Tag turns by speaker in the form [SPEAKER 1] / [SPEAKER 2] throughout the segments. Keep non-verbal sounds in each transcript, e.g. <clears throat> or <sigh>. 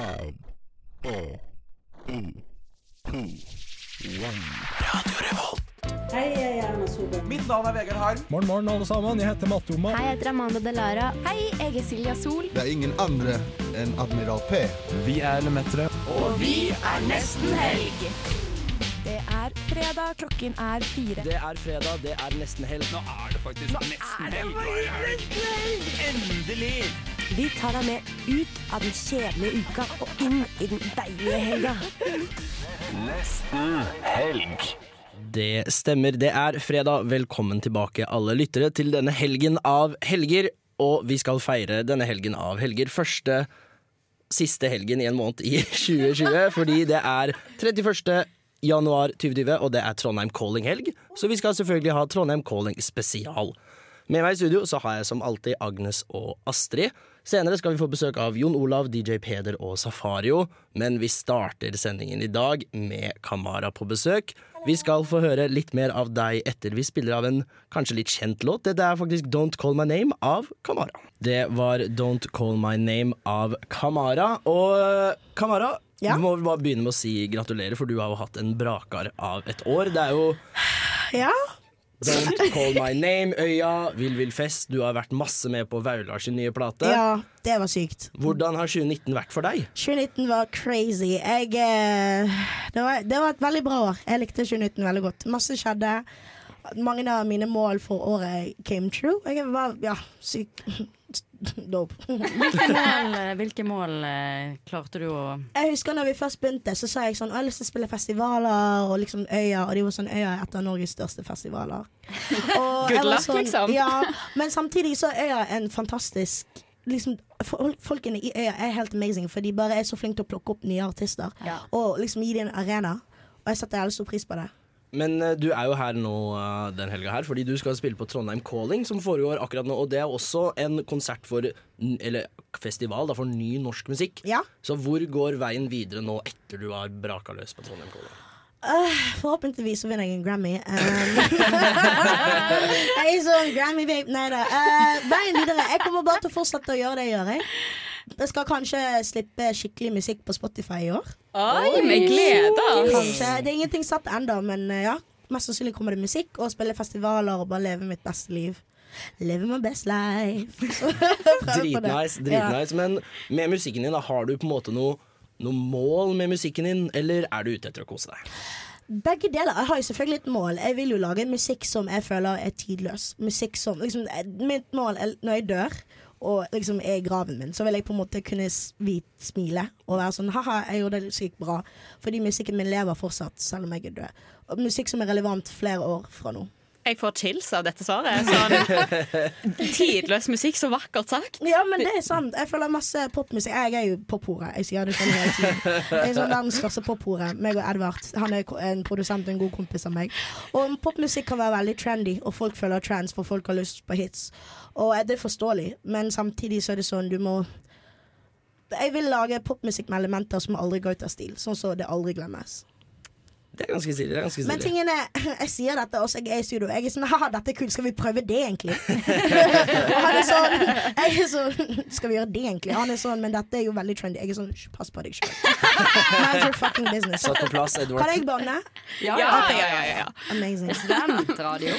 [SPEAKER 1] Five, four, three, two, one.
[SPEAKER 2] Hei, jeg er Erna Solberg.
[SPEAKER 3] Mitt navn er Vegard Harm.
[SPEAKER 4] Morgen, morgen, alle sammen. Jeg heter Matte Oma.
[SPEAKER 5] Hei, jeg heter Amanda Delara. Hei, jeg er Silja Sol.
[SPEAKER 6] Det er ingen andre enn Admiral P.
[SPEAKER 4] Vi er Lemetere.
[SPEAKER 5] Det er fredag, klokken er fire.
[SPEAKER 3] Det er fredag, det er nesten helg. Nå er det faktisk nesten helg. Endelig!
[SPEAKER 7] Vi tar deg med ut av den kjedelige uka og inn i den deilige helga.
[SPEAKER 3] Det stemmer, det er fredag. Velkommen tilbake alle lyttere til denne helgen av helger. Og vi skal feire denne helgen av helger. Første siste helgen i en måned i 2020, fordi det er 31. januar 2020, og det er Trondheim Calling-helg. Så vi skal selvfølgelig ha Trondheim Calling spesial. Med meg i studio så har jeg som alltid Agnes og Astrid. Senere skal vi få besøk av Jon Olav, DJ Peder og Safario. Men vi starter sendingen i dag med Kamara på besøk. Vi skal få høre litt mer av deg etter vi spiller av en kanskje litt kjent låt. Dette er faktisk Don't Call My Name av Kamara. Det var Don't Call My Name av Kamara. Og eh, Kamara,
[SPEAKER 5] Ja?
[SPEAKER 3] du må vel bare begynne med å si gratulerer, for du har jo hatt en brakar av et år. Det er jo
[SPEAKER 5] Ja,
[SPEAKER 3] Don't Call My Name, Øya, Vill Vill Fest. Du har vært masse med på Vaulars nye plate.
[SPEAKER 8] Ja, det var sykt.
[SPEAKER 3] Hvordan har 2019 vært for deg?
[SPEAKER 8] 2019 var crazy. Jeg, eh, det, var, det var et veldig bra år. Jeg likte 2019 veldig godt. Masse skjedde. Mange av mine mål for året came true. Jeg var ja, sykt <laughs> dope.
[SPEAKER 9] Hvilke mål, hvilke mål eh, klarte du å
[SPEAKER 8] Jeg husker når vi først begynte, så sa jeg sånn «Å, Jeg har lyst til å spille festivaler og liksom Øya. Og de var sånn Øya er et av Norges største
[SPEAKER 5] <laughs>
[SPEAKER 8] festivaler. Og jeg var sånn,
[SPEAKER 5] luck, liksom.
[SPEAKER 8] Ja, men samtidig så er Øya en fantastisk liksom, fol- Folkene i Øya er helt amazing, for de bare er så flinke til å plukke opp nye artister.
[SPEAKER 9] Ja.
[SPEAKER 8] Og liksom gi dem en arena. Og jeg setter veldig stor pris på det.
[SPEAKER 3] Men eh, du er jo her nå eh, den helga her, fordi du skal spille på Trondheim Calling, som foregår akkurat nå. Og det er også en konsert for n- Eller festival da, for ny norsk musikk.
[SPEAKER 8] Ja.
[SPEAKER 3] Så hvor går veien videre nå etter du har braka løs på Trondheim Calling?
[SPEAKER 8] Ah, Forhåpentligvis så vinner jeg en Grammy. Um, <laughs> jeg er sånn Grammy-babe. Nei da. Eh, veien videre. Jeg kommer bare til å fortsette å gjøre det jeg gjør. Jeg. jeg skal kanskje slippe skikkelig musikk på Spotify i år.
[SPEAKER 7] Oi, vi gleder
[SPEAKER 8] Kanskje. Det er ingenting satt ennå, men eh, ja. Mest sannsynlig kommer det musikk og spille festivaler og bare leve mitt beste liv. Live my best life. <laughs> Så prøve på det.
[SPEAKER 3] Dritnice.
[SPEAKER 8] Ja.
[SPEAKER 3] dritnice Men med musikken din, da, har du på en måte noe noe mål med musikken din, eller er du ute etter å kose deg?
[SPEAKER 8] Begge deler. Jeg har jo selvfølgelig et mål. Jeg vil jo lage musikk som jeg føler er tidløs. Musikk som, liksom, eh, Mitt mål er når jeg dør og liksom er i graven min, så vil jeg på en måte kunne s- hvit smile og være sånn ha-ha, jeg gjorde det sykt bra. Fordi musikken min lever fortsatt, selv om jeg er død. Og musikk som er relevant flere år fra nå.
[SPEAKER 7] Jeg får chills av dette svaret. Sånn, <laughs> tidløs musikk, så vakkert sagt.
[SPEAKER 8] Ja, men det er sant. Jeg føler masse popmusikk. Jeg er jo pophore. Jeg sier det sånn hele tiden. Jeg er sånn verdens største pophore. Meg og Edvard. Han er ko- en produsent og en god kompis av meg. Og popmusikk kan være veldig trendy, og folk føler trans, for folk har lyst på hits. Og eh, det er forståelig, men samtidig så er det sånn du må Jeg vil lage popmusikk med elementer som aldri går ut av stil, sånn så det aldri glemmes.
[SPEAKER 3] Det er ganske stilig. det er ganske
[SPEAKER 8] Men
[SPEAKER 3] stilig.
[SPEAKER 8] tingen er, <laughs> jeg sier dette også, jeg er i studio. Jeg er sånn <laughs> Haha, dette er kult, skal vi prøve det,
[SPEAKER 3] <laughs>
[SPEAKER 8] egentlig? Og han er sånn, <laughs> jeg er sånn Skal vi gjøre det, egentlig? Han er sånn, men dette er jo veldig trendy. Jeg er sånn «Hysj, Pass på deg sjøl. <laughs> Mind your fucking business.
[SPEAKER 3] Satt på plass, Edward.
[SPEAKER 8] Kan jeg banne?
[SPEAKER 7] Ja, ja, ja, ja, ja.
[SPEAKER 8] Amazing.
[SPEAKER 9] Studentradio?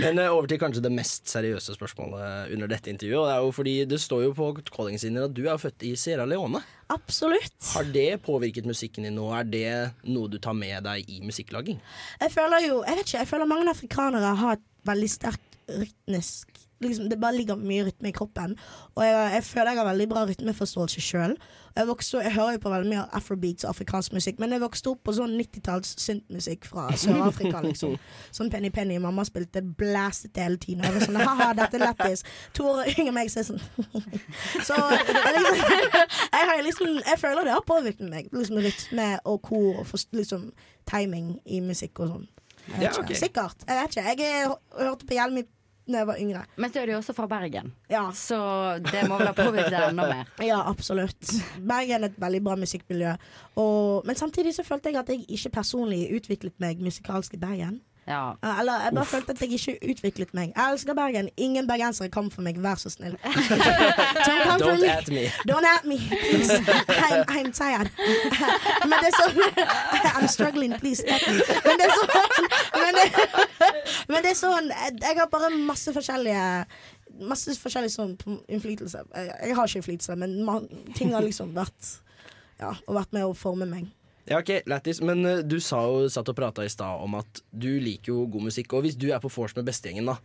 [SPEAKER 3] Men eh, over til kanskje det mest seriøse spørsmålet under dette intervjuet. Og det er jo fordi det står jo på callingen sin at du er født i Sierra Leone.
[SPEAKER 8] Absolutt.
[SPEAKER 3] Har det påvirket musikken din nå? Er det noe du tar med deg i musikklaging?
[SPEAKER 8] Jeg føler jo Jeg vet ikke, jeg føler mange afrikanere har et veldig sterkt rytmisk liksom, Det bare ligger mye rytme i kroppen. Og jeg, jeg føler jeg har veldig bra rytmeforståelse sjøl. Jeg, vokste- jeg hører jo på veldig mye afrobeats og afrikansk musikk, men jeg vokste opp på sånn 90-talls syntmusikk fra Sør-Afrika, liksom. Sånn Penny Penny. Mamma spilte blastet det hele tiden. Og jeg var sånn ha-ha, dette er lættis. To år yngre enn meg, så jeg sånn <laughs> Så jeg, liksom, <laughs> jeg har liksom Jeg føler det har påvirket meg. Liksom rytme og kor og forst- liksom timing i musikk og sånn. Jeg
[SPEAKER 3] Ja,
[SPEAKER 8] vet
[SPEAKER 3] ok.
[SPEAKER 8] ikke. Sikkert. Jeg vet ikke. Jeg er- hørte på Hjelm i- da jeg var yngre.
[SPEAKER 9] Men så er du jo også fra Bergen,
[SPEAKER 8] Ja.
[SPEAKER 9] så det må vel ha påvirket deg enda mer.
[SPEAKER 8] Ja, absolutt. Bergen er et veldig bra musikkmiljø. Og, men samtidig så følte jeg at jeg ikke personlig utviklet meg musikalsk i Bergen.
[SPEAKER 9] Ja.
[SPEAKER 8] Eller jeg bare følte at jeg ikke utviklet meg. Jeg elsker Bergen. Ingen bergensere kom for meg, vær så
[SPEAKER 3] <laughs>
[SPEAKER 8] snill. Don't come for
[SPEAKER 3] Don't
[SPEAKER 8] me.
[SPEAKER 3] at me.
[SPEAKER 8] Don't at me, please. I'm, I'm tired. Men det som I'm struggling, please. at me. Men det er sånn men det, men det er sånn Jeg har bare masse forskjellige Masse forskjellig sånn på innflytelse. Jeg, jeg har ikke innflytelse, men man, ting har liksom vært Ja, og vært med å forme meg.
[SPEAKER 3] Ja, ok, lættis. Men eh, du sa jo, satt og prata i stad om at du liker jo god musikk. Og hvis du er på vors med bestegjengen, da,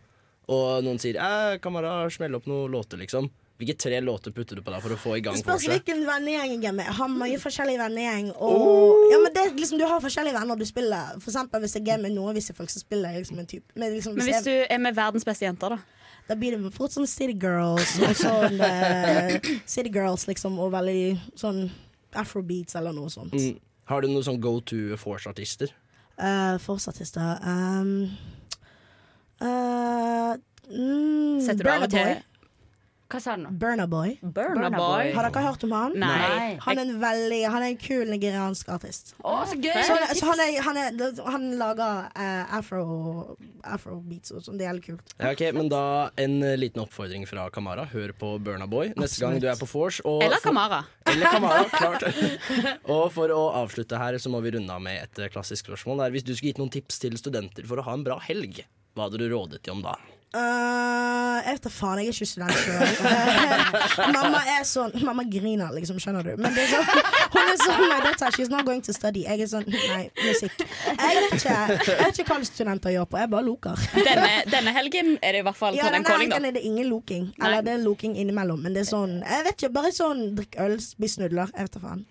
[SPEAKER 3] og noen sier eh, 'kan bare smelle opp noen låter', liksom. Hvilke tre låter putter du på da for å få i gang
[SPEAKER 8] Det spørs
[SPEAKER 3] vorset?
[SPEAKER 8] hvilken vennegjeng jeg er med. Jeg har mange forskjellige vennegjeng. Og, ja, men det, er liksom, du har forskjellige venner du spiller. For eksempel hvis jeg er med noen visse folk, så spiller jeg liksom en type. Men, liksom,
[SPEAKER 7] Men
[SPEAKER 8] hvis
[SPEAKER 7] hvis
[SPEAKER 8] jeg,
[SPEAKER 7] du er med verdens beste jenter, da?
[SPEAKER 8] da blir det fort sånn City Girls og
[SPEAKER 7] <laughs>
[SPEAKER 8] sånn eh, City Girls, liksom, og veldig sånn Afrobeats eller noe sånt.
[SPEAKER 3] Mm. Har du noen sånn go to vors-artister?
[SPEAKER 8] Eh, Forsartister um, eh, mm,
[SPEAKER 7] Setter du av og
[SPEAKER 8] Burna
[SPEAKER 7] til
[SPEAKER 8] Boy.
[SPEAKER 9] Hva sa du nå?
[SPEAKER 8] Burna Boy.
[SPEAKER 7] Burna
[SPEAKER 9] Burna
[SPEAKER 7] Boy?
[SPEAKER 9] Boy.
[SPEAKER 8] Har dere hørt om han?
[SPEAKER 7] Nei.
[SPEAKER 9] Nei.
[SPEAKER 8] Han er en veldig, han er en kul nigeriansk artist.
[SPEAKER 9] Å, så gøy!
[SPEAKER 8] Så
[SPEAKER 7] Sånn-
[SPEAKER 8] han, Sånn, så han, er, han, er, han lager eh, afro, afrobeats og sånn. Det er helt kult.
[SPEAKER 3] Ja, ok, Men da en eh, liten oppfordring fra Kamara. Hør på Burna Boy neste gang du er på vors. og-
[SPEAKER 7] Eller Kamara?
[SPEAKER 3] Eller
[SPEAKER 7] <laughs>
[SPEAKER 3] Kamara, klart. Og for å avslutte her, så må vi runde av med et eh, klassisk spørsmål. Det er, hvis du skulle gitt noen tips til studenter for å ha en bra helg, hva hadde du rådet dem om da?
[SPEAKER 8] Eh, jeg vet da faen, jeg er ikke student <laughs> sjøl. mamma er sånn Mamma griner, liksom, skjønner du. Men det er sånn, hun er sånn My daughter, she's not going to study. Jeg er sånn Nei, musikk. Jeg vet ikke Jeg vet ikke hva alle studenter gjør på. Jeg bare loker.
[SPEAKER 7] Denne, denne helgen er det i hvert fall
[SPEAKER 8] Ja,
[SPEAKER 7] Trondheim
[SPEAKER 8] denne
[SPEAKER 7] Calling, da.
[SPEAKER 8] helgen er det ingen loking. Eller det er loking innimellom, men det er sånn Jeg vet ikke. Bare sånn drikk øl, spis nudler. Jeg vet da faen.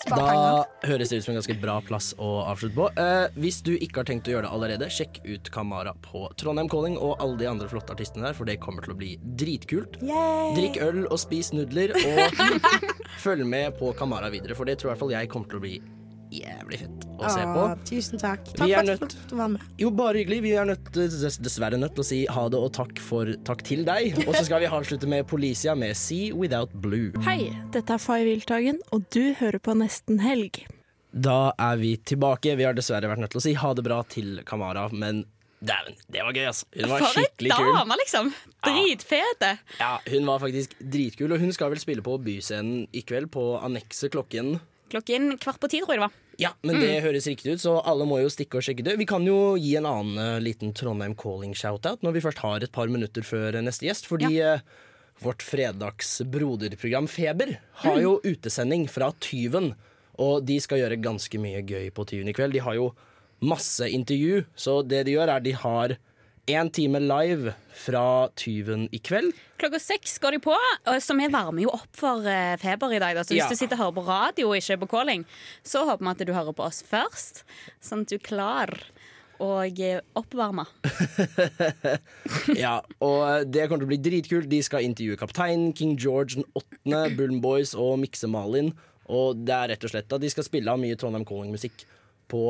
[SPEAKER 8] Spar penger.
[SPEAKER 3] Da høres det ut som en ganske bra plass å avslutte på. Eh, hvis du ikke har tenkt å gjøre det allerede, sjekk ut Kamara på Trondheim Calling og alle de andre flotte artistene der, for det kommer til å bli dritkult.
[SPEAKER 8] Yay.
[SPEAKER 3] Drikk øl og spis nudler, og følg med på Kamara videre, for det tror i hvert fall jeg kommer til å bli jævlig fett å se på.
[SPEAKER 8] Åh, Tusen takk.
[SPEAKER 3] Vi
[SPEAKER 8] Takk for
[SPEAKER 3] er
[SPEAKER 8] at jeg
[SPEAKER 3] nødt-
[SPEAKER 8] fikk lov til å være med.
[SPEAKER 3] Jo, bare hyggelig. Vi er nødt, dess- dessverre nødt til å si ha det og takk for takk til deg. Og så skal vi avslutte med Policia med See Without Blue.
[SPEAKER 5] Hei, dette er Fay Wiltagen, og du hører på Nesten Helg.
[SPEAKER 3] Da er vi tilbake. Vi har dessverre vært nødt til å si ha det bra til Kamara, men dæven, det var gøy, altså. Hun var
[SPEAKER 7] For ei
[SPEAKER 3] skikkelig kul.
[SPEAKER 7] dame, liksom! Dritfete!
[SPEAKER 3] Ja, hun var faktisk dritkul, og hun skal vel spille på Byscenen i kveld, på Annekset klokken
[SPEAKER 7] Klokken kvart på ti, tror jeg det var.
[SPEAKER 3] Ja, men det høres riktig ut, så alle må jo stikke og sjekke det. Vi kan jo gi en annen eh, liten Trondheim calling-shoutout når vi først har et par minutter før eh, neste gjest, fordi eh, vårt fredagsbroderprogram Feber har jo utesending fra Tyven, og de skal gjøre ganske mye gøy på Tyven i kveld. De har jo masse intervju, så det de gjør er de har en time live fra Tyven i kveld.
[SPEAKER 7] Klokka seks går de på, og- så vi varmer jo opp for eh, feber i dag. Da. Så hvis
[SPEAKER 3] Ja.
[SPEAKER 7] du sitter og hører på radio og ikke er på calling, så håper vi at du hører på oss først, sånn at du klarer å eh, oppvarme.
[SPEAKER 3] Ja, og eh, det kommer til å bli dritkult. De skal intervjue kapteinen, King George den 8., Bullen Boys og Mikse Malin. Og det er rett og slett at de skal spille av mye Trondheim Calling-musikk på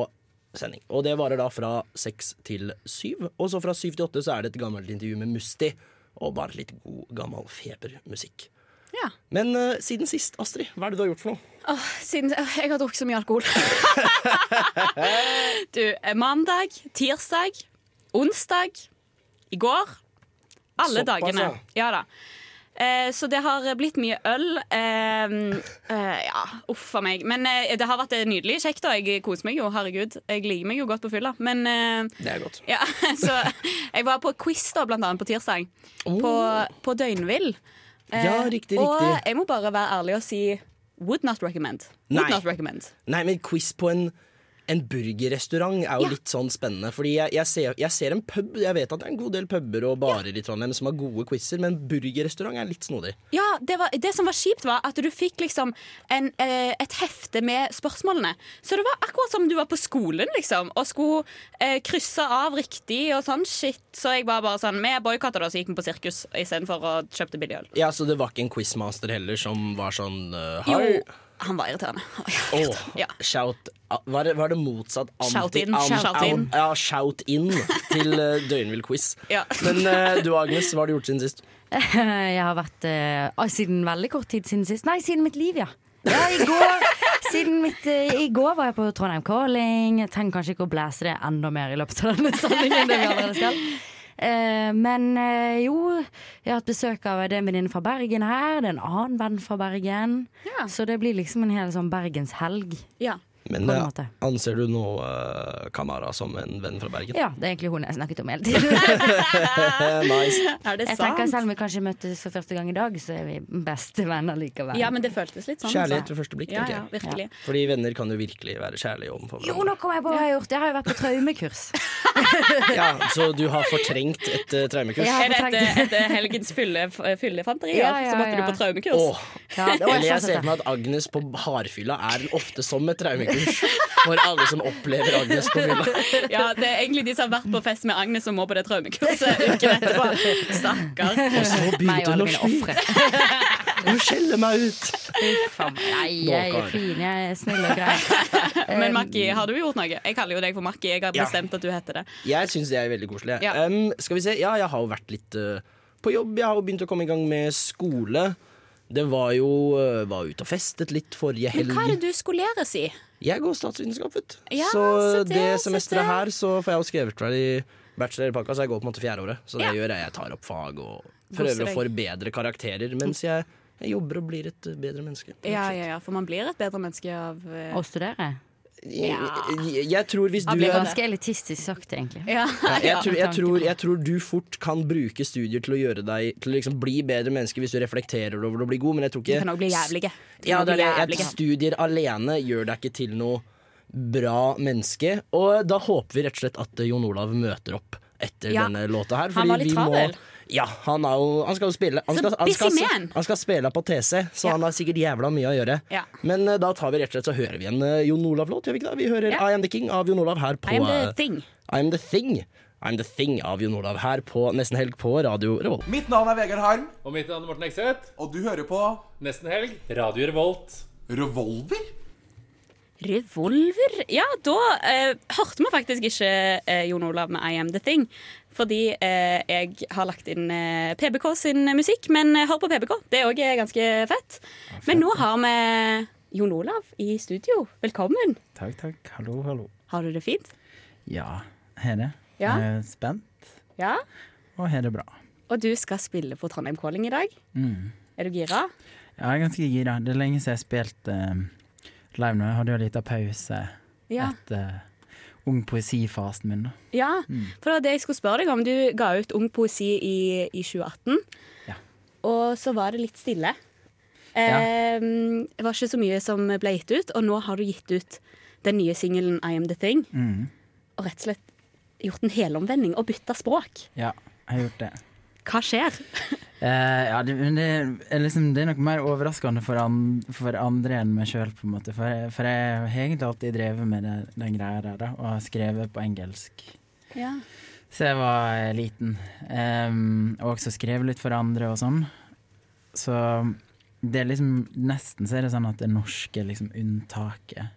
[SPEAKER 3] sending. Og det varer da fra seks til syv. Og så fra syv til åtte så er det et gammelt intervju med Musti. Og bare litt god, gammel febermusikk.
[SPEAKER 7] Ja.
[SPEAKER 3] Men eh, siden sist, Astrid, hva er det du har gjort for noe?
[SPEAKER 7] Åh, siden åh, jeg har drukket så mye
[SPEAKER 3] <laughs>
[SPEAKER 7] alkohol. du, eh, mandag, tirsdag, onsdag, i går. Alle
[SPEAKER 3] Såpass,
[SPEAKER 7] dagene.
[SPEAKER 3] ja.
[SPEAKER 7] Ja da. Eh, så det har blitt mye øl. Eh, eh, ja, uff a meg. Men eh, det har vært eh, nydelig kjekt, og jeg koser meg jo. Herregud. Jeg liker meg jo godt på fylla. Men eh,
[SPEAKER 3] Det er godt.
[SPEAKER 7] ja, <laughs> så jeg var på quiz da, blant annet på tirsdag. På, på Døgnvill. Eh,
[SPEAKER 3] Oh. Ja, riktig,
[SPEAKER 7] Og
[SPEAKER 3] riktig.
[SPEAKER 7] jeg må bare være ærlig og si would not recommend. Would
[SPEAKER 3] Nei.
[SPEAKER 7] not recommend.
[SPEAKER 3] Nei, men quiz på en en burgerrestaurant er jo
[SPEAKER 7] Ja.
[SPEAKER 3] litt sånn spennende. Fordi jeg, jeg, ser, jeg ser en pub Jeg vet at det er en god del puber og barer i Trondheim som har gode quizer, men burgerrestaurant er litt snodig.
[SPEAKER 7] Ja, det, var, det som var kjipt, var at du fikk liksom en, eh, et hefte med spørsmålene. Så det var akkurat som du var på skolen, liksom, og skulle eh, krysse av riktig og sånn shit. Så jeg var bare sånn Vi boikotta det, og så gikk vi på sirkus istedenfor å kjøpe billig øl.
[SPEAKER 3] Ja, Så det var ikke en quizmaster heller som var sånn uh,
[SPEAKER 7] Jo,
[SPEAKER 3] Hei!
[SPEAKER 7] han var irriterende. <laughs>
[SPEAKER 3] Åh,
[SPEAKER 7] Ja.
[SPEAKER 3] shout ah, var det, var det motsatt? Anti,
[SPEAKER 7] Shout in, shout in.
[SPEAKER 3] Ja, shout in til uh, Døgnvill quiz.
[SPEAKER 7] Ja.
[SPEAKER 3] Men eh, du Agnes, hva
[SPEAKER 9] <laughs>
[SPEAKER 3] har du gjort siden sist?
[SPEAKER 9] Jeg har vært eh, ah, Siden veldig kort tid siden sist. Nei, siden mitt liv, ja. Ja, i går, <laughs> siden mitt, eh, I går var jeg på Trondheim Calling. Jeg trenger kanskje ikke å blæse det enda mer i løpet av denne sendingen. enn vi allerede skal. Eh, men eh, jo, jeg har hatt besøk av det er en venninne fra Bergen her. Det er en annen venn fra Bergen.
[SPEAKER 7] Ja.
[SPEAKER 9] Så det blir liksom en hel sånn bergenshelg.
[SPEAKER 7] Ja.
[SPEAKER 3] Men
[SPEAKER 9] På en
[SPEAKER 3] eh,
[SPEAKER 9] måte.
[SPEAKER 3] anser du nå uh, Kamara som en venn fra Bergen? Eh,
[SPEAKER 9] Ja, det er egentlig hun jeg snakket om hele
[SPEAKER 7] <laughs>
[SPEAKER 9] tiden.
[SPEAKER 3] nice.
[SPEAKER 7] Er det
[SPEAKER 9] Jeg tenker
[SPEAKER 7] sant?
[SPEAKER 9] Selv om vi kanskje møttes for første gang i dag, så er vi bestevenner likevel.
[SPEAKER 7] Ja, men det føltes litt sånn.
[SPEAKER 3] Kjærlighet
[SPEAKER 7] altså.
[SPEAKER 3] ved første blikk,
[SPEAKER 7] Ja,
[SPEAKER 3] tenker
[SPEAKER 7] ja,
[SPEAKER 3] jeg.
[SPEAKER 7] virkelig.
[SPEAKER 3] Fordi venner kan jo virkelig være kjærlige overfor
[SPEAKER 9] Jo, nå kommer jeg på hva jeg har gjort. Jeg har jo vært på traumekurs.
[SPEAKER 3] Ja, så du har fortrengt et uh, traumekurs?
[SPEAKER 9] Ja.
[SPEAKER 3] Åh,
[SPEAKER 7] Er det etter, etter helgens fylle, eh, fyllefanteri,
[SPEAKER 9] Ja,
[SPEAKER 7] at
[SPEAKER 9] ja,
[SPEAKER 7] så måtte
[SPEAKER 9] ja.
[SPEAKER 7] du på traumekurs?
[SPEAKER 9] Ja, det- å,
[SPEAKER 3] Eller jeg
[SPEAKER 9] sa
[SPEAKER 3] ser
[SPEAKER 9] dette.
[SPEAKER 3] for meg at Agnes på hardfylla er ofte som et traumekurs <laughs> for alle som opplever Agnes på
[SPEAKER 7] <laughs>
[SPEAKER 3] fylla.
[SPEAKER 7] <laughs> Ja, det er egentlig de som har vært på fest med Agnes som må på det traumekurset <laughs> uken etterpå. Stakkar.
[SPEAKER 3] Og så
[SPEAKER 9] Meg og
[SPEAKER 3] begynte hun
[SPEAKER 9] alle
[SPEAKER 3] å
[SPEAKER 9] mine
[SPEAKER 3] sky.
[SPEAKER 9] ofre.
[SPEAKER 3] Hun skjeller meg ut.
[SPEAKER 9] Uff a meg. Nei, jeg er
[SPEAKER 3] Baker.
[SPEAKER 9] fin, jeg er snill og grei.
[SPEAKER 7] Men Maki, har du gjort noe? Jeg kaller jo deg for Maki. Jeg har
[SPEAKER 3] Ja.
[SPEAKER 7] bestemt at du heter det.
[SPEAKER 3] Jeg syns det er veldig koselig. jeg.
[SPEAKER 7] Ja.
[SPEAKER 3] Em, skal vi se. Ja, jeg har jo vært litt eh, på jobb. Jeg har jo begynt å komme i gang med skole. Det var jo eh, Var ute og festet litt forrige helg.
[SPEAKER 7] Hva er det du skoleres i?
[SPEAKER 3] Jeg går statsvitenskap, vet du.
[SPEAKER 7] Ja,
[SPEAKER 3] så
[SPEAKER 7] så
[SPEAKER 3] det,
[SPEAKER 7] det, så
[SPEAKER 3] semesteret
[SPEAKER 7] det.
[SPEAKER 3] her så får jeg jo skrevet ferdig bachelor i pakka, så jeg går på en måte fjerdeåret. Så det
[SPEAKER 7] Ja.
[SPEAKER 3] gjør jeg. Jeg tar opp fag og prøver å
[SPEAKER 7] deg.
[SPEAKER 3] forbedre karakterer mens jeg, jeg jobber og blir et eh, bedre menneske.
[SPEAKER 7] Ja, ja, ja, for man blir et bedre menneske av eh,
[SPEAKER 9] Å studere.
[SPEAKER 3] Jeg, jeg, jeg tror hvis du
[SPEAKER 7] Han
[SPEAKER 9] Det
[SPEAKER 7] blir
[SPEAKER 9] er
[SPEAKER 3] er
[SPEAKER 9] ganske elitistisk sagt, egentlig.
[SPEAKER 7] <laughs> Ja.
[SPEAKER 3] ja, jeg, tror, jeg,
[SPEAKER 9] Tanken.
[SPEAKER 3] tror, jeg tror du fort kan bruke studier til å gjøre deg Til å liksom bli bedre menneske hvis du reflekterer over det og blir god, men jeg tror
[SPEAKER 7] Du
[SPEAKER 3] ikke
[SPEAKER 7] kan òg bli jævlige. Du
[SPEAKER 3] Ja,
[SPEAKER 7] kan
[SPEAKER 3] det er
[SPEAKER 7] bli
[SPEAKER 3] det. Jeg-
[SPEAKER 7] jævlige.
[SPEAKER 3] Studier alene gjør deg ikke til noe bra menneske. Og da håper vi rett og slett at eh, Jon Olav møter opp etter
[SPEAKER 7] Ja.
[SPEAKER 3] denne låta her.
[SPEAKER 7] Han var litt
[SPEAKER 3] vi må-
[SPEAKER 7] travel.
[SPEAKER 3] Ja, han, er jo, han skal jo spille Han
[SPEAKER 7] Så
[SPEAKER 3] skal, han skal,
[SPEAKER 7] busy man.
[SPEAKER 3] han skal spille på TC, så
[SPEAKER 7] Ja.
[SPEAKER 3] han har sikkert jævla mye å gjøre.
[SPEAKER 7] Ja.
[SPEAKER 3] Men eh, da tar vi rett og slett så hører vi en eh, Jon Olav-låt, gjør vi ikke det? Vi hører
[SPEAKER 7] Ja.
[SPEAKER 3] I Am The King av Jon Olav her på
[SPEAKER 7] I am the
[SPEAKER 3] eh,
[SPEAKER 7] thing.
[SPEAKER 3] I'm The Thing. I'm The Thing av Jon Olav her på Nesten Helg på Radio Revolt.
[SPEAKER 10] Mitt navn er Vegard Harm,
[SPEAKER 11] Og mitt navn er Morten Ekseth.
[SPEAKER 10] og du hører på
[SPEAKER 11] Nesten helg. Radio Revolt.
[SPEAKER 10] Revolver.
[SPEAKER 7] Revolver? Ja, da eh, hørte vi faktisk ikke eh, Jon Olav med I Am The Thing. Fordi eh, jeg har lagt inn eh, PBK sin musikk. Men eh, hør på PBK, det òg er ganske fett. Men nå har vi Jon Olav i studio. Velkommen.
[SPEAKER 12] Takk, takk. Hallo, hallo.
[SPEAKER 7] Har du det fint?
[SPEAKER 12] Ja, her er det.
[SPEAKER 7] Ja.
[SPEAKER 12] Jeg er spent,
[SPEAKER 7] Ja.
[SPEAKER 12] og her er det bra.
[SPEAKER 7] Og du skal spille på Trondheim Calling i dag.
[SPEAKER 12] Mm.
[SPEAKER 7] Er du gira?
[SPEAKER 12] Jeg er ganske gira. Det er lenge siden jeg har spilt eh, live nå. Jeg hadde jo en liten pause
[SPEAKER 7] Ja.
[SPEAKER 12] etter ung poesifasen min. da.
[SPEAKER 7] ja.
[SPEAKER 12] Mm.
[SPEAKER 7] For det var det jeg skulle spørre deg om. Du ga ut Ung poesi i, i 2018.
[SPEAKER 12] Ja.
[SPEAKER 7] Og så var det litt stille. Eh, Det var ikke så mye som ble gitt ut, og nå har du gitt ut den nye singelen I Am The Thing.
[SPEAKER 12] Mm.
[SPEAKER 7] Og rett og slett gjort en helomvending og bytta språk.
[SPEAKER 12] Ja, jeg har gjort det.
[SPEAKER 7] Hva skjer?
[SPEAKER 12] Eh, ja, det, men det er, liksom, det er nok mer overraskende for, an, for andre enn meg sjøl, på en måte. For, jeg- for jeg har egentlig alltid drevet med det, den greia der, da, og har skrevet på engelsk.
[SPEAKER 7] Ja.
[SPEAKER 12] Så jeg var eh, liten. Ehm, og også skrev litt for andre og sånn. Så det er liksom Nesten så er det sånn at det norske liksom unntaket,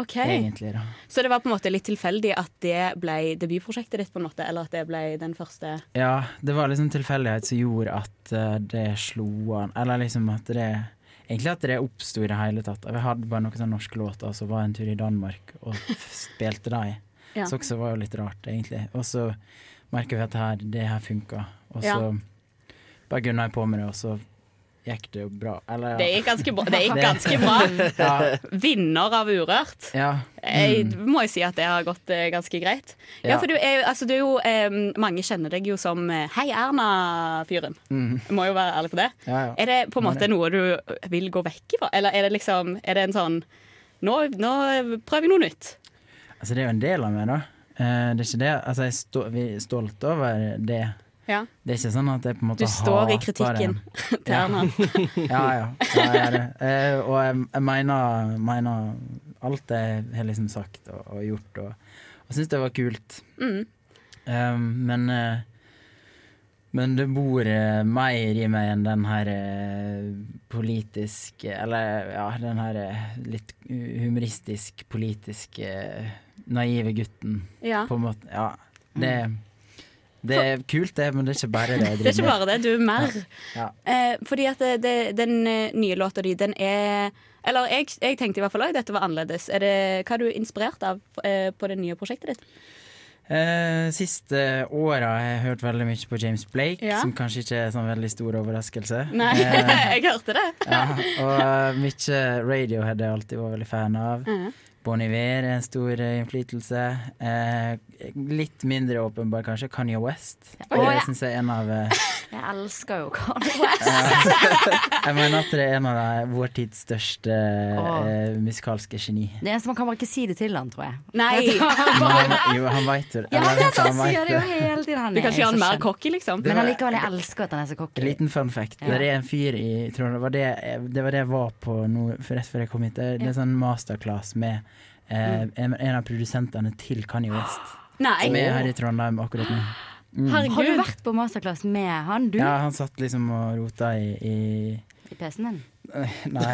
[SPEAKER 7] OK.
[SPEAKER 12] egentlig, da.
[SPEAKER 7] Så det var på en måte litt tilfeldig at det ble debutprosjektet ditt, på en måte, eller at det ble den første
[SPEAKER 12] Ja, det var liksom tilfeldighet som gjorde at eh, det slo an. Eller liksom at det Egentlig at det oppsto i det hele tatt. Vi hadde bare noen sånne norske låter, og så var jeg en tur i Danmark og f- spilte de.
[SPEAKER 7] Ja.
[SPEAKER 12] Så også var jo litt rart, egentlig. Og så merker vi at det her, det her funka. Og så
[SPEAKER 7] Ja.
[SPEAKER 12] bare gunna jeg på med det, og så gikk det jo bra. Eller, ja.
[SPEAKER 7] Det gikk ganske bra. Det gikk ganske <laughs> bra.
[SPEAKER 12] Ja.
[SPEAKER 7] Vinner av Urørt.
[SPEAKER 12] <laughs> ja.
[SPEAKER 7] Jeg må jo si at det har gått eh, ganske greit. Ja,
[SPEAKER 12] Mm. Ja.
[SPEAKER 7] for du er, jo- altså, du er jo eh, Mange kjenner deg jo som eh, Hei Erna-fyren.
[SPEAKER 12] Mm.
[SPEAKER 7] Jeg Må jo være ærlig på det.
[SPEAKER 12] Ja, ja.
[SPEAKER 7] Er det på en måte noe du vil gå vekk ifra, eller er det liksom Er det en sånn nå, nå prøver jeg noe nytt.
[SPEAKER 12] Altså, det er jo en del av meg, da. Eh, det er ikke det. Altså, jeg er stå, vi er stolt over det.
[SPEAKER 7] Ja.
[SPEAKER 12] Det er ikke sånn at jeg på en måte
[SPEAKER 7] Du står i
[SPEAKER 12] hater
[SPEAKER 7] kritikken
[SPEAKER 12] den.
[SPEAKER 7] <laughs> til Erna.
[SPEAKER 12] Ja, ja. ja jeg er det. Eh, og jeg, jeg mener, mener alt jeg har liksom sagt og, og gjort, og, og syns det var kult.
[SPEAKER 7] Mm.
[SPEAKER 12] Um, men eh, men det bor eh, mer i meg enn den her eh, politisk Eller ja, den her eh, litt humoristisk, politisk eh, naive gutten,
[SPEAKER 7] <laughs> Ja. Mm.
[SPEAKER 12] på en måte. Ja. Det Det er kult, det, men det er ikke bare det. jeg
[SPEAKER 7] <laughs> Det er ikke
[SPEAKER 12] driver med.
[SPEAKER 7] bare det, du er mer.
[SPEAKER 12] Ja.
[SPEAKER 7] Eh, fordi at det, det, den eh, nye låta di, den er Eller jeg, jeg tenkte i hvert fall òg dette var annerledes. Er det, hva er du inspirert av eh, på det nye prosjektet ditt?
[SPEAKER 12] Eh, siste åra har jeg hørt veldig mye på James Blake,
[SPEAKER 7] Ja.
[SPEAKER 12] som kanskje ikke er sånn veldig stor overraskelse.
[SPEAKER 7] Nei,
[SPEAKER 12] Eh,
[SPEAKER 7] <laughs> jeg hørte det.
[SPEAKER 12] ja, og eh, mye Radiohead har jeg alltid vært veldig fan av.
[SPEAKER 7] Mhm.
[SPEAKER 12] Bon Iver er en stor eh, innflytelse. Eh, litt mindre åpenbar kanskje Kanye West.
[SPEAKER 9] Å,
[SPEAKER 12] det
[SPEAKER 9] ja.
[SPEAKER 12] syns jeg er en av eh,
[SPEAKER 9] Jeg elsker jo Kanye West.
[SPEAKER 12] Jeg mener at det er en av de- vår tids største
[SPEAKER 9] Åh.
[SPEAKER 12] eh, musikalske geni.
[SPEAKER 9] <laughs> Det eneste man kan bare ikke si det til han, tror jeg.
[SPEAKER 7] Nei.
[SPEAKER 9] Jeg tror han bare-
[SPEAKER 12] Jo, han veit det. Eller,
[SPEAKER 9] Ja, det er
[SPEAKER 12] altså,
[SPEAKER 9] det,
[SPEAKER 12] han
[SPEAKER 9] han
[SPEAKER 12] vet
[SPEAKER 9] sier det jo hele tiden. Han
[SPEAKER 7] Du kan
[SPEAKER 9] er
[SPEAKER 7] ikke gjøre
[SPEAKER 9] så
[SPEAKER 7] han mer
[SPEAKER 9] kjent.
[SPEAKER 7] cocky, liksom.
[SPEAKER 9] Men allikevel, jeg elsker at han er så cocky.
[SPEAKER 12] En liten fun fact.
[SPEAKER 9] Ja.
[SPEAKER 12] Det er en fyr i Trondheim det var det, jeg- det var det jeg var på nå, for rett før jeg kom hit. Det er det er sånn masterclass med eh,
[SPEAKER 9] Mm.
[SPEAKER 12] en, en av produsentene til Kanye
[SPEAKER 9] <gasps>
[SPEAKER 12] West.
[SPEAKER 9] Nei.
[SPEAKER 12] Som er her i Trondheim akkurat nå. Mm.
[SPEAKER 9] Har du vært på masterclass med han, du?
[SPEAKER 12] Ja, han satt liksom og rota i,
[SPEAKER 9] <laughs>
[SPEAKER 12] i
[SPEAKER 9] I PC-en din?
[SPEAKER 12] Nei.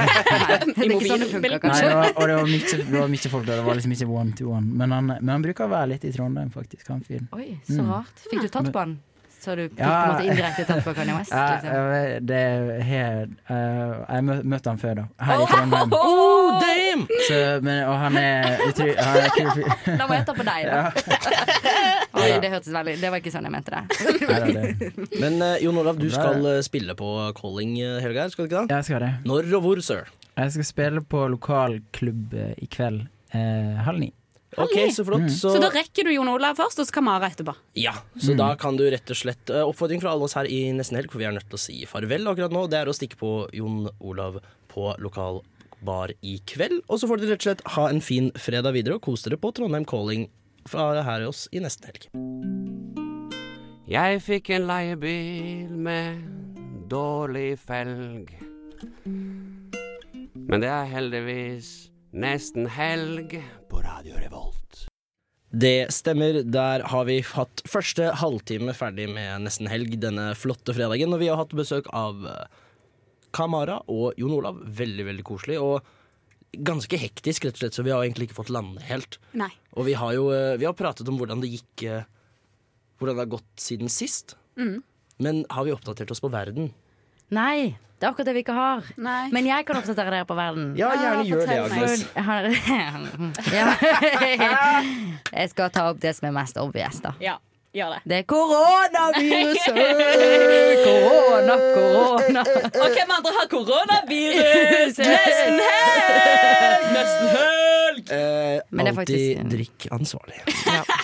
[SPEAKER 9] Det er ikke sånn det funker,
[SPEAKER 12] Nei,
[SPEAKER 9] kanskje.
[SPEAKER 12] det var, og det var mye, det var mye folk der. Det var liksom ikke one to one. Men han, men han bruker å være litt i Trondheim, faktisk, han fyren.
[SPEAKER 9] Oi, så
[SPEAKER 12] Mm.
[SPEAKER 9] rart. Fikk du tatt på han? Så du fikk på en
[SPEAKER 12] Ja.
[SPEAKER 9] måte indirekte tatt på Kanye West?
[SPEAKER 12] Ja,
[SPEAKER 9] Liksom.
[SPEAKER 12] jeg vet- det her eh, Jeg mø- møtte han før, da. Her i Trondheim.
[SPEAKER 9] Oh, damn!
[SPEAKER 12] Så, men, og han er utro- han er kul
[SPEAKER 9] <laughs>
[SPEAKER 12] fyr.
[SPEAKER 9] Da må jeg ta på deg, da. <laughs> Oi, det hørtes veldig Det var ikke sånn jeg mente det.
[SPEAKER 3] Men eh, Jon Olav, du
[SPEAKER 12] Det er
[SPEAKER 3] skal eh, spille på calling eh, helga, her, skal du ikke det?
[SPEAKER 12] Jeg skal det.
[SPEAKER 3] Når og hvor, sir?
[SPEAKER 12] Jeg skal spille på lokalklubb eh, i kveld eh, halv ni.
[SPEAKER 3] Ok, så
[SPEAKER 12] Mhm.
[SPEAKER 3] flott.
[SPEAKER 7] Så... da rekker du Jon Olav først, og så Kamara etterpå.
[SPEAKER 3] Ja, så da
[SPEAKER 12] Mhm.
[SPEAKER 3] kan du rett og slett eh, Oppfordring fra alle oss her i Nesten Helg, for vi er nødt til å si farvel akkurat nå. Det er å stikke på Jon Olav på lokal bar i kveld. Og så får dere rett og slett ha en fin fredag videre, og kos dere på Trondheim Calling fra her i oss i Nesten Helg.
[SPEAKER 13] Jeg fikk en leiebil med dårlig felg. Men det er heldigvis nesten helg på Radio Revolt.
[SPEAKER 3] Det stemmer. Der har vi hatt første halvtime ferdig med Nesten Helg denne flotte fredagen. Og vi har hatt besøk av eh, Kamara og Jon Olav. Veldig, veldig koselig. Og ganske hektisk, rett og slett, så vi har egentlig ikke fått lande helt.
[SPEAKER 7] Nei.
[SPEAKER 3] Og vi har jo eh, vi har pratet om hvordan det gikk eh, Hvordan det har gått siden sist.
[SPEAKER 9] Mm.
[SPEAKER 3] Men har vi oppdatert oss på verden?
[SPEAKER 9] Nei, det er akkurat det vi ikke har. Men jeg kan oppdatere dere på verden.
[SPEAKER 3] Ja, gjerne Ja, gjør det, fortell meg. Agnes.
[SPEAKER 9] For- <laughs> har- Ja. <laughs> Jeg skal ta opp det som er mest obvious, da.
[SPEAKER 7] Ja, gjør det.
[SPEAKER 9] Det er koronaviruset! <laughs> Korona, korona.
[SPEAKER 7] Og hvem andre har
[SPEAKER 9] <laughs>
[SPEAKER 7] koronavirus? Nesten helg! Nesten helg!
[SPEAKER 3] Eh,
[SPEAKER 9] Men det er
[SPEAKER 3] alltid
[SPEAKER 9] faktisk-
[SPEAKER 3] drikk ansvarlig.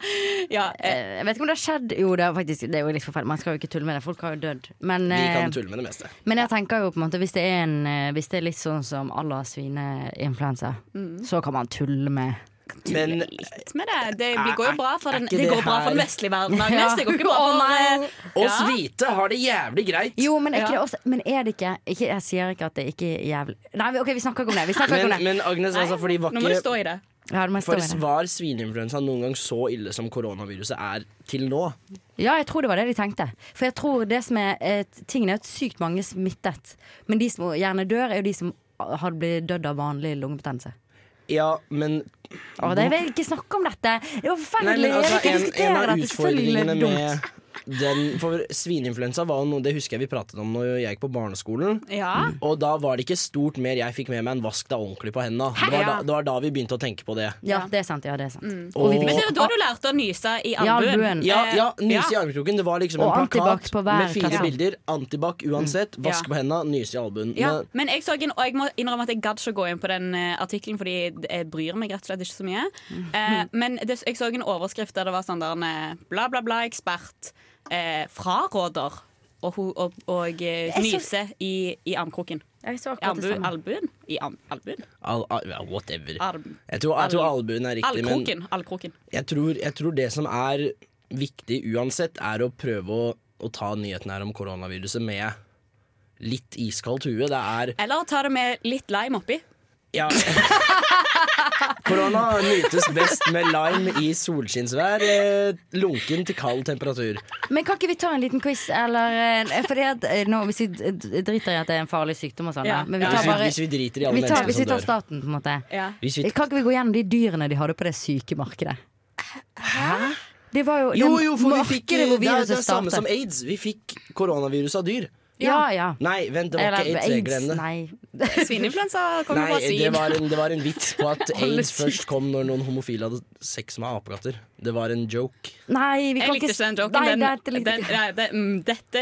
[SPEAKER 9] Eh, Jeg vet ikke om det har skjedd. Jo, det er faktisk det er jo litt forferdelig. Man skal jo ikke tulle med det. Folk har jo dødd. Men,
[SPEAKER 3] Vi kan
[SPEAKER 9] eh,
[SPEAKER 3] tulle med det meste.
[SPEAKER 9] men jeg tenker jo på en måte hvis det er, en, eh, hvis det er litt sånn som alle har svineinfluensa,
[SPEAKER 7] Mm.
[SPEAKER 9] så kan man tulle med.
[SPEAKER 3] Men
[SPEAKER 7] Med det. Det, vi går jo bra for den,
[SPEAKER 9] Er ikke
[SPEAKER 7] det går
[SPEAKER 9] det
[SPEAKER 7] bra for den
[SPEAKER 9] her-
[SPEAKER 7] vestlige <laughs> verden, Agnes. Det går ikke bra
[SPEAKER 9] Ja. Å,
[SPEAKER 7] for
[SPEAKER 9] nei.
[SPEAKER 7] eh,
[SPEAKER 3] Oss hvite har det jævlig greit.
[SPEAKER 9] Jo, men er,
[SPEAKER 3] Ja.
[SPEAKER 9] ikke det også, men er det ikke, ikke Jeg sier ikke at det ikke er jævlig Nei, vi- OK, vi snakker ikke om det. Vi snakker
[SPEAKER 3] Men,
[SPEAKER 9] ikke om det.
[SPEAKER 3] men Agnes, altså, fordi var
[SPEAKER 9] nå må du stå i
[SPEAKER 3] det.
[SPEAKER 9] Ja, det må jeg stå i
[SPEAKER 3] For
[SPEAKER 9] det.
[SPEAKER 3] var svineinfluensa noen gang så ille som koronaviruset er til nå?
[SPEAKER 9] Ja, jeg tror det var det de tenkte. For jeg tror det som er et, Tingen er at sykt mange er smittet. Men de som gjerne dør, er jo de som har blitt dødd av vanlig lungebetennelse.
[SPEAKER 3] Ja, men
[SPEAKER 9] Å, det jeg vil ikke snakke om dette! Det er jo
[SPEAKER 3] Nei,
[SPEAKER 9] forferdelig!
[SPEAKER 3] men altså,
[SPEAKER 9] jeg vil ikke
[SPEAKER 3] en,
[SPEAKER 9] diskutere
[SPEAKER 3] en av
[SPEAKER 9] dette. Selvfølgelig
[SPEAKER 3] utfordringene
[SPEAKER 9] er det dumt.
[SPEAKER 3] med den For svineinfluensa var jo noe Det husker jeg vi pratet om når jeg gikk på barneskolen.
[SPEAKER 7] Ja.
[SPEAKER 3] Og da var det ikke stort mer jeg fikk med meg enn 'vask deg ordentlig på hendene'. Det var, da,
[SPEAKER 7] Ja.
[SPEAKER 3] det var da vi begynte å tenke på det.
[SPEAKER 9] Ja, det er sant. Ja, det er sant.
[SPEAKER 3] Og-
[SPEAKER 7] Men det var da du lærte å nyse i
[SPEAKER 9] Ja,
[SPEAKER 7] albuen.
[SPEAKER 9] albuen.
[SPEAKER 3] Ja,
[SPEAKER 7] Eh,
[SPEAKER 3] ja nyse i armkroken. Det var liksom
[SPEAKER 9] Og
[SPEAKER 3] en
[SPEAKER 9] antibac
[SPEAKER 3] plakat
[SPEAKER 9] på hver
[SPEAKER 3] med fine
[SPEAKER 9] kasse.
[SPEAKER 3] bilder. Antibac uansett.
[SPEAKER 7] Mm.
[SPEAKER 3] Vask
[SPEAKER 7] Ja.
[SPEAKER 3] på hendene, nyse i albuen.
[SPEAKER 7] Ja,
[SPEAKER 3] Men-
[SPEAKER 7] men jeg så en, og jeg må innrømme at jeg gadd ikke å gå inn på den eh, artikkelen, fordi jeg bryr meg rett og slett ikke så mye.
[SPEAKER 9] Mm.
[SPEAKER 7] Eh, men det, jeg så en overskrift der det var sånn der en eh, bla, bla, bla, ekspert eh, fraråder å ho- og, og, eh,
[SPEAKER 9] Jeg så-
[SPEAKER 7] nyse i, i armkroken.
[SPEAKER 9] Jeg så
[SPEAKER 7] I
[SPEAKER 9] akkurat det
[SPEAKER 7] albu-
[SPEAKER 9] samme.
[SPEAKER 7] albuen? I arm, albuen?
[SPEAKER 3] Al, al, ja, whatever.
[SPEAKER 7] Arm.
[SPEAKER 3] Jeg tror, jeg tror albuen er riktig, men
[SPEAKER 7] Allkroken. Allkroken.
[SPEAKER 3] jeg tror, jeg tror det som er viktig uansett, er å prøve å, å ta nyheten her om koronaviruset med litt iskaldt hue. Det er
[SPEAKER 7] Eller ta det med litt lime oppi.
[SPEAKER 3] ja. <laughs> Korona nytes best med lime i solskinnsvær, eh, lunken til kald temperatur.
[SPEAKER 9] Men kan ikke vi ta en liten quiz, eller eh, Fordi at eh, nå, Hvis vi d- d- driter i at det er en farlig sykdom og sånn,
[SPEAKER 3] Ja.
[SPEAKER 9] da, men vi
[SPEAKER 3] Ja.
[SPEAKER 9] tar
[SPEAKER 3] Hvis vi-
[SPEAKER 9] bare
[SPEAKER 3] hvis vi driter i alle
[SPEAKER 9] vi tar,
[SPEAKER 3] menneskene
[SPEAKER 9] Hvis
[SPEAKER 3] som
[SPEAKER 9] vi tar
[SPEAKER 3] dør.
[SPEAKER 9] staten, på en måte.
[SPEAKER 3] Hvis vi-
[SPEAKER 9] Kan ikke vi gå gjennom de dyrene de hadde på det syke markedet? Hæ? Det var jo,
[SPEAKER 3] Jo,
[SPEAKER 9] det
[SPEAKER 3] jo, for vi
[SPEAKER 9] mørke
[SPEAKER 3] fikk Det er jo det
[SPEAKER 9] viruset
[SPEAKER 3] samme
[SPEAKER 9] startet.
[SPEAKER 3] som aids. Vi fikk koronavirus av dyr.
[SPEAKER 9] Ja, ja.
[SPEAKER 3] Nei, vent, det var
[SPEAKER 9] Eller
[SPEAKER 3] ikke aids. jeg glemte.
[SPEAKER 9] Nei. <laughs>
[SPEAKER 7] <laughs> Svineinfluensa kommer
[SPEAKER 3] Nei,
[SPEAKER 7] fra svin.
[SPEAKER 3] det var, en, det var en vits på at
[SPEAKER 7] Alle
[SPEAKER 3] aids
[SPEAKER 7] sier-
[SPEAKER 3] først kom når noen homofile hadde sex med apekatter. Det var en joke.
[SPEAKER 9] Nei, vi
[SPEAKER 7] jeg
[SPEAKER 9] kan ikke
[SPEAKER 7] likte ikke den
[SPEAKER 9] Nei,
[SPEAKER 7] joken.
[SPEAKER 9] dette
[SPEAKER 7] den,
[SPEAKER 9] likte
[SPEAKER 7] den,
[SPEAKER 9] jeg
[SPEAKER 7] nei, det, mm, dette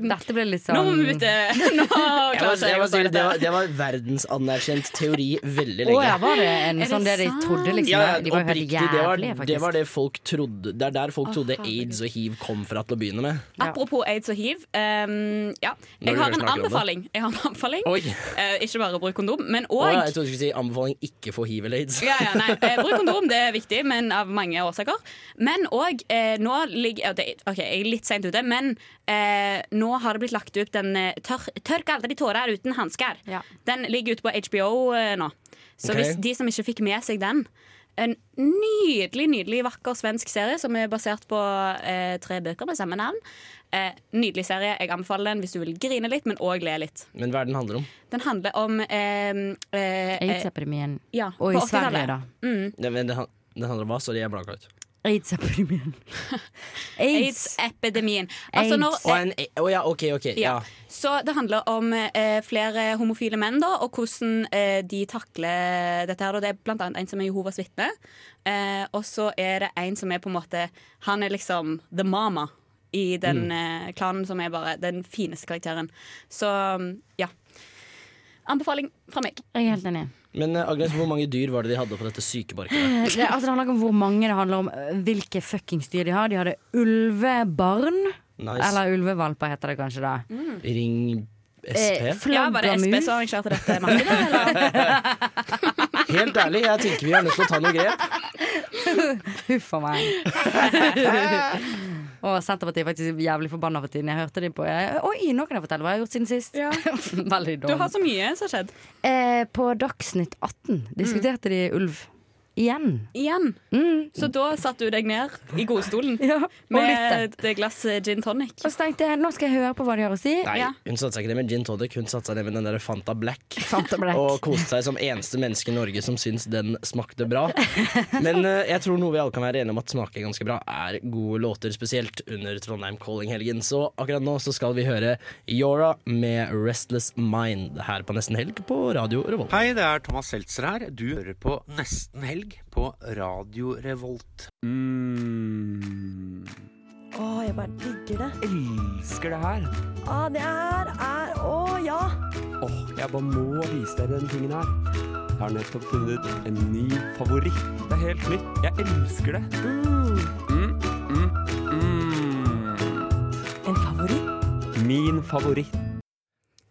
[SPEAKER 9] Dette ble litt
[SPEAKER 7] Nå må vi
[SPEAKER 9] sånn
[SPEAKER 7] bytte. <laughs> Nå
[SPEAKER 3] Jeg må-
[SPEAKER 7] klarer
[SPEAKER 3] jeg
[SPEAKER 7] ikke jeg
[SPEAKER 3] må si
[SPEAKER 7] å si
[SPEAKER 3] det, det,
[SPEAKER 7] dette.
[SPEAKER 3] var, det var verdensanerkjent teori veldig
[SPEAKER 9] Å
[SPEAKER 3] lenge.
[SPEAKER 9] ja, var det en
[SPEAKER 7] Er
[SPEAKER 9] sånn det
[SPEAKER 7] det
[SPEAKER 9] de trodde, liksom?
[SPEAKER 3] Ja, ja,
[SPEAKER 9] de var jo helt
[SPEAKER 3] oppriktig, det,
[SPEAKER 9] jævlige,
[SPEAKER 3] var,
[SPEAKER 9] faktisk.
[SPEAKER 3] det var det folk trodde Det er der folk
[SPEAKER 7] Å,
[SPEAKER 3] trodde
[SPEAKER 7] herregud.
[SPEAKER 3] aids og hiv kom fra til å begynne med.
[SPEAKER 7] Apropos aids og hiv. ehm, ja.
[SPEAKER 3] Når
[SPEAKER 7] Jeg
[SPEAKER 3] du
[SPEAKER 7] har
[SPEAKER 3] først
[SPEAKER 7] en
[SPEAKER 3] snakker om det.
[SPEAKER 7] anbefaling. Jeg har en anbefaling.
[SPEAKER 3] Oi.
[SPEAKER 7] Eh, ikke bare bruk kondom, men
[SPEAKER 3] Å, ja,
[SPEAKER 7] òg
[SPEAKER 3] jeg trodde du skulle si anbefaling ikke for hiv eller aids.
[SPEAKER 7] Ja, ja, nei. Eh, bruk kondom, det er viktig, men av mange årsaker. Men òg eh, nå ligger ja, det- OK, jeg er litt seint ute, men eh, nå har det blitt lagt ut den eh, tør, 'Tørk aldri tårer uten hansker'. Den ligger ute på HBO eh, nå. Så
[SPEAKER 9] Ok.
[SPEAKER 7] hvis de som ikke fikk med seg den en nydelig nydelig vakker svensk serie som er basert på eh, tre bøker med samme navn. Eh, nydelig serie. Jeg anbefaler den hvis du vil grine litt, men òg le litt.
[SPEAKER 3] <laughs> Men hva er det den handler om?
[SPEAKER 7] Den handler om eh, eh, eh,
[SPEAKER 9] Aids-epidemien.
[SPEAKER 7] ja,
[SPEAKER 9] Og
[SPEAKER 7] på
[SPEAKER 9] i Sverige,
[SPEAKER 7] 80-tallet.
[SPEAKER 9] da.
[SPEAKER 7] Mm.
[SPEAKER 3] Det, men det, han- det handler om hva? Sorry, jeg blanka ut.
[SPEAKER 9] Aids-epidemien. <laughs> Aids.
[SPEAKER 7] Aids-epidemien. Altså når,
[SPEAKER 3] Å, en a- å ja, OK, OK. Ja.
[SPEAKER 7] ja. Så det handler om eh, flere homofile menn da, og hvordan eh, de takler dette. her. da. Det er blant annet en som er Jehovas vitne, eh, og så er det en som er på en måte Han er liksom the mama i den eh, klanen som er bare den fineste karakteren. Så mm, ja. Anbefaling fra meg.
[SPEAKER 9] Jeg er helt enig.
[SPEAKER 3] Men eh, Agnes, hvor mange dyr var det de hadde på dette sykemarkedet?
[SPEAKER 9] <laughs> Det, altså, det handler ikke om hvor mange det handler om, øh, hvilke fuckings dyr de har. De hadde ulvebarn.
[SPEAKER 3] Nice.
[SPEAKER 9] Eller ulvevalper, heter det kanskje da. Mm.
[SPEAKER 3] Ring
[SPEAKER 9] Eh,
[SPEAKER 3] SP?
[SPEAKER 7] Ja, var det SP som arrangerte dette markedet?
[SPEAKER 3] Helt ærlig, jeg tenker vi er nødt til å ta noen grep.
[SPEAKER 9] <laughs> Huff a meg.
[SPEAKER 7] <laughs>
[SPEAKER 9] Og Senterpartiet er faktisk jævlig forbanna for tiden. Jeg hørte de på jeg- Oi, nå kan jeg fortelle hva jeg har gjort siden sist. <laughs> Veldig
[SPEAKER 7] Du har
[SPEAKER 9] dum.
[SPEAKER 7] så mye som har skjedd.
[SPEAKER 9] Eh, på Dagsnytt 18 diskuterte de ulv. Igjen.
[SPEAKER 7] Igjen.
[SPEAKER 9] Mm.
[SPEAKER 7] Så da satte du deg ned i godstolen med et glass gin tonic.
[SPEAKER 9] Og så tenkte jeg nå skal jeg høre på hva de har å si.
[SPEAKER 3] <laughs> Nei,
[SPEAKER 9] Ja.
[SPEAKER 3] hun satsa ikke det med gin tonic, hun satsa det med den der Fanta Black.
[SPEAKER 9] Fanta Black.
[SPEAKER 3] Og koste seg som eneste menneske i Norge som syns den smakte bra. Men eh, jeg tror noe vi alle kan være enige om at smaker ganske bra, er gode låter, spesielt under Trondheim Calling-helgen. Så akkurat nå så skal vi høre Yora med Restless Mind her på Nesten Helg på Radio Revolt.
[SPEAKER 13] Hei, det er Thomas Seltzer her. Du hører på Nesten Helg på Radio Revolt.
[SPEAKER 5] Å, jeg bare digger det.
[SPEAKER 14] Mm. Elsker det her.
[SPEAKER 5] Å, det her er Å, ja.
[SPEAKER 14] Åh, jeg bare må vise dere den tingen her. Jeg har nettopp funnet en ny favoritt. Det er helt nytt. Jeg elsker det. Mm, mm, mm.
[SPEAKER 5] En favoritt?
[SPEAKER 14] Min favoritt.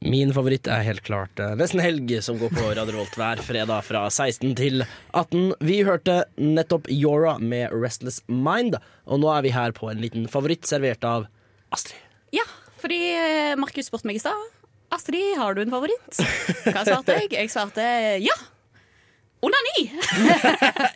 [SPEAKER 3] Min favoritt er helt klart eh, Nesten Helg, som går på Radio Revolt hver fredag fra 16 til 18. Vi hørte nettopp Yora med Restless Mind, og nå er vi her på en liten favoritt servert av Astrid.
[SPEAKER 7] Ja, fordi eh, Markus spurte meg i stad. Astrid, har du en favoritt? Hva svarte jeg? Jeg svarte ja. Onani!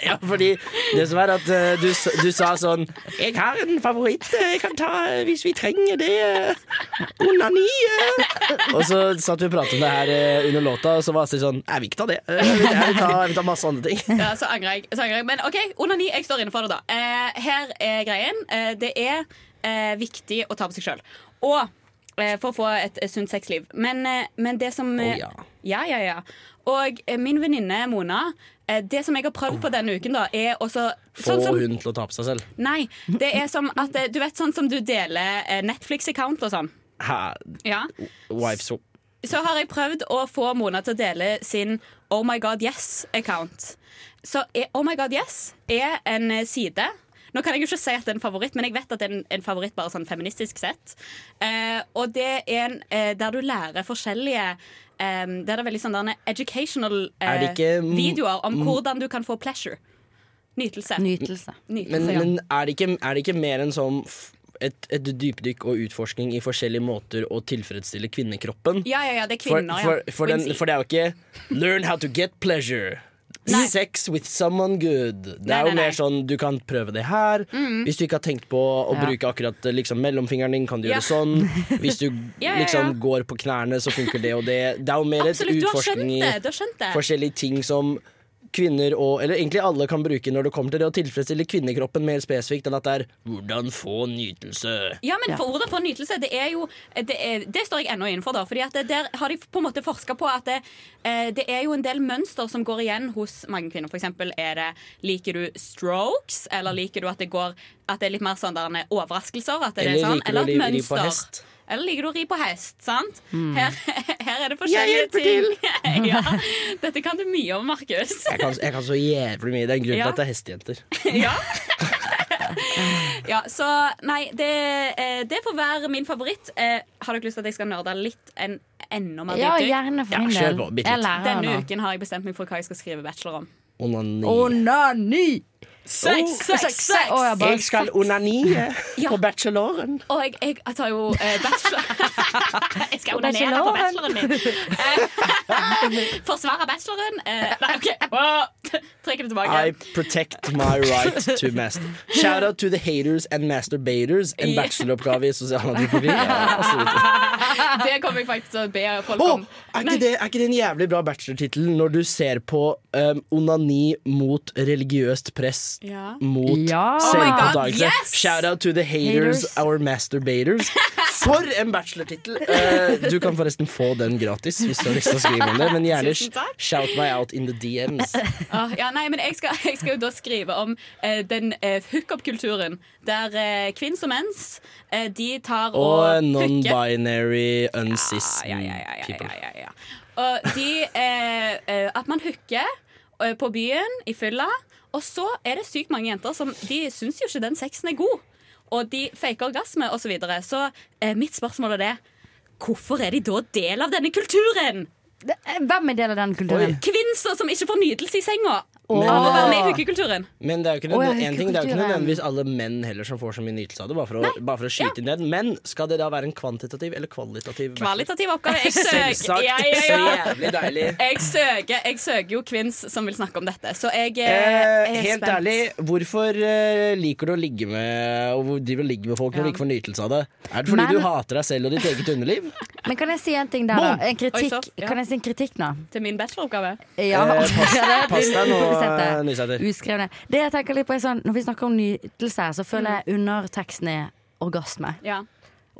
[SPEAKER 3] Ja, fordi det som er at eh, du, s- du sa sånn Jeg har en favoritt eh, jeg kan ta eh, hvis vi trenger det. eh, Onani. eh." Og så satt vi og pratet om det her eh, under låta, og så var Astrid sånn Jeg vil ikke ta det. Eh, Jeg vil, jeg vil, ta, jeg vil ta masse
[SPEAKER 7] <laughs>
[SPEAKER 3] andre ting.
[SPEAKER 7] Ja, så angrer jeg. Så angrer jeg. Men OK, onani. Jeg står inne for det, da. Eh, her er greien. Eh, det er eh, viktig å ta på seg sjøl. Og eh, for å få et eh, sunt sexliv. Men, eh, men det som eh,
[SPEAKER 9] Å, ja.
[SPEAKER 7] ja, ja, ja. Og eh, min venninne Mona eh, Det som jeg har prøvd på denne uken, da, er også
[SPEAKER 3] Få
[SPEAKER 7] sånn som-
[SPEAKER 3] hun til å ta på seg selv.
[SPEAKER 7] Nei. Det er som at eh, Du vet sånn som du deler eh, Netflix-account og sånn.
[SPEAKER 3] Hæ?
[SPEAKER 7] Ja.
[SPEAKER 3] Wife swap.
[SPEAKER 7] Så har jeg prøvd å få Mona til å dele sin Oh my god yes-account. Så er, Oh my god yes er en eh, side. Nå kan jeg jo ikke si at det er en favoritt, men jeg vet at det er en, en favoritt bare sånn feministisk sett. Eh, og det er en eh, der du lærer forskjellige eh, Der det er veldig sånn der, educational eh,
[SPEAKER 3] Er det ikke m-
[SPEAKER 7] videoer om
[SPEAKER 3] m-
[SPEAKER 7] hvordan du kan få pleasure. Nytelse.
[SPEAKER 9] Nytelse.
[SPEAKER 3] Men,
[SPEAKER 7] ja.
[SPEAKER 3] men er, det ikke, er det ikke mer enn sånn f- et, et dypdykk og utforsking i forskjellige måter å tilfredsstille kvinnekroppen?
[SPEAKER 7] ja, ja, ja, det er kvinner,
[SPEAKER 3] for,
[SPEAKER 7] ja.
[SPEAKER 3] for, for, den,
[SPEAKER 7] Quincy.
[SPEAKER 3] for det er jo ikke 'learn how to get pleasure'. Sex with someone good. Det
[SPEAKER 7] Nei,
[SPEAKER 3] er jo
[SPEAKER 7] nei, nei.
[SPEAKER 3] mer sånn du kan prøve det her.
[SPEAKER 7] Mm.
[SPEAKER 3] Hvis du ikke har tenkt på å
[SPEAKER 7] Ja.
[SPEAKER 3] bruke akkurat eh, liksom, mellomfingeren din, kan du
[SPEAKER 7] Ja.
[SPEAKER 3] gjøre sånn. Hvis du
[SPEAKER 7] <laughs> Ja, ja, ja.
[SPEAKER 3] liksom går på knærne, så funker det og det. Det er jo mer
[SPEAKER 7] Absolutt,
[SPEAKER 3] et
[SPEAKER 7] du har skjønt
[SPEAKER 3] utforsking i
[SPEAKER 7] det, du har skjønt det.
[SPEAKER 3] forskjellige ting som kvinner og Eller egentlig alle kan bruke når det kommer til det å tilfredsstille kvinnekroppen mer spesifikt enn at det er 'hvordan få nytelse'.
[SPEAKER 7] Ja, men for ordet for nytelse, det er jo Det, er, det står jeg ennå innenfor, da. Fordi at det, der har de på en måte forska på at det, eh, det er jo en del mønster som går igjen hos mange kvinner. For eksempel er det Liker du strokes, eller liker du at det går At det er litt mer sånn der eh, overraskelser? At det
[SPEAKER 3] Eller
[SPEAKER 7] er sånn,
[SPEAKER 3] liker du å ri- ri på hest?
[SPEAKER 7] Eller liker du å ri på hest, sant?
[SPEAKER 3] Mm.
[SPEAKER 7] Her, <laughs> her er det forskjellige
[SPEAKER 3] Jeg hjelper
[SPEAKER 7] ting. <laughs> ja, dette kan du mye om, Markus.
[SPEAKER 3] Jeg kan, jeg kan så jævlig mye. Det er en grunn til
[SPEAKER 7] Ja.
[SPEAKER 3] at det er hestejenter.
[SPEAKER 7] <laughs> Ja, så nei, det, eh, det får være min favoritt. Eh, har dere lyst til at jeg skal nerde litt en, enda mer?
[SPEAKER 9] Ja,
[SPEAKER 7] dypt ut?
[SPEAKER 9] gjerne for Ja, min kjør del. på, bitte Jeg litt. lærer
[SPEAKER 7] Denne
[SPEAKER 9] nå.
[SPEAKER 7] uken har jeg bestemt meg for hva jeg skal skrive bachelor om.
[SPEAKER 3] Onani.
[SPEAKER 9] Onani!
[SPEAKER 7] Sex, sex, sex!
[SPEAKER 3] Jeg skal onanie på bacheloren.
[SPEAKER 7] Og jeg, jeg, jeg tar jo eh, bachelor <laughs> Jeg skal onanere på bacheloren min. Eh, <laughs> Forsvare bacheloren. Eh, nei, OK. Åh, Trekker det tilbake.
[SPEAKER 3] I protect my right to master. Shout out to the haters and masturbators. En
[SPEAKER 7] Ja.
[SPEAKER 3] bacheloroppgave i
[SPEAKER 7] <laughs>
[SPEAKER 3] sosialantropologi. Ja, absolutt.
[SPEAKER 7] <laughs> Det kommer jeg faktisk til å be folk
[SPEAKER 3] Åh,
[SPEAKER 7] om.
[SPEAKER 3] er, ikke det, er ikke det en jævlig bra bachelortittel når du ser på um, onani mot religiøst press
[SPEAKER 7] Ja.
[SPEAKER 3] mot
[SPEAKER 7] Ja. Oh my God,
[SPEAKER 3] selvoppdagelse?
[SPEAKER 7] yes!
[SPEAKER 3] Shout out to the haters,
[SPEAKER 7] Haters.
[SPEAKER 3] our masturbators. For en bachelortittel! Eh, du kan forresten få den gratis hvis du har lyst til å skrive om det, men gjerne
[SPEAKER 7] Tusen takk.
[SPEAKER 3] shout meg out in the
[SPEAKER 7] <laughs>
[SPEAKER 3] DMs.
[SPEAKER 7] Åh, Ah, ja, nei, men jeg skal, <laughs> jeg skal jo da skrive om eh, den eh, hookup-kulturen. Der eh, kvinns og menns eh, de tar
[SPEAKER 3] Og
[SPEAKER 7] og hooker. Ah,
[SPEAKER 3] non-binary uncis people.
[SPEAKER 7] Og de, eh, eh, at man hooker eh, på byen i fylla. Og så er det sykt mange jenter som de syns jo ikke den sexen er god. Og de faker orgasme osv. Så, videre. så eh, mitt spørsmål er det Hvorfor er de da del av denne kulturen?
[SPEAKER 9] Hvem er del av den kulturen?
[SPEAKER 7] Kvinner som ikke får nydelse i senga
[SPEAKER 3] Men- øh,
[SPEAKER 7] av å være med i hookekulturen.
[SPEAKER 3] Men det er jo ikke,
[SPEAKER 7] Å, ja,
[SPEAKER 3] nødvendig, en ting, det er jo ikke
[SPEAKER 7] hookekulturen.
[SPEAKER 3] nødvendigvis alle menn heller som får så mye nytelse av det. Bare for å, bare for å skyte inn den. Men skal det da være en kvantitativ eller kvalitativ
[SPEAKER 7] Kvalitativ oppgave. Jeg søker,
[SPEAKER 3] <laughs> Selvsagt.
[SPEAKER 7] ja, ja, ja.
[SPEAKER 3] Så jævlig deilig.
[SPEAKER 7] Jeg søker, jeg søker jo kvinns som vil snakke om dette, så jeg eh, er
[SPEAKER 3] Eh, helt
[SPEAKER 7] spent.
[SPEAKER 3] ærlig, hvorfor eh, liker du å ligge med Og hvor driver og ligger med folk når du ikke får nytelse av det? Er det fordi
[SPEAKER 9] Men-
[SPEAKER 3] du hater deg selv og ditt eget underliv?
[SPEAKER 9] Men kan jeg si en ting der, da? En
[SPEAKER 7] Oi,
[SPEAKER 9] kritikk.
[SPEAKER 7] så, ja.
[SPEAKER 9] Kan jeg si en kritikk nå?
[SPEAKER 7] Til min bacheloroppgave?
[SPEAKER 9] <laughs> Ja.
[SPEAKER 3] Eh, pass-
[SPEAKER 9] <laughs> Ja, det er
[SPEAKER 3] pass deg nå,
[SPEAKER 7] eh,
[SPEAKER 9] ufokuserte.
[SPEAKER 3] Nysæter.
[SPEAKER 9] Uskrevne. Det jeg tenker litt på er sånn, Når vi snakker om nytelse, så føler
[SPEAKER 7] Mm.
[SPEAKER 9] jeg underteksten er orgasme.
[SPEAKER 7] Ja.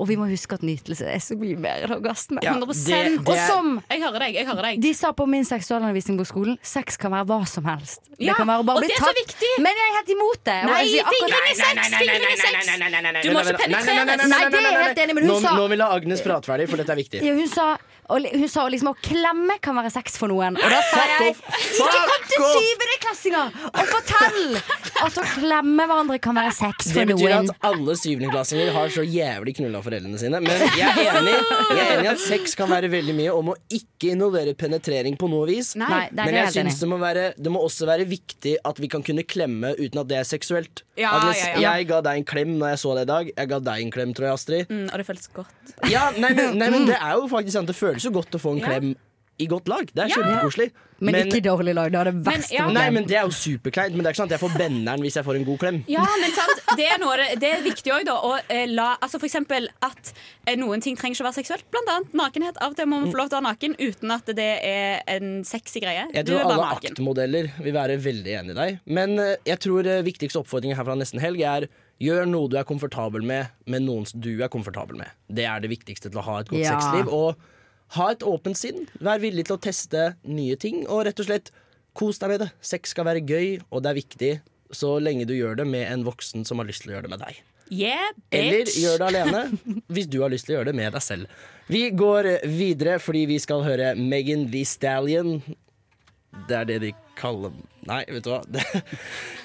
[SPEAKER 9] Og vi må huske at nytelse er så mye mer enn orgasme.
[SPEAKER 7] Ja,
[SPEAKER 9] 100%.
[SPEAKER 7] det- det
[SPEAKER 9] Og
[SPEAKER 7] er-
[SPEAKER 9] som
[SPEAKER 7] Jeg hører deg. jeg hører deg
[SPEAKER 9] de sa på min seksualundervisning på skolen, sex kan være hva som helst.
[SPEAKER 7] Ja,
[SPEAKER 9] det kan være å
[SPEAKER 7] og
[SPEAKER 9] bare bli
[SPEAKER 7] det er så
[SPEAKER 9] tatt. Men jeg er helt imot det.
[SPEAKER 7] Nei,
[SPEAKER 9] jeg sier akkurat-
[SPEAKER 7] fingring i sex, fingring i sex. Du må ikke penetreres.
[SPEAKER 9] Nei, det er jeg helt enig, men hun
[SPEAKER 3] Nå-
[SPEAKER 9] sa
[SPEAKER 3] Nå vil jeg Agnes prate ferdig, for dette er viktig.
[SPEAKER 9] ja, hun sa, og, li- hun sa liksom å klemme kan være sex for noen. Og da sa
[SPEAKER 3] Fuck
[SPEAKER 9] jeg
[SPEAKER 3] off.
[SPEAKER 9] ikke kom til
[SPEAKER 3] Fuck off.
[SPEAKER 9] syvendeklassinger og fortell at å klemme hverandre kan være sex
[SPEAKER 3] Det
[SPEAKER 9] for
[SPEAKER 3] betyr
[SPEAKER 9] noen.
[SPEAKER 3] at alle syvendeklassinger har så jævlig knulla foreldrene sine. Men jeg er enig Jeg er enig i at sex kan være veldig mye om å ikke involvere penetrering på noe vis.
[SPEAKER 9] Nei, Nei, det er det
[SPEAKER 3] men jeg
[SPEAKER 9] jeg er enig i.
[SPEAKER 3] syns det, må være- det må også være viktig at vi kan kunne klemme uten at det er seksuelt.
[SPEAKER 7] Ja,
[SPEAKER 3] Agnes,
[SPEAKER 7] ja, ja.
[SPEAKER 3] jeg ga deg en klem når jeg så deg i dag. Jeg ga deg en klem, tror jeg, Astrid.
[SPEAKER 7] Mm, og det føltes godt.
[SPEAKER 3] Ja, nei, men, nei, men det er jo faktisk sant. Det føles jo godt å få en
[SPEAKER 7] Ja.
[SPEAKER 3] klem i godt lag. Det er
[SPEAKER 7] Ja.
[SPEAKER 3] kjempekoselig.
[SPEAKER 9] Men, ikke dårlig lag. Det er det verste.
[SPEAKER 7] ja.
[SPEAKER 9] problemet.
[SPEAKER 3] Nei, men Det er jo superkleint, men det er ikke sant jeg får benneren hvis jeg får en god klem.
[SPEAKER 7] Ja, men sant, det er, noe, det er viktig òg, da. Å eh, la, altså for eksempel at eh, noen ting trenger ikke å være seksuelt. Blant annet nakenhet. Av og til må man få lov til å være naken uten at det er en sexy greie.
[SPEAKER 3] Jeg
[SPEAKER 7] Du
[SPEAKER 3] tror
[SPEAKER 7] er bare
[SPEAKER 3] alle
[SPEAKER 7] naken.
[SPEAKER 3] aktmodeller vil være veldig enig i deg. Men eh, jeg tror eh, viktigste oppfordringen her fra nesten helg er gjør noe du er komfortabel med, med noen som du er komfortabel med. Det er det viktigste til å ha et godt
[SPEAKER 9] Ja.
[SPEAKER 3] sexliv. Og ha et åpent sinn. Vær villig til å teste nye ting, og rett og slett kos deg med det. Sex skal være gøy, og det er viktig så lenge du gjør det med en voksen som har lyst til å gjøre det med deg.
[SPEAKER 7] Yeah,
[SPEAKER 3] Eller
[SPEAKER 7] bitch.
[SPEAKER 3] gjør det alene, hvis du har lyst til å gjøre det med deg selv. Vi går videre fordi vi skal høre Megan Thee Stallion. Det er det de kaller Nei, vet du hva. Det-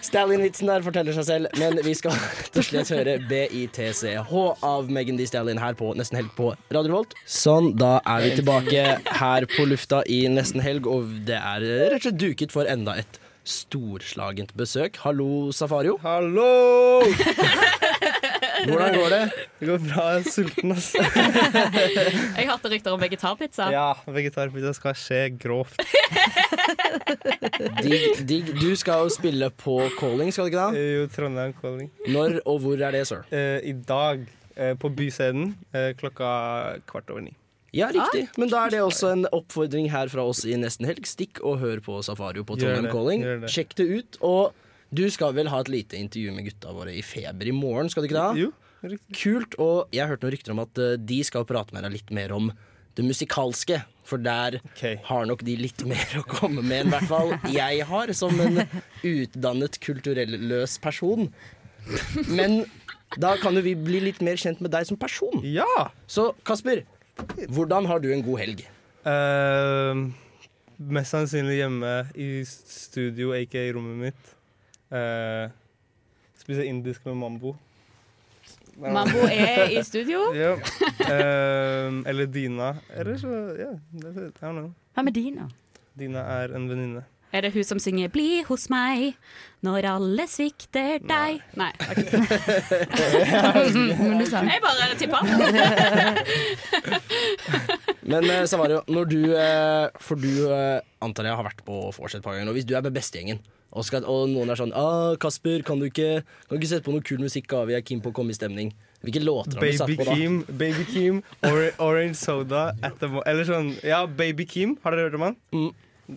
[SPEAKER 3] Stallion-vitsen der forteller seg selv, men vi skal rett og slett høre BITCH av Megan Thee Stallion her på Nesten Helg på Radio Volt. Sånn, da er vi tilbake her på lufta i Nesten Helg, og det er rett og slett duket for enda et storslagent besøk. Hallo, Safario.
[SPEAKER 15] Hallo!
[SPEAKER 3] Hvordan går det?
[SPEAKER 15] Det går bra. Jeg er sulten, altså.
[SPEAKER 7] Jeg hørte rykter om vegetarpizza.
[SPEAKER 15] Ja, vegetarpizza skal skje grovt.
[SPEAKER 3] Digg, digg. Du skal jo spille på calling, skal du ikke da?
[SPEAKER 15] Jo, Trondheim Calling.
[SPEAKER 3] Når og hvor er det, sir?
[SPEAKER 15] I dag eh, på Byscenen eh, klokka kvart over ni.
[SPEAKER 3] Ja, riktig. Men da er det også en oppfordring her fra oss i Nesten Helg. Stikk og hør på Safario på
[SPEAKER 16] Gjør
[SPEAKER 3] Trondheim
[SPEAKER 16] det,
[SPEAKER 3] Calling.
[SPEAKER 16] gjør det.
[SPEAKER 3] Sjekk det ut. Og du skal vel ha et lite intervju med gutta våre i Feber i morgen, skal du ikke det? Jo, Kult. Og jeg hørte noen rykter om at eh, de skal prate med deg litt mer om det musikalske. For der har nok de litt mer å komme med enn i hvert fall jeg har, som en utdannet kulturelløs person. Men da kan jo vi bli litt mer kjent med deg som person.
[SPEAKER 16] Ja!
[SPEAKER 3] Så Kasper, hvordan har du en god helg?
[SPEAKER 16] Ehm, mest sannsynlig hjemme i studio, aka rommet mitt. Uh, Spiser indisk med mambo.
[SPEAKER 17] Mambo er i studio?
[SPEAKER 16] ja. Ehm, eller Dina. Eller så Ja, that's it. I don't know.
[SPEAKER 9] Hvem er Dina?
[SPEAKER 16] Dina er en venninne.
[SPEAKER 7] Er det hun som synger 'Bli hos meg når alle svikter deg'? Nei. ok.
[SPEAKER 9] Men du sa
[SPEAKER 7] Jeg bare tippa.
[SPEAKER 16] <laughs>
[SPEAKER 3] Men eh, Savario, når du eh, For du eh, antar jeg har vært på vors et par ganger nå. Hvis du er med bestegjengen, og, skal, og noen er sånn ah, 'Kasper, kan du ikke, kan du ikke sette på noe kul musikk? Ah, vi er keen på å komme i stemning.' Hvilke låter har du satt
[SPEAKER 16] Baby
[SPEAKER 3] på da?
[SPEAKER 16] Keem, Baby Keem or Orange Soda at the mo Eller sånn Ja, Baby Keem. Har dere hørt om han?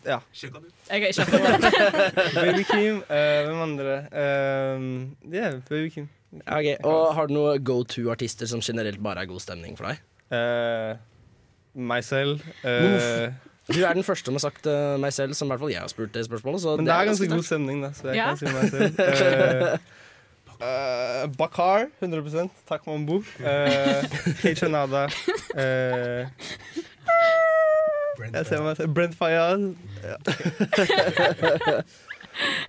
[SPEAKER 16] Ja.
[SPEAKER 17] Jeg har ikke hørt om han.
[SPEAKER 16] Baby Keem. eh, hvem andre? Eh, yeah, Baby Keem.
[SPEAKER 3] Ok, og Har du noen go to-artister som generelt bare er god stemning for deg?
[SPEAKER 16] Eh, meg selv. eh,
[SPEAKER 3] Uff. Du er den første som har sagt eh, meg selv, som i hvert fall jeg har spurt det spørsmålet. Så
[SPEAKER 16] men det er ganske god stemning, da, så jeg
[SPEAKER 3] Ja.
[SPEAKER 16] kan si meg selv. Eh, eh, Bakar, 100 Takk, Mambo. Uh, Kate Shanada. eh, jeg ser meg selv. Brent Fayaz. Ja.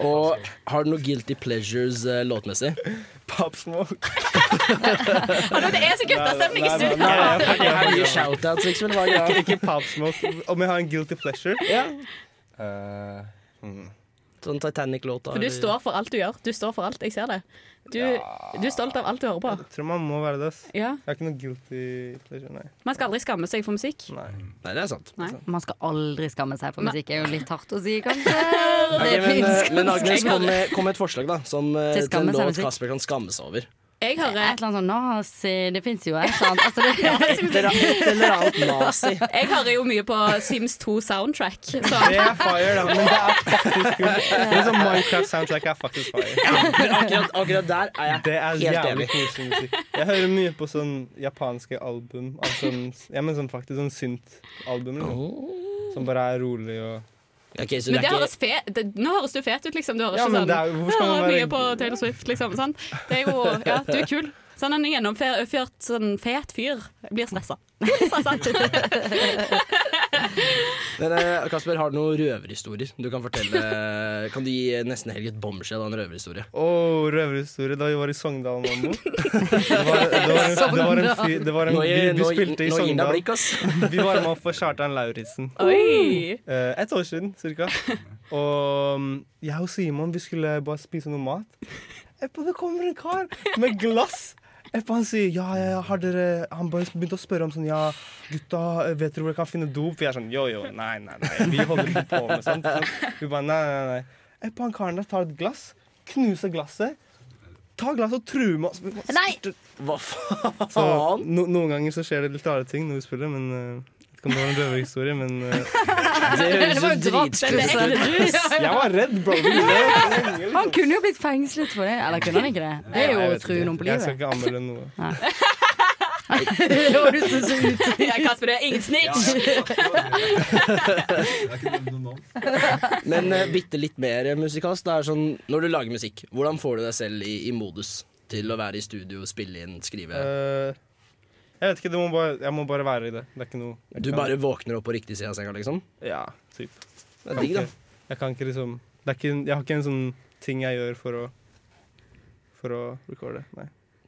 [SPEAKER 3] Og har du noe guilty pleasures eh, låtmessig?
[SPEAKER 16] Pop Smoke.
[SPEAKER 17] Hallo, det er så guttastemning i studio.
[SPEAKER 3] mye shoutouts, liksom, eller hva er greia?
[SPEAKER 16] Ikke Pop Smoke. Om jeg har en guilty pleasure?
[SPEAKER 3] Ja. Eh,
[SPEAKER 16] mm.
[SPEAKER 3] Sånn Titanic-låta.
[SPEAKER 7] For du står for alt du gjør. Du står for alt, jeg ser det. Du, du er stolt av alt du hører på.
[SPEAKER 16] Jeg tror man må være det. ass.
[SPEAKER 7] Ja.
[SPEAKER 16] Jeg har ikke noe guilty pleasure, nei.
[SPEAKER 7] Man skal aldri skamme seg for musikk.
[SPEAKER 16] Nei.
[SPEAKER 3] Nei, det er sant.
[SPEAKER 7] Nei.
[SPEAKER 9] Man skal aldri skamme seg for
[SPEAKER 7] Nei.
[SPEAKER 9] musikk. Det er jo litt hardt å si, kanskje. Det
[SPEAKER 3] Ok,
[SPEAKER 9] er
[SPEAKER 3] men, eh,
[SPEAKER 9] pinsk.
[SPEAKER 3] men Agnes, kom med, kom med et forslag da som, eh,
[SPEAKER 9] Til
[SPEAKER 3] til en
[SPEAKER 9] skamme seg
[SPEAKER 3] låt
[SPEAKER 9] musikk.
[SPEAKER 3] Kasper kan skamme seg over.
[SPEAKER 7] Jeg hører
[SPEAKER 9] Et eller annet sånn nazi Det fins jo et eller annet. Altså,
[SPEAKER 3] Et
[SPEAKER 9] det,
[SPEAKER 3] eller annet- et eller annet nazi.
[SPEAKER 7] Jeg hører jo mye på Sims 2 soundtrack. Så.
[SPEAKER 16] Det er fire, da, men det er faktisk
[SPEAKER 5] <laughs>
[SPEAKER 16] kult. Det er sånn Minecraft-soundtrack er faktisk fire.
[SPEAKER 3] <laughs> Men akkurat, akkurat der er jeg
[SPEAKER 16] <laughs> Det er
[SPEAKER 3] helt
[SPEAKER 16] jævlig
[SPEAKER 3] enig.
[SPEAKER 16] koselig
[SPEAKER 3] <laughs>
[SPEAKER 16] musikk. Jeg hører mye på sånn japanske album. Av sånn, ja, men sånn faktisk sånn synt-album. Liksom. Som bare er rolig og
[SPEAKER 7] Men det høres fe det, nå høres du fet ut, liksom. Du høres
[SPEAKER 16] Ja, men
[SPEAKER 7] ikke
[SPEAKER 16] det er jo-
[SPEAKER 7] sånn
[SPEAKER 16] hvorfor skal man
[SPEAKER 7] hører
[SPEAKER 16] være-
[SPEAKER 7] mye på Taylor Swift, liksom. Sant? Det er jo Ja, du er kul. Sånn en gjennomført sånn fet fyr blir stressa. <laughs> Blir <laughs> stressa.
[SPEAKER 3] Men, eh, Kasper, har du noen røverhistorier du kan fortelle? <laughs> Kan du gi eh, nesten helg et bombshell av en røverhistorie?
[SPEAKER 16] Å, røverhistorie da vi var i Sogndal,
[SPEAKER 3] <laughs>
[SPEAKER 16] mambo. Det var, det var, en- det var en fyr det var en,
[SPEAKER 3] Nå
[SPEAKER 16] vi,
[SPEAKER 3] gir-
[SPEAKER 16] vi
[SPEAKER 3] nå gir-
[SPEAKER 16] spilte
[SPEAKER 3] nå gir
[SPEAKER 16] i
[SPEAKER 3] det
[SPEAKER 16] Sogndal.
[SPEAKER 3] blikk, ass.
[SPEAKER 16] Vi var med for Kjartan Lauritzen.
[SPEAKER 17] Oi.
[SPEAKER 16] Eh, Ett år siden,
[SPEAKER 3] <laughs>
[SPEAKER 16] cirka. Og mm, jeg og Simon vi skulle bare spise noe mat. Etterpå det kommer en kar med glass. Etterpå han sier ja, ja, ja, har dere Han bare begynte å spørre om sånn ja, gutta, vet dere hvor jeg kan finne dop? For jeg er sånn jo, jo, nei, nei, nei, vi holder ikke på med sånt. Sånn. Vi bare nei, nei, nei. Etterpå han karen der tar et glass, knuser glasset, tar glasset og truer med oss. Vi bare-
[SPEAKER 9] Nei!
[SPEAKER 3] Hva faen?
[SPEAKER 16] Så no, noen ganger så skjer det litt rare ting når vi spiller, men eh, jeg vet ikke om det var en røverhistorie, men
[SPEAKER 3] <laughs>
[SPEAKER 16] eh,
[SPEAKER 3] Det høres Det var jo jo drap, dritstress dette er ut. ekte rus.
[SPEAKER 16] Jeg var redd, bro. Det ville-
[SPEAKER 9] Han kunne jo blitt fengslet for det. Eller kunne han ikke det? Det er jo
[SPEAKER 16] Nei,
[SPEAKER 9] å
[SPEAKER 16] jeg vet
[SPEAKER 9] true
[SPEAKER 16] ikke.
[SPEAKER 9] noen på
[SPEAKER 16] Jeg skal
[SPEAKER 9] livet.
[SPEAKER 16] ikke anmelde noe.
[SPEAKER 9] <laughs> Det høres så ut.
[SPEAKER 7] ja, Kasper, du er ingen snitch.
[SPEAKER 3] Men eh, bitte litt mer eh, musikalsk. Det er sånn, når du lager musikk, hvordan får du deg selv i, i modus til å være i studio, spille inn, skrive?
[SPEAKER 16] Eh, jeg vet ikke, det må bare, jeg må bare være i det. Det er ikke noe jeg
[SPEAKER 3] Du
[SPEAKER 16] kan-
[SPEAKER 3] bare våkner opp på riktig side av senga, liksom?
[SPEAKER 16] Ja, typ.
[SPEAKER 3] Det er digg, da.
[SPEAKER 16] Jeg kan ikke- Jeg kan ikke liksom det er ikke, en- Jeg har ikke en sånn ting jeg gjør for å For å recorde. Nei.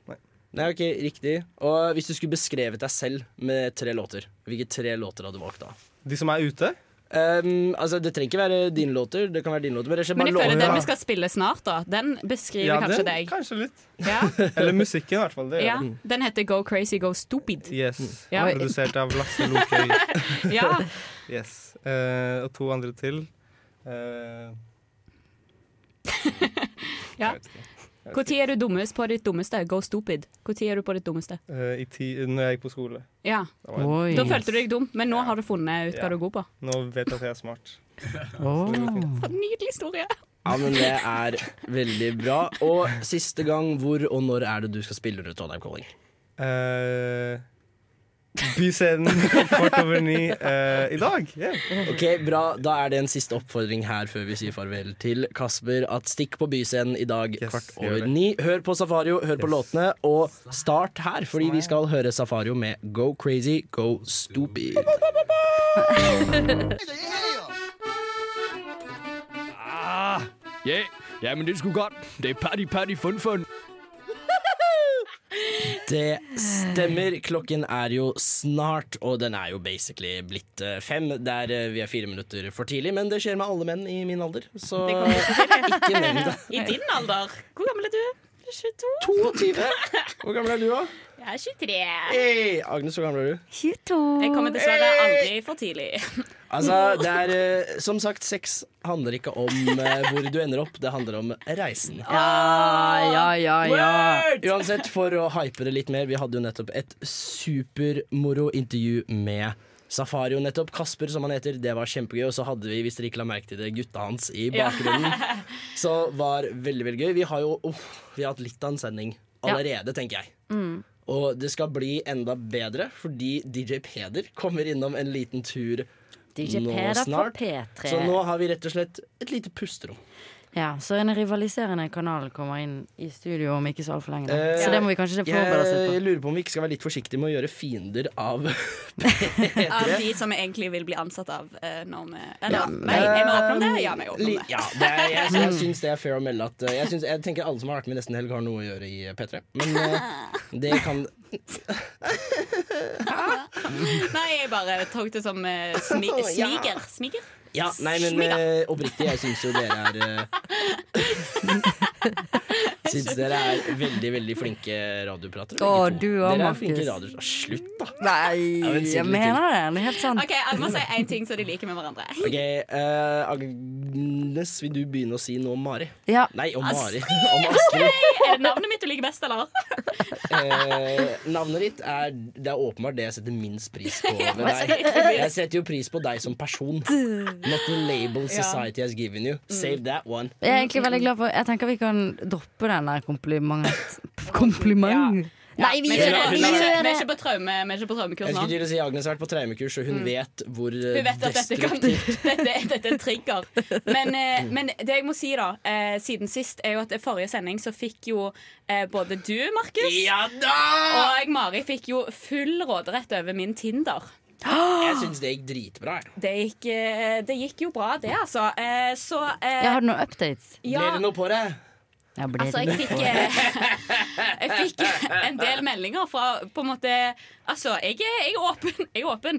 [SPEAKER 16] Nei.
[SPEAKER 3] Nei, ok, Riktig. Og hvis du skulle beskrevet deg selv med tre låter, hvilke tre låter hadde du valgt da?
[SPEAKER 16] De som er ute?
[SPEAKER 3] Um, altså, Det trenger ikke være dine låter. Det kan være dine låter Men, det er
[SPEAKER 7] Men jeg
[SPEAKER 3] bare
[SPEAKER 7] føler
[SPEAKER 3] låter,
[SPEAKER 7] den vi
[SPEAKER 3] da.
[SPEAKER 7] skal spille snart, da, den beskriver
[SPEAKER 16] Ja,
[SPEAKER 7] kanskje
[SPEAKER 16] den-
[SPEAKER 7] deg.
[SPEAKER 16] Kanskje litt.
[SPEAKER 7] Ja,
[SPEAKER 16] <laughs> Eller musikken, i hvert fall. Det gjør
[SPEAKER 7] ja.
[SPEAKER 16] det.
[SPEAKER 7] Den heter Go Crazy Go Stupid.
[SPEAKER 3] Mm.
[SPEAKER 16] Yes.
[SPEAKER 7] Ja.
[SPEAKER 16] Produsert av Lasse
[SPEAKER 7] <laughs>
[SPEAKER 16] Lokøy.
[SPEAKER 7] Ja.
[SPEAKER 16] Yes. Eh, og to andre til. Eh,
[SPEAKER 7] Ja. Når er du dummest på ditt dummeste? Go stupid. Når er du på ditt dummeste?
[SPEAKER 15] Eh, i ti, når jeg gikk på skole.
[SPEAKER 7] Ja.
[SPEAKER 15] Da var jeg-
[SPEAKER 7] Da følte du deg dum, men nå har du funnet ut hva
[SPEAKER 15] Ja.
[SPEAKER 7] du er god på.
[SPEAKER 15] Nå vet jeg at jeg er smart.
[SPEAKER 7] For en Nydelig historie.
[SPEAKER 3] Ja, men det er veldig bra. Og siste gang, hvor og når er det du skal spille ut Trondheim Calling?
[SPEAKER 15] Eh, byscenen <laughs> kvart over ni eh, i dag. Yeah.
[SPEAKER 3] <laughs> Ok, bra. Da er det en siste oppfordring her før vi sier farvel til Kasper. At stikk på Byscenen i dag kvart over ni. Hør på Safario, hør på låtene, og start her, fordi vi skal høre Safario med Go Crazy, Go Stupid.
[SPEAKER 18] Ah, ja, ja, men det skulle godt. Det er party, party, fun, fun.
[SPEAKER 3] Det stemmer. Klokken er jo snart, og den er jo basically blitt eh, fem. Der eh, vi er fire minutter for tidlig, men det skjer med alle menn i min alder. Så
[SPEAKER 7] Det kommer ikke til
[SPEAKER 3] <laughs>
[SPEAKER 7] det.
[SPEAKER 3] ikke nevn det.
[SPEAKER 7] I din alder. Hvor gammel er du? 22?
[SPEAKER 3] 22. Hvor gammel er du, da?
[SPEAKER 7] Jeg er 23.
[SPEAKER 3] Hey, Agnes, hvor gammel er du?
[SPEAKER 9] 22.
[SPEAKER 7] Jeg kommer dessverre aldri for tidlig. <laughs>
[SPEAKER 3] Altså, det er eh, Som sagt, sex handler ikke om eh, hvor du ender opp, det handler om reisen.
[SPEAKER 9] Ja, ja, ja, ja.
[SPEAKER 3] Word! Uansett, for å hype det litt mer, vi hadde jo nettopp et supermoro intervju med Safario nettopp. Kasper, som han heter. Det var kjempegøy. Og så hadde vi, hvis dere ikke la merke til det, gutta hans i
[SPEAKER 16] Ja.
[SPEAKER 3] bakgrunnen.
[SPEAKER 9] <laughs>
[SPEAKER 3] Så var veldig, veldig gøy. Vi har jo uff, vi har hatt litt av en sending
[SPEAKER 16] Ja.
[SPEAKER 3] allerede, tenker jeg.
[SPEAKER 16] Mm.
[SPEAKER 3] Og det skal bli enda bedre, fordi DJ Peder kommer innom en liten tur
[SPEAKER 9] DJ
[SPEAKER 3] nå
[SPEAKER 9] Peder fra
[SPEAKER 3] snart.
[SPEAKER 9] P3.
[SPEAKER 3] Så nå har vi rett og slett et lite pusterom.
[SPEAKER 9] Ja, så en rivaliserende kanal kommer inn i studio om ikke så altfor lenge. da.
[SPEAKER 3] Eh,
[SPEAKER 9] Så det må vi kanskje forberede oss
[SPEAKER 3] Jeg
[SPEAKER 9] litt på.
[SPEAKER 3] lurer på om vi ikke skal være litt forsiktige med å gjøre fiender av
[SPEAKER 7] Av de som vi egentlig vil bli ansatt av eh, når vi Eller,
[SPEAKER 3] Ja, eh,
[SPEAKER 7] nei, jeg må åpne om det. Ja, vi åpner om
[SPEAKER 3] Li-
[SPEAKER 7] det. <laughs>
[SPEAKER 3] Ja, det er, jeg,
[SPEAKER 9] <laughs> Mm.
[SPEAKER 3] jeg syns det er fair å melde at eh, jeg, syns, jeg tenker alle som har vært med i Nesten Helg, har noe å gjøre i eh, P3. Men
[SPEAKER 9] <laughs>
[SPEAKER 3] eh, det kan
[SPEAKER 7] Nei, jeg bare tok det som eh, smi
[SPEAKER 3] <laughs> Ja.
[SPEAKER 7] smiger. Smiger?
[SPEAKER 3] Ja, nei, men eh, oppriktig, jeg syns jo dere er
[SPEAKER 9] <laughs>
[SPEAKER 3] eh, Syns dere er veldig, veldig flinke radiopratere.
[SPEAKER 9] Å,
[SPEAKER 3] begge to.
[SPEAKER 9] du og
[SPEAKER 3] Dere er flinke
[SPEAKER 9] Markus.
[SPEAKER 3] radiopratere. Slutt, da! Ja,
[SPEAKER 9] Nei,
[SPEAKER 3] men si
[SPEAKER 9] jeg
[SPEAKER 3] det
[SPEAKER 9] mener det. Det er helt sant.
[SPEAKER 7] OK, alle må si én ting som de liker med hverandre.
[SPEAKER 3] Ok, eh, Agnes, vil du begynne å si noe om Mari?
[SPEAKER 9] Ja.
[SPEAKER 3] Nei, om Mari. <laughs>
[SPEAKER 7] Astrid!
[SPEAKER 3] Om Astrid.
[SPEAKER 7] Ok, Er det navnet mitt du liker best, eller?
[SPEAKER 3] Eh, navnet ditt er Det er åpenbart det jeg setter minst pris
[SPEAKER 7] <laughs>
[SPEAKER 3] på ved deg. Jeg setter jo pris på deg som person. Not the label society has given you.
[SPEAKER 7] Mm.
[SPEAKER 3] Save that one.
[SPEAKER 9] Jeg er egentlig veldig glad for Jeg tenker vi kan droppe den der
[SPEAKER 7] <laughs>
[SPEAKER 9] kompliment. Kompliment? Nei, vi
[SPEAKER 7] vi
[SPEAKER 9] gjør
[SPEAKER 7] er
[SPEAKER 9] det!
[SPEAKER 7] ikke-
[SPEAKER 9] Vi
[SPEAKER 7] vi er ikke-
[SPEAKER 9] gjør
[SPEAKER 7] vi
[SPEAKER 9] det!
[SPEAKER 7] er ikke på traume- vi er ikke på
[SPEAKER 3] Jeg
[SPEAKER 7] traumekurs nå.
[SPEAKER 3] skulle til å si Agnes har vært på traumekurs, og hun
[SPEAKER 7] Mm.
[SPEAKER 3] vet hvor eh,
[SPEAKER 7] Hun vet at dette, kan,
[SPEAKER 3] destruktivt
[SPEAKER 7] <laughs> dette, dette er en trigger. Men, eh, men det jeg må si, da, eh, siden sist, er jo at i forrige sending så fikk jo eh, både du, Markus,
[SPEAKER 3] Ja
[SPEAKER 7] og jeg, Mari, fikk jo full råderett over min Tinder.
[SPEAKER 3] Jeg syns det gikk dritbra. jeg.
[SPEAKER 7] Det gikk, eh, det gikk jo bra, det, altså. Eh, så eh,
[SPEAKER 9] Jeg har noen updates.
[SPEAKER 7] Ja.
[SPEAKER 3] Ble det noe på det?
[SPEAKER 9] Ja, ble
[SPEAKER 7] Altså, jeg
[SPEAKER 9] det
[SPEAKER 7] fikk,
[SPEAKER 9] noe?
[SPEAKER 7] eh, <laughs> jeg fikk en del meldinger fra på en måte Altså, jeg er, jeg er åpen, jeg er åpen.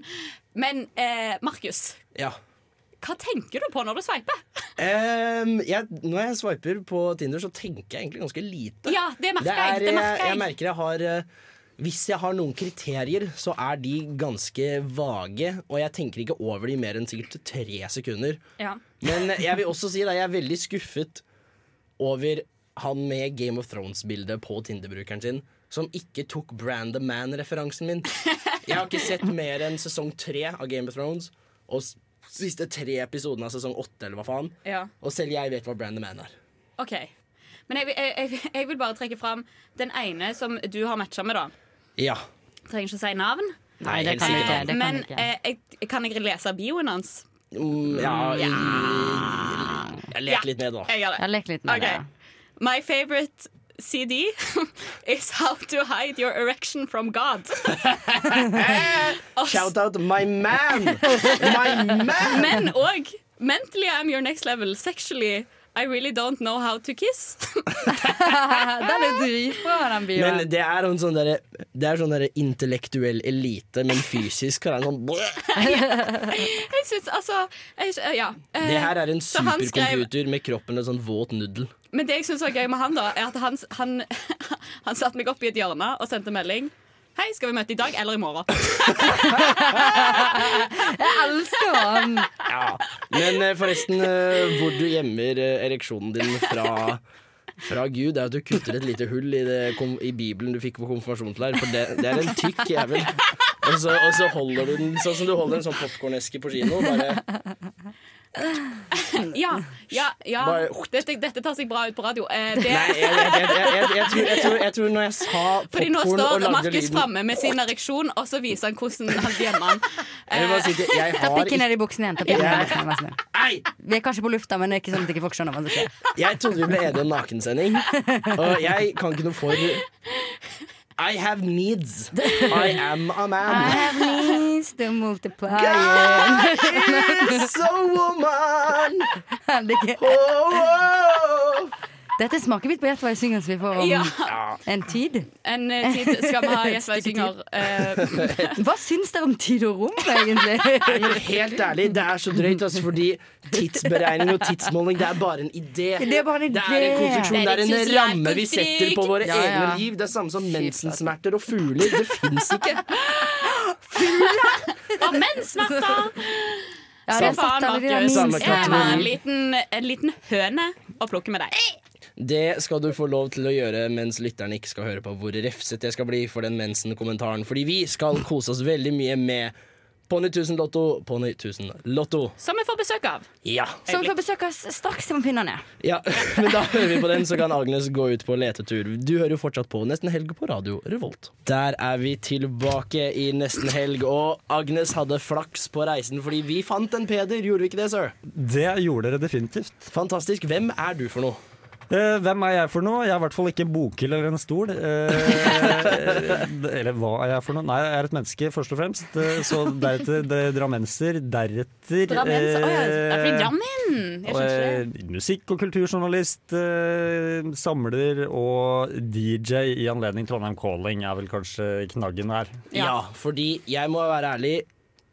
[SPEAKER 7] Men eh, Markus,
[SPEAKER 3] Ja.
[SPEAKER 7] hva tenker du på når du sveiper?
[SPEAKER 3] Em, jeg, når jeg swiper på Tinder, så tenker jeg egentlig ganske lite.
[SPEAKER 7] Ja, det merker jeg, det merker jeg.
[SPEAKER 3] eh, jeg merker jeg har eh, Hvis jeg har noen kriterier, så er de ganske vage, og jeg tenker ikke over de mer enn sikkert tre sekunder.
[SPEAKER 7] Ja.
[SPEAKER 3] Men jeg vil også si at jeg er veldig skuffet over han med Game of Thrones-bildet på Tinder-brukeren sin, som ikke tok Brand the Man-referansen min. Jeg har ikke sett mer enn sesong tre av Game of Thrones, og s- siste tre episoden av sesong åtte, eller hva faen.
[SPEAKER 7] Ja.
[SPEAKER 3] Og selv jeg vet hva Brand the Man er.
[SPEAKER 7] OK. Men jeg, vil- jeg, jeg, jeg vil bare trekke fram den ene som du har matcha med, da.
[SPEAKER 3] Ja.
[SPEAKER 7] Trenger ikke å si navn.
[SPEAKER 3] Nei, det kan jeg ikke.
[SPEAKER 7] Eh, Men eh, jeg, kan jeg lese bioen hans?
[SPEAKER 3] Mm, ja, Jeg leker litt med det, da.
[SPEAKER 7] Jeg gjør det.
[SPEAKER 9] Jeg leker litt med
[SPEAKER 7] Ok.
[SPEAKER 9] det.
[SPEAKER 7] My favorite CD <laughs> is How to Hide Your Erection from
[SPEAKER 3] <laughs>
[SPEAKER 7] God. Eh,
[SPEAKER 3] Shout out my man! My
[SPEAKER 7] <laughs>
[SPEAKER 3] man!
[SPEAKER 7] Men og Mentally I'm your next level. Sexually I really don't know how to kiss.
[SPEAKER 9] <laughs>
[SPEAKER 7] <laughs>
[SPEAKER 9] den er dritbra, den bioen.
[SPEAKER 3] Men det er en sånn derre Det er sånn derre intellektuell elite, men fysisk er det en sånn bleh.
[SPEAKER 7] Eh, jeg syns altså jeg, Ja. eh,
[SPEAKER 3] Det her er en
[SPEAKER 7] så han skrev-
[SPEAKER 3] supercomputer med kroppen en sånn våt nuddel.
[SPEAKER 7] Men det jeg syns var gøy med han, da, er at han, han, <laughs> han satte meg opp i et hjørne og sendte melding. Hei, skal vi møte i dag eller i
[SPEAKER 3] <laughs>
[SPEAKER 7] morgen?
[SPEAKER 9] Jeg elsker
[SPEAKER 7] <laughs>
[SPEAKER 9] han!
[SPEAKER 3] Ja. Men eh, forresten, eh, hvor du gjemmer eh, ereksjonen din fra fra Gud er at du kutter et lite hull i, det, kom, i Bibelen du fikk på konfirmasjonsleir, for det, det er en tykk jævel. Og så, og så holder du den sånn som du holder en sånn popkorneske på kino. Bare
[SPEAKER 7] Ja, ja, ja.
[SPEAKER 3] Bare-
[SPEAKER 7] Dette, dette tar seg bra ut på radio. Eh, det-
[SPEAKER 3] Nei, jeg, jeg, jeg, jeg, jeg, jeg, tror, jeg, tror, jeg tror når jeg sa
[SPEAKER 7] Fordi
[SPEAKER 3] popkorn
[SPEAKER 7] nå
[SPEAKER 3] og
[SPEAKER 7] står
[SPEAKER 3] lagde
[SPEAKER 7] Markus
[SPEAKER 3] lyden
[SPEAKER 7] framme med sin ereksjon, og så viser han hvordan han gjemmer den.
[SPEAKER 3] Jeg vil bare si det, jeg
[SPEAKER 9] Ta
[SPEAKER 3] har
[SPEAKER 9] pikken ned i buksen igjen. Ta pikken ned i buksen igjen, vær så snill. Vi er kanskje på lufta, men det er ikke sånn at ikke folk skjønner hva som
[SPEAKER 7] <laughs>
[SPEAKER 9] skjer.
[SPEAKER 3] Jeg trodde vi ble enige om nakensending, og jeg kan ikke noe for I have needs. I am a
[SPEAKER 9] I
[SPEAKER 3] man.
[SPEAKER 9] have needs to multiply <laughs>
[SPEAKER 3] God is a woman. Oh,
[SPEAKER 9] Dette er smakebit på Gjett hva jeg synger, som vi får om
[SPEAKER 7] Ja.
[SPEAKER 9] en tid.
[SPEAKER 7] En eh, tid skal <laughs> vi ha Gjett hva jeg
[SPEAKER 9] Stykke
[SPEAKER 7] synger.
[SPEAKER 9] tid. Hva syns dere om tid og rom, egentlig?
[SPEAKER 3] Nei, men helt ærlig, det er så drøyt, altså, fordi tidsberegning og tidsmåling, det er bare en idé.
[SPEAKER 9] Det er bare en
[SPEAKER 3] Det er en
[SPEAKER 9] idé.
[SPEAKER 3] konstruksjon, det er sånn
[SPEAKER 9] Det er
[SPEAKER 3] en
[SPEAKER 9] ikke
[SPEAKER 3] ramme vi setter på våre
[SPEAKER 9] Ja, ja.
[SPEAKER 3] egne liv. Det er samme som mensensmerter og fugler. Det fins ikke.
[SPEAKER 7] eh, Og <laughs> menssmerter!
[SPEAKER 3] Ja,
[SPEAKER 7] Fy
[SPEAKER 3] det er
[SPEAKER 7] faen,
[SPEAKER 3] fatt, alle de der
[SPEAKER 7] Markus.
[SPEAKER 3] minst-
[SPEAKER 7] Jeg var en liten, en liten høne å plukke med deg.
[SPEAKER 3] Det skal du få lov til å gjøre mens lytterne ikke skal høre på hvor refset jeg skal bli for den mensen-kommentaren. Fordi vi skal kose oss veldig mye med Ponni 1000 Lotto, Ponni 1000 Lotto.
[SPEAKER 7] Som vi får besøk av.
[SPEAKER 3] Ja.
[SPEAKER 9] Som får besøke oss straks, jeg må finne den.
[SPEAKER 3] ja. <laughs> Men da hører vi på den, så kan Agnes gå ut på letetur. Du hører jo fortsatt på Nesten Helg på Radio Revolt. Der er vi tilbake i Nesten Helg, og Agnes hadde flaks på reisen fordi vi fant en Peder, gjorde vi ikke det, sir?
[SPEAKER 16] Det gjorde dere definitivt. Eh,
[SPEAKER 3] Fantastisk. Hvem er du for noe?
[SPEAKER 16] hvem er jeg for noe? Jeg er i hvert fall ikke en bokhylle eller en stol. Eh, <laughs> eller hva er jeg for noe? Nei, jeg er et menneske, først og fremst. Eh, så deretter dre- drammenser. Deretter
[SPEAKER 7] Drammen. Å ja, det
[SPEAKER 16] Eh,
[SPEAKER 7] er fordi Drammen. Jeg
[SPEAKER 16] og,
[SPEAKER 7] skjønner ikke.
[SPEAKER 16] eh, musikk- og kulturjournalist, eh, samler og DJ i anledning Trondheim Calling er vel kanskje knaggen her.
[SPEAKER 3] Ja. fordi jeg må være ærlig.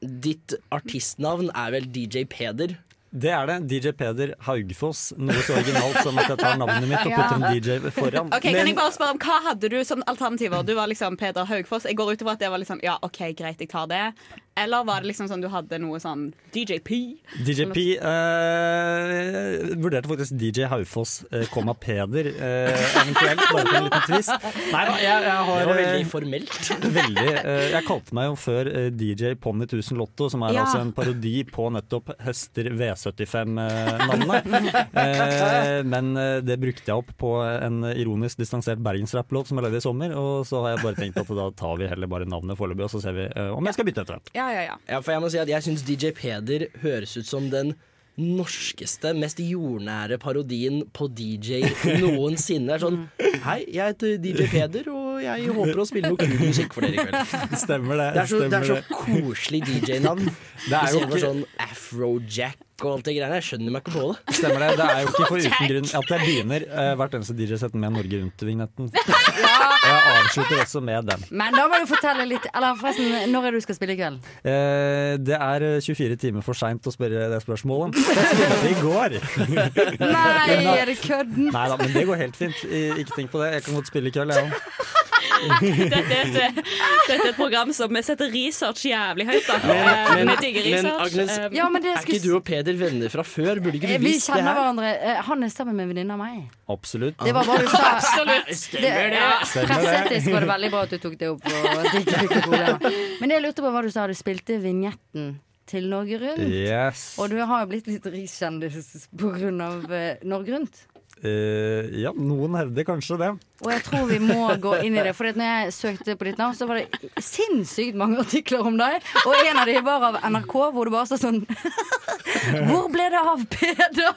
[SPEAKER 3] Ditt artistnavn er vel DJ Peder?
[SPEAKER 16] Det er det. DJ Peder Haugfoss. Noe så originalt som at jeg tar navnet mitt og putter en DJ foran.
[SPEAKER 7] Ok,
[SPEAKER 16] Men-
[SPEAKER 7] kan jeg bare spørre om Hva hadde du som alternativer? Du var liksom Peder Haugfoss. Jeg går ut ifra at det var liksom Ja, OK, greit, jeg tar det. Eller var det liksom sånn du hadde noe sånn DJP?
[SPEAKER 16] DJP eh, vurderte faktisk DJ Haufoss, eh, komma Peder, eh, eventuelt. Bare for en liten twist. Nei da, jeg, jeg har
[SPEAKER 3] Det var veldig
[SPEAKER 16] eh,
[SPEAKER 3] formelt.
[SPEAKER 16] veldig, eh, jeg kalte meg jo før eh, DJ Ponni 1000 Lotto, som er
[SPEAKER 3] Ja.
[SPEAKER 16] altså en parodi på nettopp Høster
[SPEAKER 7] <laughs>
[SPEAKER 16] V75-navnet. men eh, det brukte jeg opp på en ironisk distansert bergensrapplåt som jeg lagde i sommer, og så har jeg bare tenkt at da tar vi heller bare navnet foreløpig, og så ser vi eh, om jeg skal bytte etter hvert.
[SPEAKER 7] Ja, ja, ja.
[SPEAKER 3] Ja, for jeg må si at jeg syns DJ Peder høres ut som den norskeste, mest jordnære parodien på
[SPEAKER 16] <laughs>
[SPEAKER 3] DJ noensinne. Det er sånn
[SPEAKER 16] Mm.
[SPEAKER 3] Hei, jeg heter DJ Peder, og jeg håper å spille noe kul musikk for dere i
[SPEAKER 16] <laughs>
[SPEAKER 3] kveld.
[SPEAKER 16] Stemmer det.
[SPEAKER 3] Det er så, det
[SPEAKER 16] stemmer
[SPEAKER 3] er så koselig DJ-navn.
[SPEAKER 16] Det er jo
[SPEAKER 3] Istedenfor
[SPEAKER 16] ikke-
[SPEAKER 3] sånn Afrojack og alt det greiene. Jeg skjønner meg ikke på det.
[SPEAKER 16] Stemmer det. Det er jo ikke for uten grunn at jeg begynner eh, hvert eneste DJ-sett med Norge Rundt-vignetten. Og jeg avslutter også med den.
[SPEAKER 9] Men da må du fortelle litt Eller forresten, når er det du skal spille i kveld?
[SPEAKER 16] Eh, det er eh, 24 timer for seint å spørre det spørsmålet. Jeg spilte i går.
[SPEAKER 9] Nei, er det kødden?
[SPEAKER 16] Nei da, men det går helt fint. I- Ikke tenk på det. Jeg kan godt spille i kveld, jeg òg.
[SPEAKER 7] Dette er, et, eh, dette er et program som vi setter research jævlig høyt, da. Eh,
[SPEAKER 3] Men,
[SPEAKER 7] vi digger
[SPEAKER 3] men
[SPEAKER 7] research.
[SPEAKER 3] Agnes,
[SPEAKER 7] Eh,
[SPEAKER 9] Ja, men det
[SPEAKER 3] er
[SPEAKER 9] skulle-
[SPEAKER 3] ikke du og Peder venner fra før? Burde ikke
[SPEAKER 9] Eh,
[SPEAKER 3] du
[SPEAKER 9] Vi
[SPEAKER 3] visst det
[SPEAKER 9] kjenner
[SPEAKER 3] her?
[SPEAKER 9] hverandre. Eh, Han er sammen med en venninne av meg.
[SPEAKER 16] Absolutt.
[SPEAKER 9] Det var
[SPEAKER 7] <laughs>
[SPEAKER 9] bare du sa.
[SPEAKER 7] Absolutt.
[SPEAKER 9] Det- ja,
[SPEAKER 16] Stemmer det.
[SPEAKER 9] Presseetisk var det veldig bra at du tok det opp. Og at du ikke fikk noe problem. Men det jeg lurte på var du sa du spilte vignetten til Norge Rundt.
[SPEAKER 16] Yes.
[SPEAKER 9] Og du har jo blitt litt rikskjendis pga. Norge Rundt.
[SPEAKER 16] Eh, ja, noen hevder kanskje det.
[SPEAKER 9] Og jeg tror vi må gå inn i det. For at når jeg søkte på ditt navn, så var det sinnssykt mange artikler om deg. Og en av de var av NRK, hvor det bare stod sånn <laughs> Hvor ble det av Peder?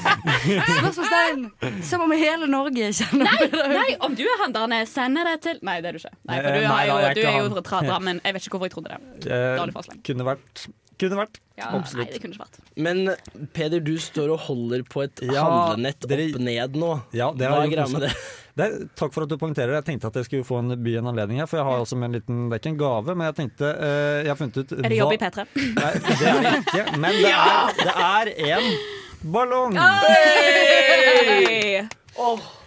[SPEAKER 9] <laughs> Spørsmålstegn. Som om hele Norge kjenner
[SPEAKER 7] Nei, nei, om du er han der nede, sender det til Nei, det er du ikke. Nei, for du,
[SPEAKER 16] Eh, nei,
[SPEAKER 7] har jo,
[SPEAKER 16] nei, jeg er
[SPEAKER 7] du er
[SPEAKER 16] ikke
[SPEAKER 7] jo
[SPEAKER 16] han.
[SPEAKER 7] fra Drammen. Jeg vet ikke hvorfor jeg trodde det.
[SPEAKER 16] Eh,
[SPEAKER 7] Dårlig forslag.
[SPEAKER 16] kunne vært. Kunne vært.
[SPEAKER 7] Ja, nei,
[SPEAKER 16] Absolutt.
[SPEAKER 7] det kunne ikke vært.
[SPEAKER 3] Men Peder, du står og holder på et
[SPEAKER 16] Ja,
[SPEAKER 3] handlenett opp ned nå.
[SPEAKER 16] Ja, det
[SPEAKER 3] Hva er
[SPEAKER 16] har jeg
[SPEAKER 3] greia
[SPEAKER 16] gjort
[SPEAKER 3] med det?
[SPEAKER 16] også. Det er- takk for at du poengterer. Jeg tenkte at jeg skulle få en by en anledning her, for jeg har også med en liten Det er ikke en gave, men jeg tenkte eh, Jeg har funnet ut
[SPEAKER 7] Er det jobb i
[SPEAKER 16] hva-
[SPEAKER 7] P3?
[SPEAKER 16] Nei, det er det ikke. Men det er, det er en ballong.
[SPEAKER 7] Hey!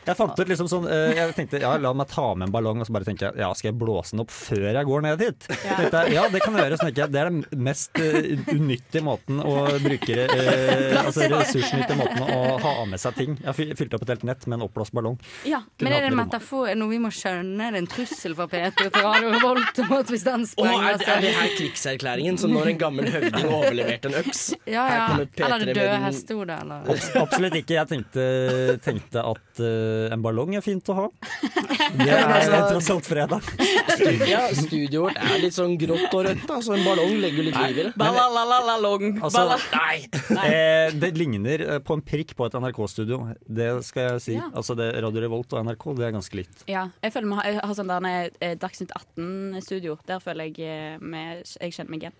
[SPEAKER 16] Jeg fant ut liksom sånn eh, Jeg tenkte ja, la meg ta med en ballong, og så bare tenker jeg ja, skal jeg blåse den opp før jeg går ned dit?
[SPEAKER 19] Ja.
[SPEAKER 16] Tenkte jeg, ja, det kan gjøres, tenker jeg. Det er den mest eh, unyttige måten å bruke eh, altså ressursnyttige måten å ha med seg ting. Jeg fyl- fylte opp et helt nett med en oppblåst ballong.
[SPEAKER 9] Ja, Men
[SPEAKER 16] Kunne
[SPEAKER 9] er det en
[SPEAKER 16] hatt med i rommet.
[SPEAKER 9] metafor, er det noe vi må skjønne? Er det en trussel fra P3 til Radio Revolt om at hvis den
[SPEAKER 3] Å,
[SPEAKER 9] sprenger
[SPEAKER 3] er, det- er det her krigserklæringen som når en gammel høvding overleverte en øks?
[SPEAKER 9] <laughs> Ja,
[SPEAKER 3] Her
[SPEAKER 9] ja.
[SPEAKER 3] kommer P3
[SPEAKER 9] Eller
[SPEAKER 3] med
[SPEAKER 9] døde
[SPEAKER 3] den-
[SPEAKER 9] hestehode, eller
[SPEAKER 16] Abs absolutt ikke. Jeg tenkte, tenkte at eh, en ballong er fint å ha. Det
[SPEAKER 3] Ja, men
[SPEAKER 16] er
[SPEAKER 3] altså-
[SPEAKER 16] tross alt fredag.
[SPEAKER 3] Studia, studio vårt er litt sånn grått og rødt, da, så en ballong legger litt liv i det.
[SPEAKER 7] Balalalong.
[SPEAKER 16] Altså,
[SPEAKER 7] Bala.
[SPEAKER 3] Nei!
[SPEAKER 16] Eh, det ligner eh, på en prikk på et NRK-studio. Det skal jeg si.
[SPEAKER 7] Ja.
[SPEAKER 16] Altså det, Radio Revolt og NRK, det er ganske likt.
[SPEAKER 7] Ja, jeg føler vi har, jeg har sånn der eh, Dagsnytt 18-studio. Der føler jeg eh, meg- jeg kjenner meg igjen.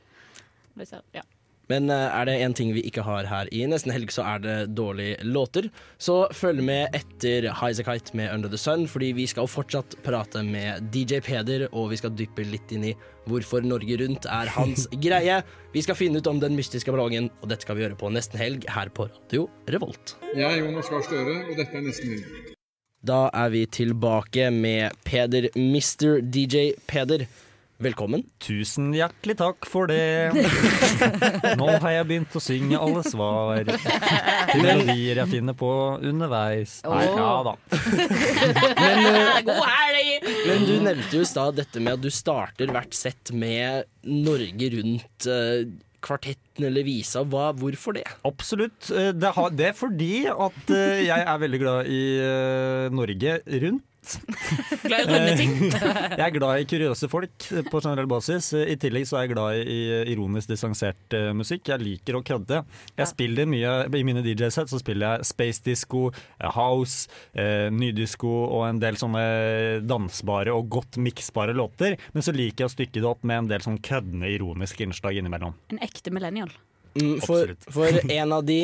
[SPEAKER 7] Hvis jeg- Ja.
[SPEAKER 3] Men eh, er det en ting vi ikke har her i Nesten Helg, så er det dårlige låter. Så følg med etter Highasakite med Under the Sun, fordi vi skal fortsatt prate med DJ Peder, og vi skal dyppe litt inn i hvorfor Norge Rundt er hans greie. Vi skal finne ut om den mystiske ballongen, og dette skal vi gjøre på Nesten Helg her på Radio Revolt.
[SPEAKER 20] Jeg er Jonas Gahr Støre, og dette er Nesten Helg.
[SPEAKER 3] Da er vi tilbake med Peder, Mr. DJ Peder. Velkommen.
[SPEAKER 16] Tusen hjertelig takk for det. Eh. Nå har jeg begynt å synge alle
[SPEAKER 7] <laughs>
[SPEAKER 16] svar til melodier jeg finner på underveis. Nei,
[SPEAKER 3] Åh.
[SPEAKER 7] <laughs>
[SPEAKER 16] ja eh, da.
[SPEAKER 7] God helg!
[SPEAKER 3] Men du nevnte jo i stad dette med at du starter hvert sett med Norge rundt eh, kvartetten eller visa. Hva, hvorfor det?
[SPEAKER 16] Absolutt. Eh, Det, har, det er fordi at eh, jeg er veldig glad i eh, Norge rundt.
[SPEAKER 7] Glad i
[SPEAKER 16] eh,
[SPEAKER 7] runde ting.
[SPEAKER 16] <laughs> jeg er glad i kuriøse folk eh, på generell basis. Eh, I tillegg så er jeg glad i eh, ironisk distansert eh, musikk. Jeg liker å kødde. Jeg spiller mye I mine DJ-sett så spiller jeg space disco, eh, house, eh, nydisko og en del sånne dansbare og godt miksbare låter. Men så liker jeg å stykke det opp med en del sånn køddende ironiske innslag innimellom.
[SPEAKER 7] En ekte millennial.
[SPEAKER 3] Mm, For,
[SPEAKER 16] Absolutt.
[SPEAKER 3] for en av de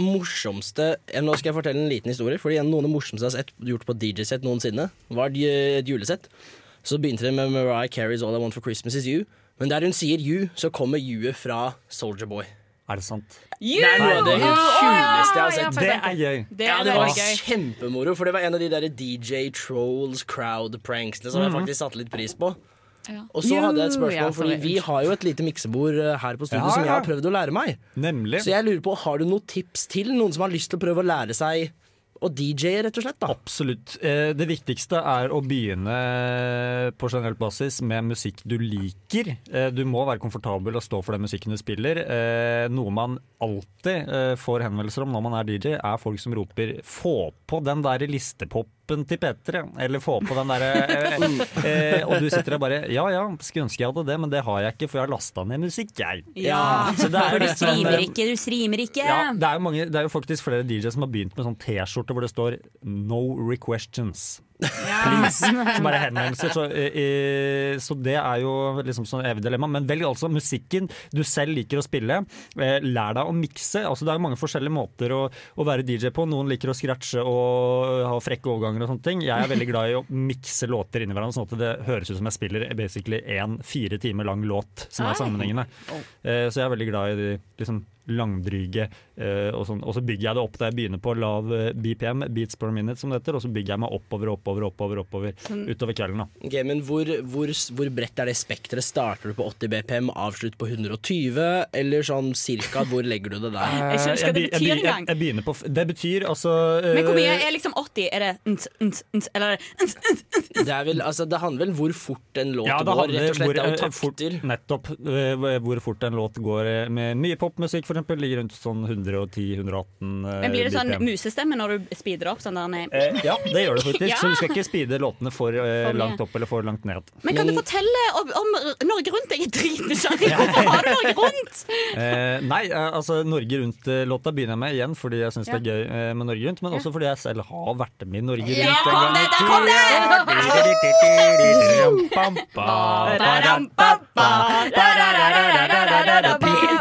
[SPEAKER 3] morsomste eh, Nå skal jeg fortelle en liten historie. Fordi en- Noen av de morsomste jeg har sett, gjort på DJ-sett noensinne, var et ju- et julesett. Så begynte det med Mariah Carey's All I Want for Christmas Is You. Men der hun sier you, så kommer you-et fra Soldier Boy.
[SPEAKER 16] Er det sant?
[SPEAKER 3] Det er noe av det kuleste jeg har
[SPEAKER 16] ja,
[SPEAKER 3] sett.
[SPEAKER 16] Det er gøy. Det er
[SPEAKER 3] ja, det var
[SPEAKER 16] veldig gøy.
[SPEAKER 3] kjempemoro, for det var en av de der DJ trolls, crowd pranksene som jeg
[SPEAKER 16] Mhm.
[SPEAKER 3] faktisk satte litt pris på. Og så hadde jeg et spørsmål, fordi vi har jo et lite miksebord eh, her på studio
[SPEAKER 16] Ja,
[SPEAKER 3] som jeg
[SPEAKER 16] ja.
[SPEAKER 3] har prøvd å lære meg.
[SPEAKER 16] Nemlig.
[SPEAKER 3] Så jeg lurer på, har du noen tips til noen som har lyst til å prøve å lære seg å DJ-e, rett og slett? da?
[SPEAKER 16] Absolutt. Eh, Det viktigste er å begynne på generelt basis med musikk du liker. Eh, Du må være komfortabel og stå for den musikken du spiller. Eh, Noe man alltid eh, får henvendelser om når man er DJ, er folk som roper 'få på den der listepopen til P3', eller 'få på den derre eh, eh, Og du sitter der bare 'ja ja, skulle ønske jeg hadde det, men det har jeg ikke, for jeg har lasta ned musikk, jeg'. Så det er
[SPEAKER 7] For du
[SPEAKER 16] litt sånn,
[SPEAKER 7] streamer
[SPEAKER 16] eh,
[SPEAKER 7] ikke, du streamer ikke.
[SPEAKER 16] ja, det er, jo mange, det er jo faktisk flere DJ-er som har begynt med sånn T-skjorte hvor det står 'No requestions'. Please. <laughs> Som bare henvendelser. Så, eh, eh, så det er jo liksom sånn evig dilemma. Men velg altså musikken du selv liker å spille. Eh, Lær deg å mikse. Altså, det er jo mange forskjellige måter å, å være DJ på. Noen liker å scratche og ha frekke overganger og sånne ting. Jeg er veldig glad i å mikse låter inni hverandre, sånn at det høres ut som jeg spiller basically en fire timer lang låt som er
[SPEAKER 21] Oi.
[SPEAKER 16] sammenhengende. Eh, Så jeg er veldig glad i de liksom, langdryge eh, og sånn. Og så bygger jeg det opp der jeg begynner på lav eh, BPM, beats per minute som det heter, og så bygger jeg meg oppover, oppover, oppover, oppover
[SPEAKER 3] Sånn.
[SPEAKER 16] utover kvelden. da.
[SPEAKER 3] Ok, men hvor, hvor, hvor bredt er det spekteret? Starter du på 80 BPM, avslutter på 120, eller sånn cirka? Hvor legger du det der?
[SPEAKER 7] Jeg skjønner ikke hva det betyr
[SPEAKER 16] Eh, jeg, be- jeg,
[SPEAKER 7] engang.
[SPEAKER 16] jeg begynner på f- Det betyr altså eh,
[SPEAKER 7] Men hvor mye er liksom 80? Er det nt, nt, nt, eller er det nt, nt?
[SPEAKER 3] Det, er vel, altså, det handler vel hvor fort en låt
[SPEAKER 16] Ja, det
[SPEAKER 3] går,
[SPEAKER 16] handler
[SPEAKER 3] rett og slett. Det er jo
[SPEAKER 16] hvor, eh, fort, nettopp eh, hvor fort en låt går eh, med mye popmusikk, for eksempel, ligger rundt sånn 110-118
[SPEAKER 7] Men blir det sånn musestemme når du speeder opp? Sånn der,
[SPEAKER 16] Eh, ja, det gjør det faktisk.
[SPEAKER 7] <laughs> Ja.
[SPEAKER 16] Så du skal ikke speede låtene for, eh,
[SPEAKER 7] For mye.
[SPEAKER 16] langt opp eller for langt ned.
[SPEAKER 7] Men kan du fortelle om, om Norge Rundt? Jeg er dritnysgjerrig.
[SPEAKER 16] <laughs>
[SPEAKER 7] Hvorfor har du Norge Rundt?
[SPEAKER 16] Eh, nei, eh, altså Norge Rundt-låta begynner jeg med igjen fordi jeg syns det er gøy eh, med Norge Rundt, men også fordi jeg selv har vært med i Norge Rundt.
[SPEAKER 19] Ja, kom det, der kom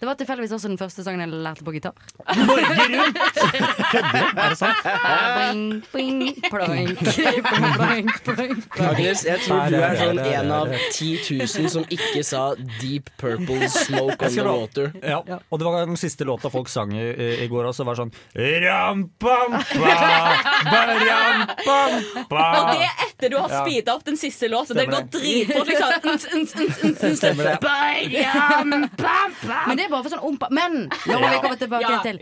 [SPEAKER 9] Det var tilfeldigvis også den første sangen jeg lærte på gitar.
[SPEAKER 3] Er det sant?
[SPEAKER 9] Boing, boing, ploink, boing, boing, boing.
[SPEAKER 3] Agnes, jeg tror du er sånn en av 10 000 som ikke sa Deep Purple Smoke On
[SPEAKER 16] Jeg
[SPEAKER 3] The
[SPEAKER 16] skal da-
[SPEAKER 3] Water.
[SPEAKER 16] Ja, og det var den siste låta folk sang i, i går også, var sånn Rampampa, barampampa
[SPEAKER 7] Og det er etter du har
[SPEAKER 16] Ja.
[SPEAKER 7] speeda opp den siste låten. Det går
[SPEAKER 16] Stemmer det.
[SPEAKER 7] dritfort,
[SPEAKER 16] <laughs>
[SPEAKER 7] liksom. Ns, ns, ns, ns, ns.
[SPEAKER 16] Stemmer det.
[SPEAKER 7] Bayam, bam, bam.
[SPEAKER 9] Men det er bare for sånn ompa... Men nå må vi komme tilbake
[SPEAKER 7] Ja,
[SPEAKER 9] til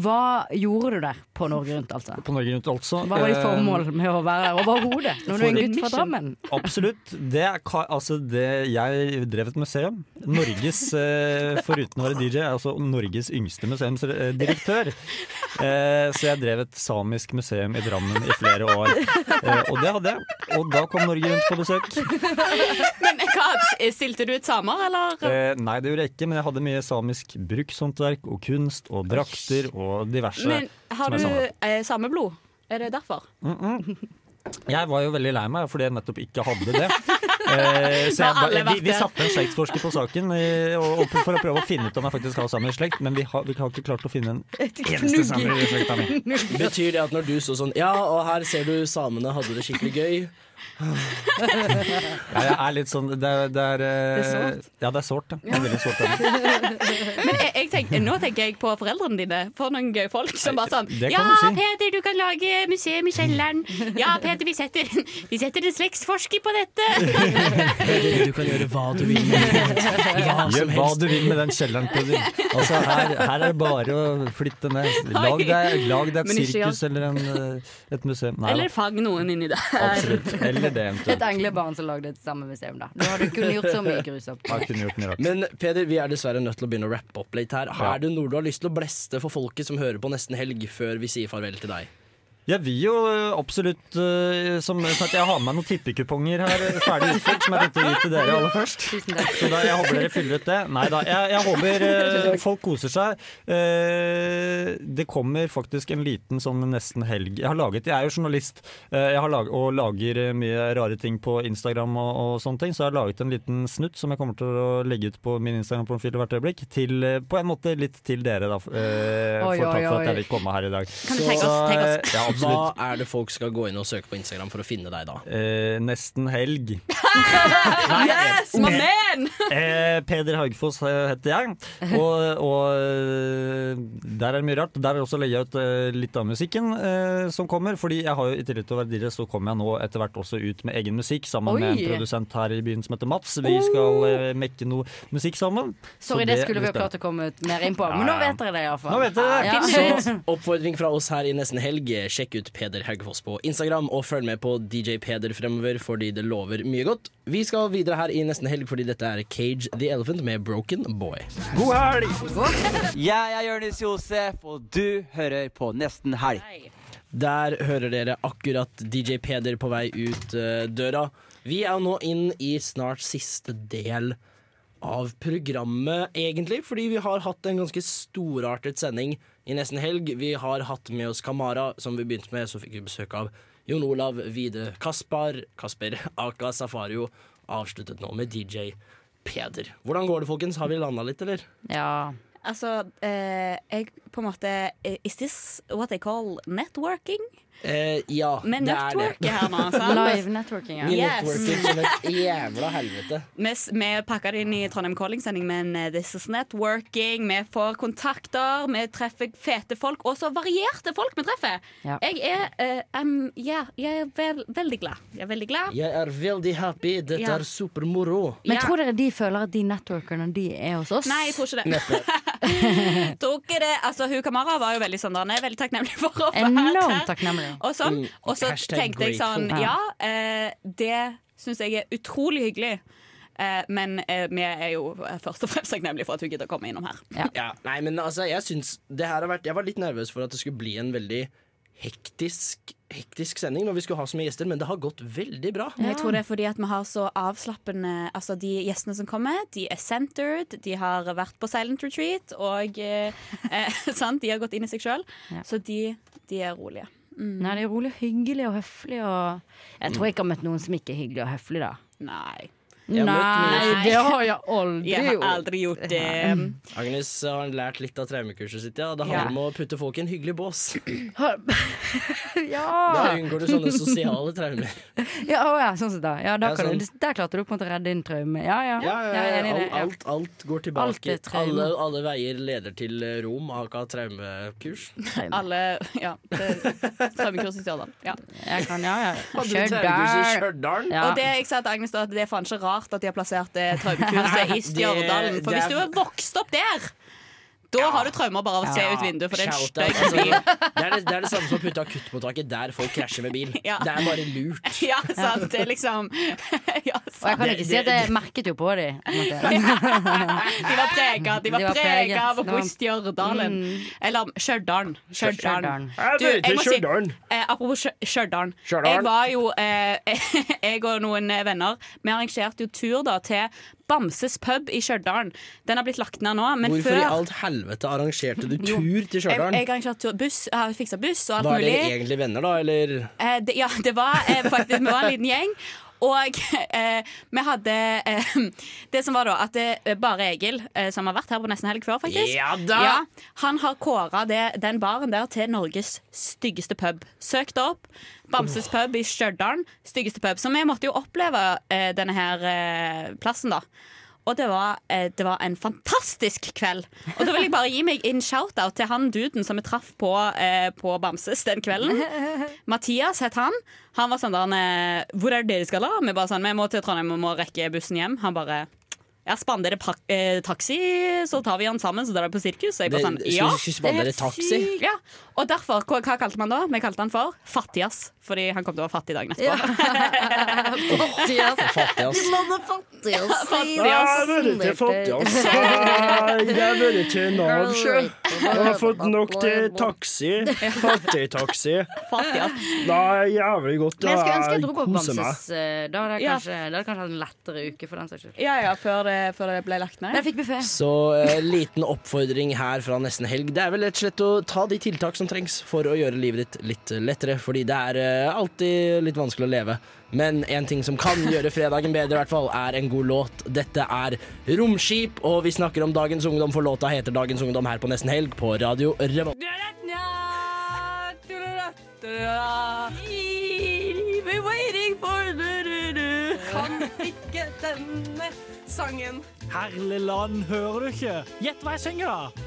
[SPEAKER 9] Hva gjorde du der på Norge Rundt, altså?
[SPEAKER 16] På Norge Rundt, altså.
[SPEAKER 9] Hva var ditt formål med å være her overhodet? Når du er en
[SPEAKER 16] For-
[SPEAKER 9] gutt fra Drammen?
[SPEAKER 16] Absolutt. Det er ka- altså det Jeg drev et museum. Norges, eh, foruten å være DJ, er altså Norges yngste museumsdirektør. Eh, så jeg drev et samisk museum i Drammen i flere år. Eh, og det hadde jeg. Og da kom Norge Rundt på besøk.
[SPEAKER 7] <laughs> Men hva, eh, stilte du ut samer, eller?
[SPEAKER 16] Eh, nei, det gjorde jeg ikke, men jeg hadde mye samisk brukshåndverk og kunst og drakter og diverse.
[SPEAKER 7] Men har
[SPEAKER 16] som jeg
[SPEAKER 7] du
[SPEAKER 16] samlet.
[SPEAKER 7] eh, sameblod? Er det derfor?
[SPEAKER 16] Mm -mm. Jeg var jo veldig lei meg fordi jeg nettopp ikke hadde
[SPEAKER 7] <laughs>
[SPEAKER 16] det. Eh, så
[SPEAKER 7] Da
[SPEAKER 16] jeg,
[SPEAKER 7] har alle
[SPEAKER 16] ba- vi,
[SPEAKER 7] vært
[SPEAKER 16] vi
[SPEAKER 7] det.
[SPEAKER 16] satte en slektsforsker på saken eh, og, og for å prøve å finne ut om jeg faktisk har samme slekt, men vi har, vi har ikke klart å
[SPEAKER 7] <laughs>
[SPEAKER 16] finne en eneste samer i slekta mi.
[SPEAKER 3] Betyr det at når du så sånn Ja, og her ser du samene hadde det skikkelig gøy.
[SPEAKER 16] Ja, jeg er litt sånn Det er, det er, eh,
[SPEAKER 7] Det er sårt.
[SPEAKER 16] Ja, det er sårt. ja. Det er veldig sårt. ja.
[SPEAKER 7] Men jeg, jeg tenker, nå tenker jeg på foreldrene dine. For noen gøye folk som bare sånn
[SPEAKER 16] Det kan
[SPEAKER 7] Ja,
[SPEAKER 16] du si.
[SPEAKER 7] Peter, du kan lage museum i
[SPEAKER 16] <laughs>
[SPEAKER 7] kjelleren. Ja, Peter, vi setter, vi setter en slektsforsker på dette.
[SPEAKER 3] Du kan gjøre hva du vil. Hva som
[SPEAKER 16] Gjør hva
[SPEAKER 3] helst.
[SPEAKER 16] du vil med den kjelleren.
[SPEAKER 7] <laughs>
[SPEAKER 16] Peder. Altså, her, her er det bare å flytte ned. Lag deg, lag deg
[SPEAKER 7] Men
[SPEAKER 16] et
[SPEAKER 7] ikke
[SPEAKER 16] sirkus eller en, eh, et museum. Nei,
[SPEAKER 7] Eller
[SPEAKER 16] da.
[SPEAKER 7] fang noen inni der. <laughs>
[SPEAKER 16] Absolutt. Eller det,
[SPEAKER 9] Et
[SPEAKER 16] eventuelt.
[SPEAKER 9] englebarn som lagde et samme museum, da. Da hadde du kunnet gjort så mye grusomt.
[SPEAKER 16] Jeg kunne gjort mye rart.
[SPEAKER 3] Men Peder, vi er dessverre nødt til å begynne å rappe opp litt her.
[SPEAKER 16] Ja.
[SPEAKER 3] Er det noe du har lyst til å bleste for folket som hører på nesten helg, før vi sier farvel til deg?
[SPEAKER 16] Jeg vil jo eh, absolutt eh, som sagt, Jeg har med meg noen tippekuponger her eh, ferdig utført, som jeg tenkte å gi til dere aller først. Så da, jeg håper dere fyller ut det. Nei da, jeg, jeg
[SPEAKER 3] <laughs>
[SPEAKER 16] håper eh, folk koser seg. Eh, det kommer faktisk en liten sånn nesten helg. Jeg har laget, jeg er jo journalist eh, jeg har lag, og lager eh, mye rare ting på Instagram og, og sånne ting, så jeg har laget en liten snutt som jeg kommer til å legge ut på min Instagram-profil hvert øyeblikk. Til, eh, på en måte litt til dere, da. eh,
[SPEAKER 3] Oi,
[SPEAKER 16] for takk
[SPEAKER 3] oi,
[SPEAKER 16] for
[SPEAKER 3] oi.
[SPEAKER 16] at jeg fikk komme her i dag.
[SPEAKER 3] Kan du
[SPEAKER 16] Så,
[SPEAKER 3] tenke oss- tenke oss?
[SPEAKER 16] eh, Ja, absolutt.
[SPEAKER 3] Hva er det folk skal gå inn og søke på Instagram for å finne deg, da?
[SPEAKER 16] Eh, nesten helg.
[SPEAKER 7] Yes, my man!
[SPEAKER 16] Eh, Peder Haugfoss eh, heter jeg, og, og eh, der er det mye rart. Der er også legger jeg ut eh, litt av musikken eh, som kommer, fordi jeg har jo i tillegg til å være DJ, så kommer jeg nå etter hvert også ut med egen musikk sammen med en
[SPEAKER 9] Oi. Oh!
[SPEAKER 16] produsent her i byen som heter Mats. Vi skal eh, mekke noe musikk sammen. Så
[SPEAKER 9] Sorry, det skulle vi
[SPEAKER 16] blir
[SPEAKER 9] ha klart å komme ut mer inn på, men nå vet dere det iallfall.
[SPEAKER 16] Nå vet dere det.
[SPEAKER 3] Så oppfordring fra oss her i Nesten Helg, sjekk ut Peder Haugfoss på Instagram, og følg med på DJ Peder fremover, fordi det lover mye godt. Vi skal videre her i Nesten Helg, fordi dette er Cage the Elephant med Broken Boy.
[SPEAKER 19] God helg! Jeg er Jonis Josef, og du hører på Nesten helg.
[SPEAKER 3] Der hører dere akkurat DJ Peder på vei ut eh, døra. Vi er jo nå inn i snart siste del av programmet, egentlig, fordi vi har hatt en ganske storartet sending i nesten helg. Vi har hatt med oss Kamara, som vi begynte med, så fikk vi besøk av Jon Olav, Vide Kaspar, Kasper Aka Safario, avsluttet nå med DJ Peder. Hvordan går det, folkens? Har vi landa litt, eller?
[SPEAKER 9] Ja.
[SPEAKER 7] <laughs> Altså, eh, jeg på en måte eh, Is this what they call networking?
[SPEAKER 3] Eh, ja,
[SPEAKER 7] Men
[SPEAKER 3] det er det.
[SPEAKER 7] networket her nå, <laughs> sant?
[SPEAKER 9] Live networking, ja.
[SPEAKER 3] Vi
[SPEAKER 7] Yes.
[SPEAKER 3] networker som et jævla helvete.
[SPEAKER 7] Vi, s- vi pakker det inn i Trondheim Calling-sending, men eh, this is networking. Vi får kontakter, vi treffer fete folk, og så varierte folk vi treffer.
[SPEAKER 3] Ja.
[SPEAKER 7] Jeg er eh, em, Ja, jeg er vel, veldig glad. Jeg er veldig glad.
[SPEAKER 3] Jeg er veldig happy. Dette
[SPEAKER 7] Ja.
[SPEAKER 3] er supermoro.
[SPEAKER 9] Men tror dere de føler at de networkerne de er hos oss?
[SPEAKER 7] Nei, jeg tror ikke det. <laughs> Tror ikke det. Altså, hun Kamara var jo veldig sånn da. Han er veldig takknemlig for å være
[SPEAKER 9] Enormt
[SPEAKER 7] her.
[SPEAKER 9] takknemlig.
[SPEAKER 7] Og, sånn.
[SPEAKER 9] Mm.
[SPEAKER 7] og så
[SPEAKER 9] Hashtag
[SPEAKER 7] tenkte jeg sånn
[SPEAKER 9] grateful.
[SPEAKER 7] Ja, eh, det syns jeg er utrolig hyggelig. Eh, men eh, vi er jo eh, først og fremst takknemlige for at hun gidder å komme innom her.
[SPEAKER 3] Ja, nei, men altså, jeg syns det her har vært Jeg var litt nervøs for at det skulle bli en veldig hektisk, hektisk sending når vi skulle ha så mye gjester, men det har gått veldig bra.
[SPEAKER 7] Men Jeg tror det er fordi at vi har så avslappende Altså De gjestene som kommer, de er centered, de har vært på silent retreat, og eh, eh, <laughs> sant? de har gått inn i seg sjøl.
[SPEAKER 9] Ja.
[SPEAKER 7] Så de, de er rolige.
[SPEAKER 9] Nei, det er rolig og hyggelig og høflig og Jeg tror jeg ikke har møtt noen som ikke er hyggelig og høflig, da.
[SPEAKER 7] Nei.
[SPEAKER 3] Jeg må ikke-
[SPEAKER 7] Nei. Jeg har aldri gjort det. Um,
[SPEAKER 3] Agnes har lært litt av traumekurset sitt, ja. Det
[SPEAKER 7] Ja.
[SPEAKER 3] handler om å putte folk i en hyggelig bås.
[SPEAKER 9] <laughs>
[SPEAKER 3] Da
[SPEAKER 9] Ja!
[SPEAKER 3] unngår du sånne sosiale traumer.
[SPEAKER 9] Ja, å, ja, sånn sett da. Ja, da
[SPEAKER 3] Ja,
[SPEAKER 9] kan du,
[SPEAKER 3] sånn.
[SPEAKER 9] der klarte du på en måte å redde inn traume. Ja, ja. Jeg er enig i det.
[SPEAKER 3] Alt,
[SPEAKER 9] Ja.
[SPEAKER 3] alt, alt går
[SPEAKER 9] Alt
[SPEAKER 3] tilbake.
[SPEAKER 9] er traume.
[SPEAKER 3] Alle, alle veier leder til eh, Rom, aka traumekurs.
[SPEAKER 7] Alle Ja. det- Traumekurs i Stjørdal. Ja.
[SPEAKER 9] Jeg kan, ja, ja.
[SPEAKER 3] Hadde du traumekurs i Stjørdal?
[SPEAKER 7] Og det jeg sa til Agnes, da, at det er faen ikke rart at de har plassert det
[SPEAKER 3] <laughs>
[SPEAKER 7] traumekurset i
[SPEAKER 3] Det-
[SPEAKER 7] Stjørdalen. For
[SPEAKER 3] det
[SPEAKER 7] hvis
[SPEAKER 3] er-
[SPEAKER 7] du er vokst opp der, da har du traumer bare av å se ut vinduet, for det er en
[SPEAKER 3] Shout
[SPEAKER 7] stygg
[SPEAKER 3] out,
[SPEAKER 7] by.
[SPEAKER 3] altså. det, er det, det er det samme som å putte akuttmottaket der folk krasjer med bil.
[SPEAKER 7] Ja.
[SPEAKER 3] Det er bare lurt.
[SPEAKER 7] <laughs> Ja, sant. Det er liksom <laughs> ja, sant.
[SPEAKER 9] Og jeg kan ikke si at jeg merket jo på dem. <laughs>
[SPEAKER 7] De var prega
[SPEAKER 9] De
[SPEAKER 7] de var
[SPEAKER 9] var preget.
[SPEAKER 7] prega av å
[SPEAKER 9] Det
[SPEAKER 7] bo
[SPEAKER 9] var-
[SPEAKER 7] i Stjørdalen. Eller Stjørdalen.
[SPEAKER 9] Stjørdalen.
[SPEAKER 7] Stjørdalen. Du,
[SPEAKER 9] Jeg vet
[SPEAKER 7] jeg må
[SPEAKER 9] ikke
[SPEAKER 7] si-
[SPEAKER 9] Stjørdalen.
[SPEAKER 7] eh, Apropos Stjø- Stjørdalen.
[SPEAKER 9] Stjørdalen.
[SPEAKER 7] Jeg var jo eh, <laughs> Jeg og noen eh, venner Vi arrangerte jo tur da til Bamses pub i Stjørdalen. Den har blitt lagt ned nå, <laughs> men
[SPEAKER 3] Hvorfor
[SPEAKER 7] før
[SPEAKER 3] i alt helvete arrangerte du
[SPEAKER 7] Jo.
[SPEAKER 3] tur til
[SPEAKER 7] Jeg, jeg
[SPEAKER 3] Stjørdal?
[SPEAKER 7] arrangerte tur- buss, jeg har fiksa buss og alt
[SPEAKER 3] Var
[SPEAKER 7] mulig.
[SPEAKER 3] dere egentlig venner, da, eller?
[SPEAKER 7] Eh, det, ja, det var eh, faktisk Vi var en liten gjeng. Og <laughs> eh, vi hadde eh, Det som var da, at eh, Bare Egil, eh, som har vært her på nesten helg før, faktisk
[SPEAKER 2] Ja da!
[SPEAKER 7] Han har kåra den baren der til Norges styggeste pub. Søk det opp. Bamses pub i Stjørdal. Styggeste pub. Så vi måtte jo oppleve eh, denne her eh, plassen, da. Og det var, eh, det var en fantastisk kveld. Og da vil jeg bare gi meg en shout-out til han duden som vi traff på, eh, på Bamses den kvelden. Mathias het han. Han var sånn der han, eh, Hvor er det dere skal da? Vi bare sånn, vi må til Trondheim og må rekke bussen hjem. Han bare ja, Spander dere pak- eh, taxi, så tar vi han sammen, så drar dere på sirkus. Og jeg bare
[SPEAKER 3] Det-
[SPEAKER 7] sånn,
[SPEAKER 3] skulle-
[SPEAKER 7] ja.
[SPEAKER 3] skulle spander Det er helt dere taxi? sykt.
[SPEAKER 7] Ja. Og derfor, hva, hva kalte man da? Vi kalte han for Fattigas, fordi han kom til å være fattig dagen etterpå. <laughs>
[SPEAKER 3] Fattig,
[SPEAKER 21] <laughs>
[SPEAKER 3] ass.
[SPEAKER 9] <laughs>
[SPEAKER 21] Jeg har vært til Nav sjøl. Jeg har fått nok til
[SPEAKER 3] <laughs>
[SPEAKER 21] taxi. Fattigtaxi. Det er jævlig godt.
[SPEAKER 9] Men jeg skulle ønske
[SPEAKER 21] Jeg
[SPEAKER 9] jeg dro på
[SPEAKER 21] koser meg.
[SPEAKER 9] Bamses. eh, Da hadde jeg
[SPEAKER 7] Ja.
[SPEAKER 9] kanskje, da hadde jeg kanskje hatt en lettere uke, for den saks skyld.
[SPEAKER 7] Ja, ja, før det, før det ble lagt ned.
[SPEAKER 9] Men jeg fikk buffé.
[SPEAKER 3] Så eh, liten oppfordring her fra nesten helg. Det er vel rett og slett å ta de tiltak som trengs for å gjøre livet ditt litt lettere, fordi det er eh, alltid litt vanskelig å leve. Men en ting som kan gjøre fredagen bedre, i hvert fall, er en god låt. Dette er Romskip, og vi snakker om Dagens Ungdom, for låta heter Dagens Ungdom her på Nesten Helg på Radio Revolt.
[SPEAKER 2] We're waiting for du-du-du. Kan ikke denne sangen.
[SPEAKER 22] Herligland, hører du ikke? Gjett hva jeg synger, da!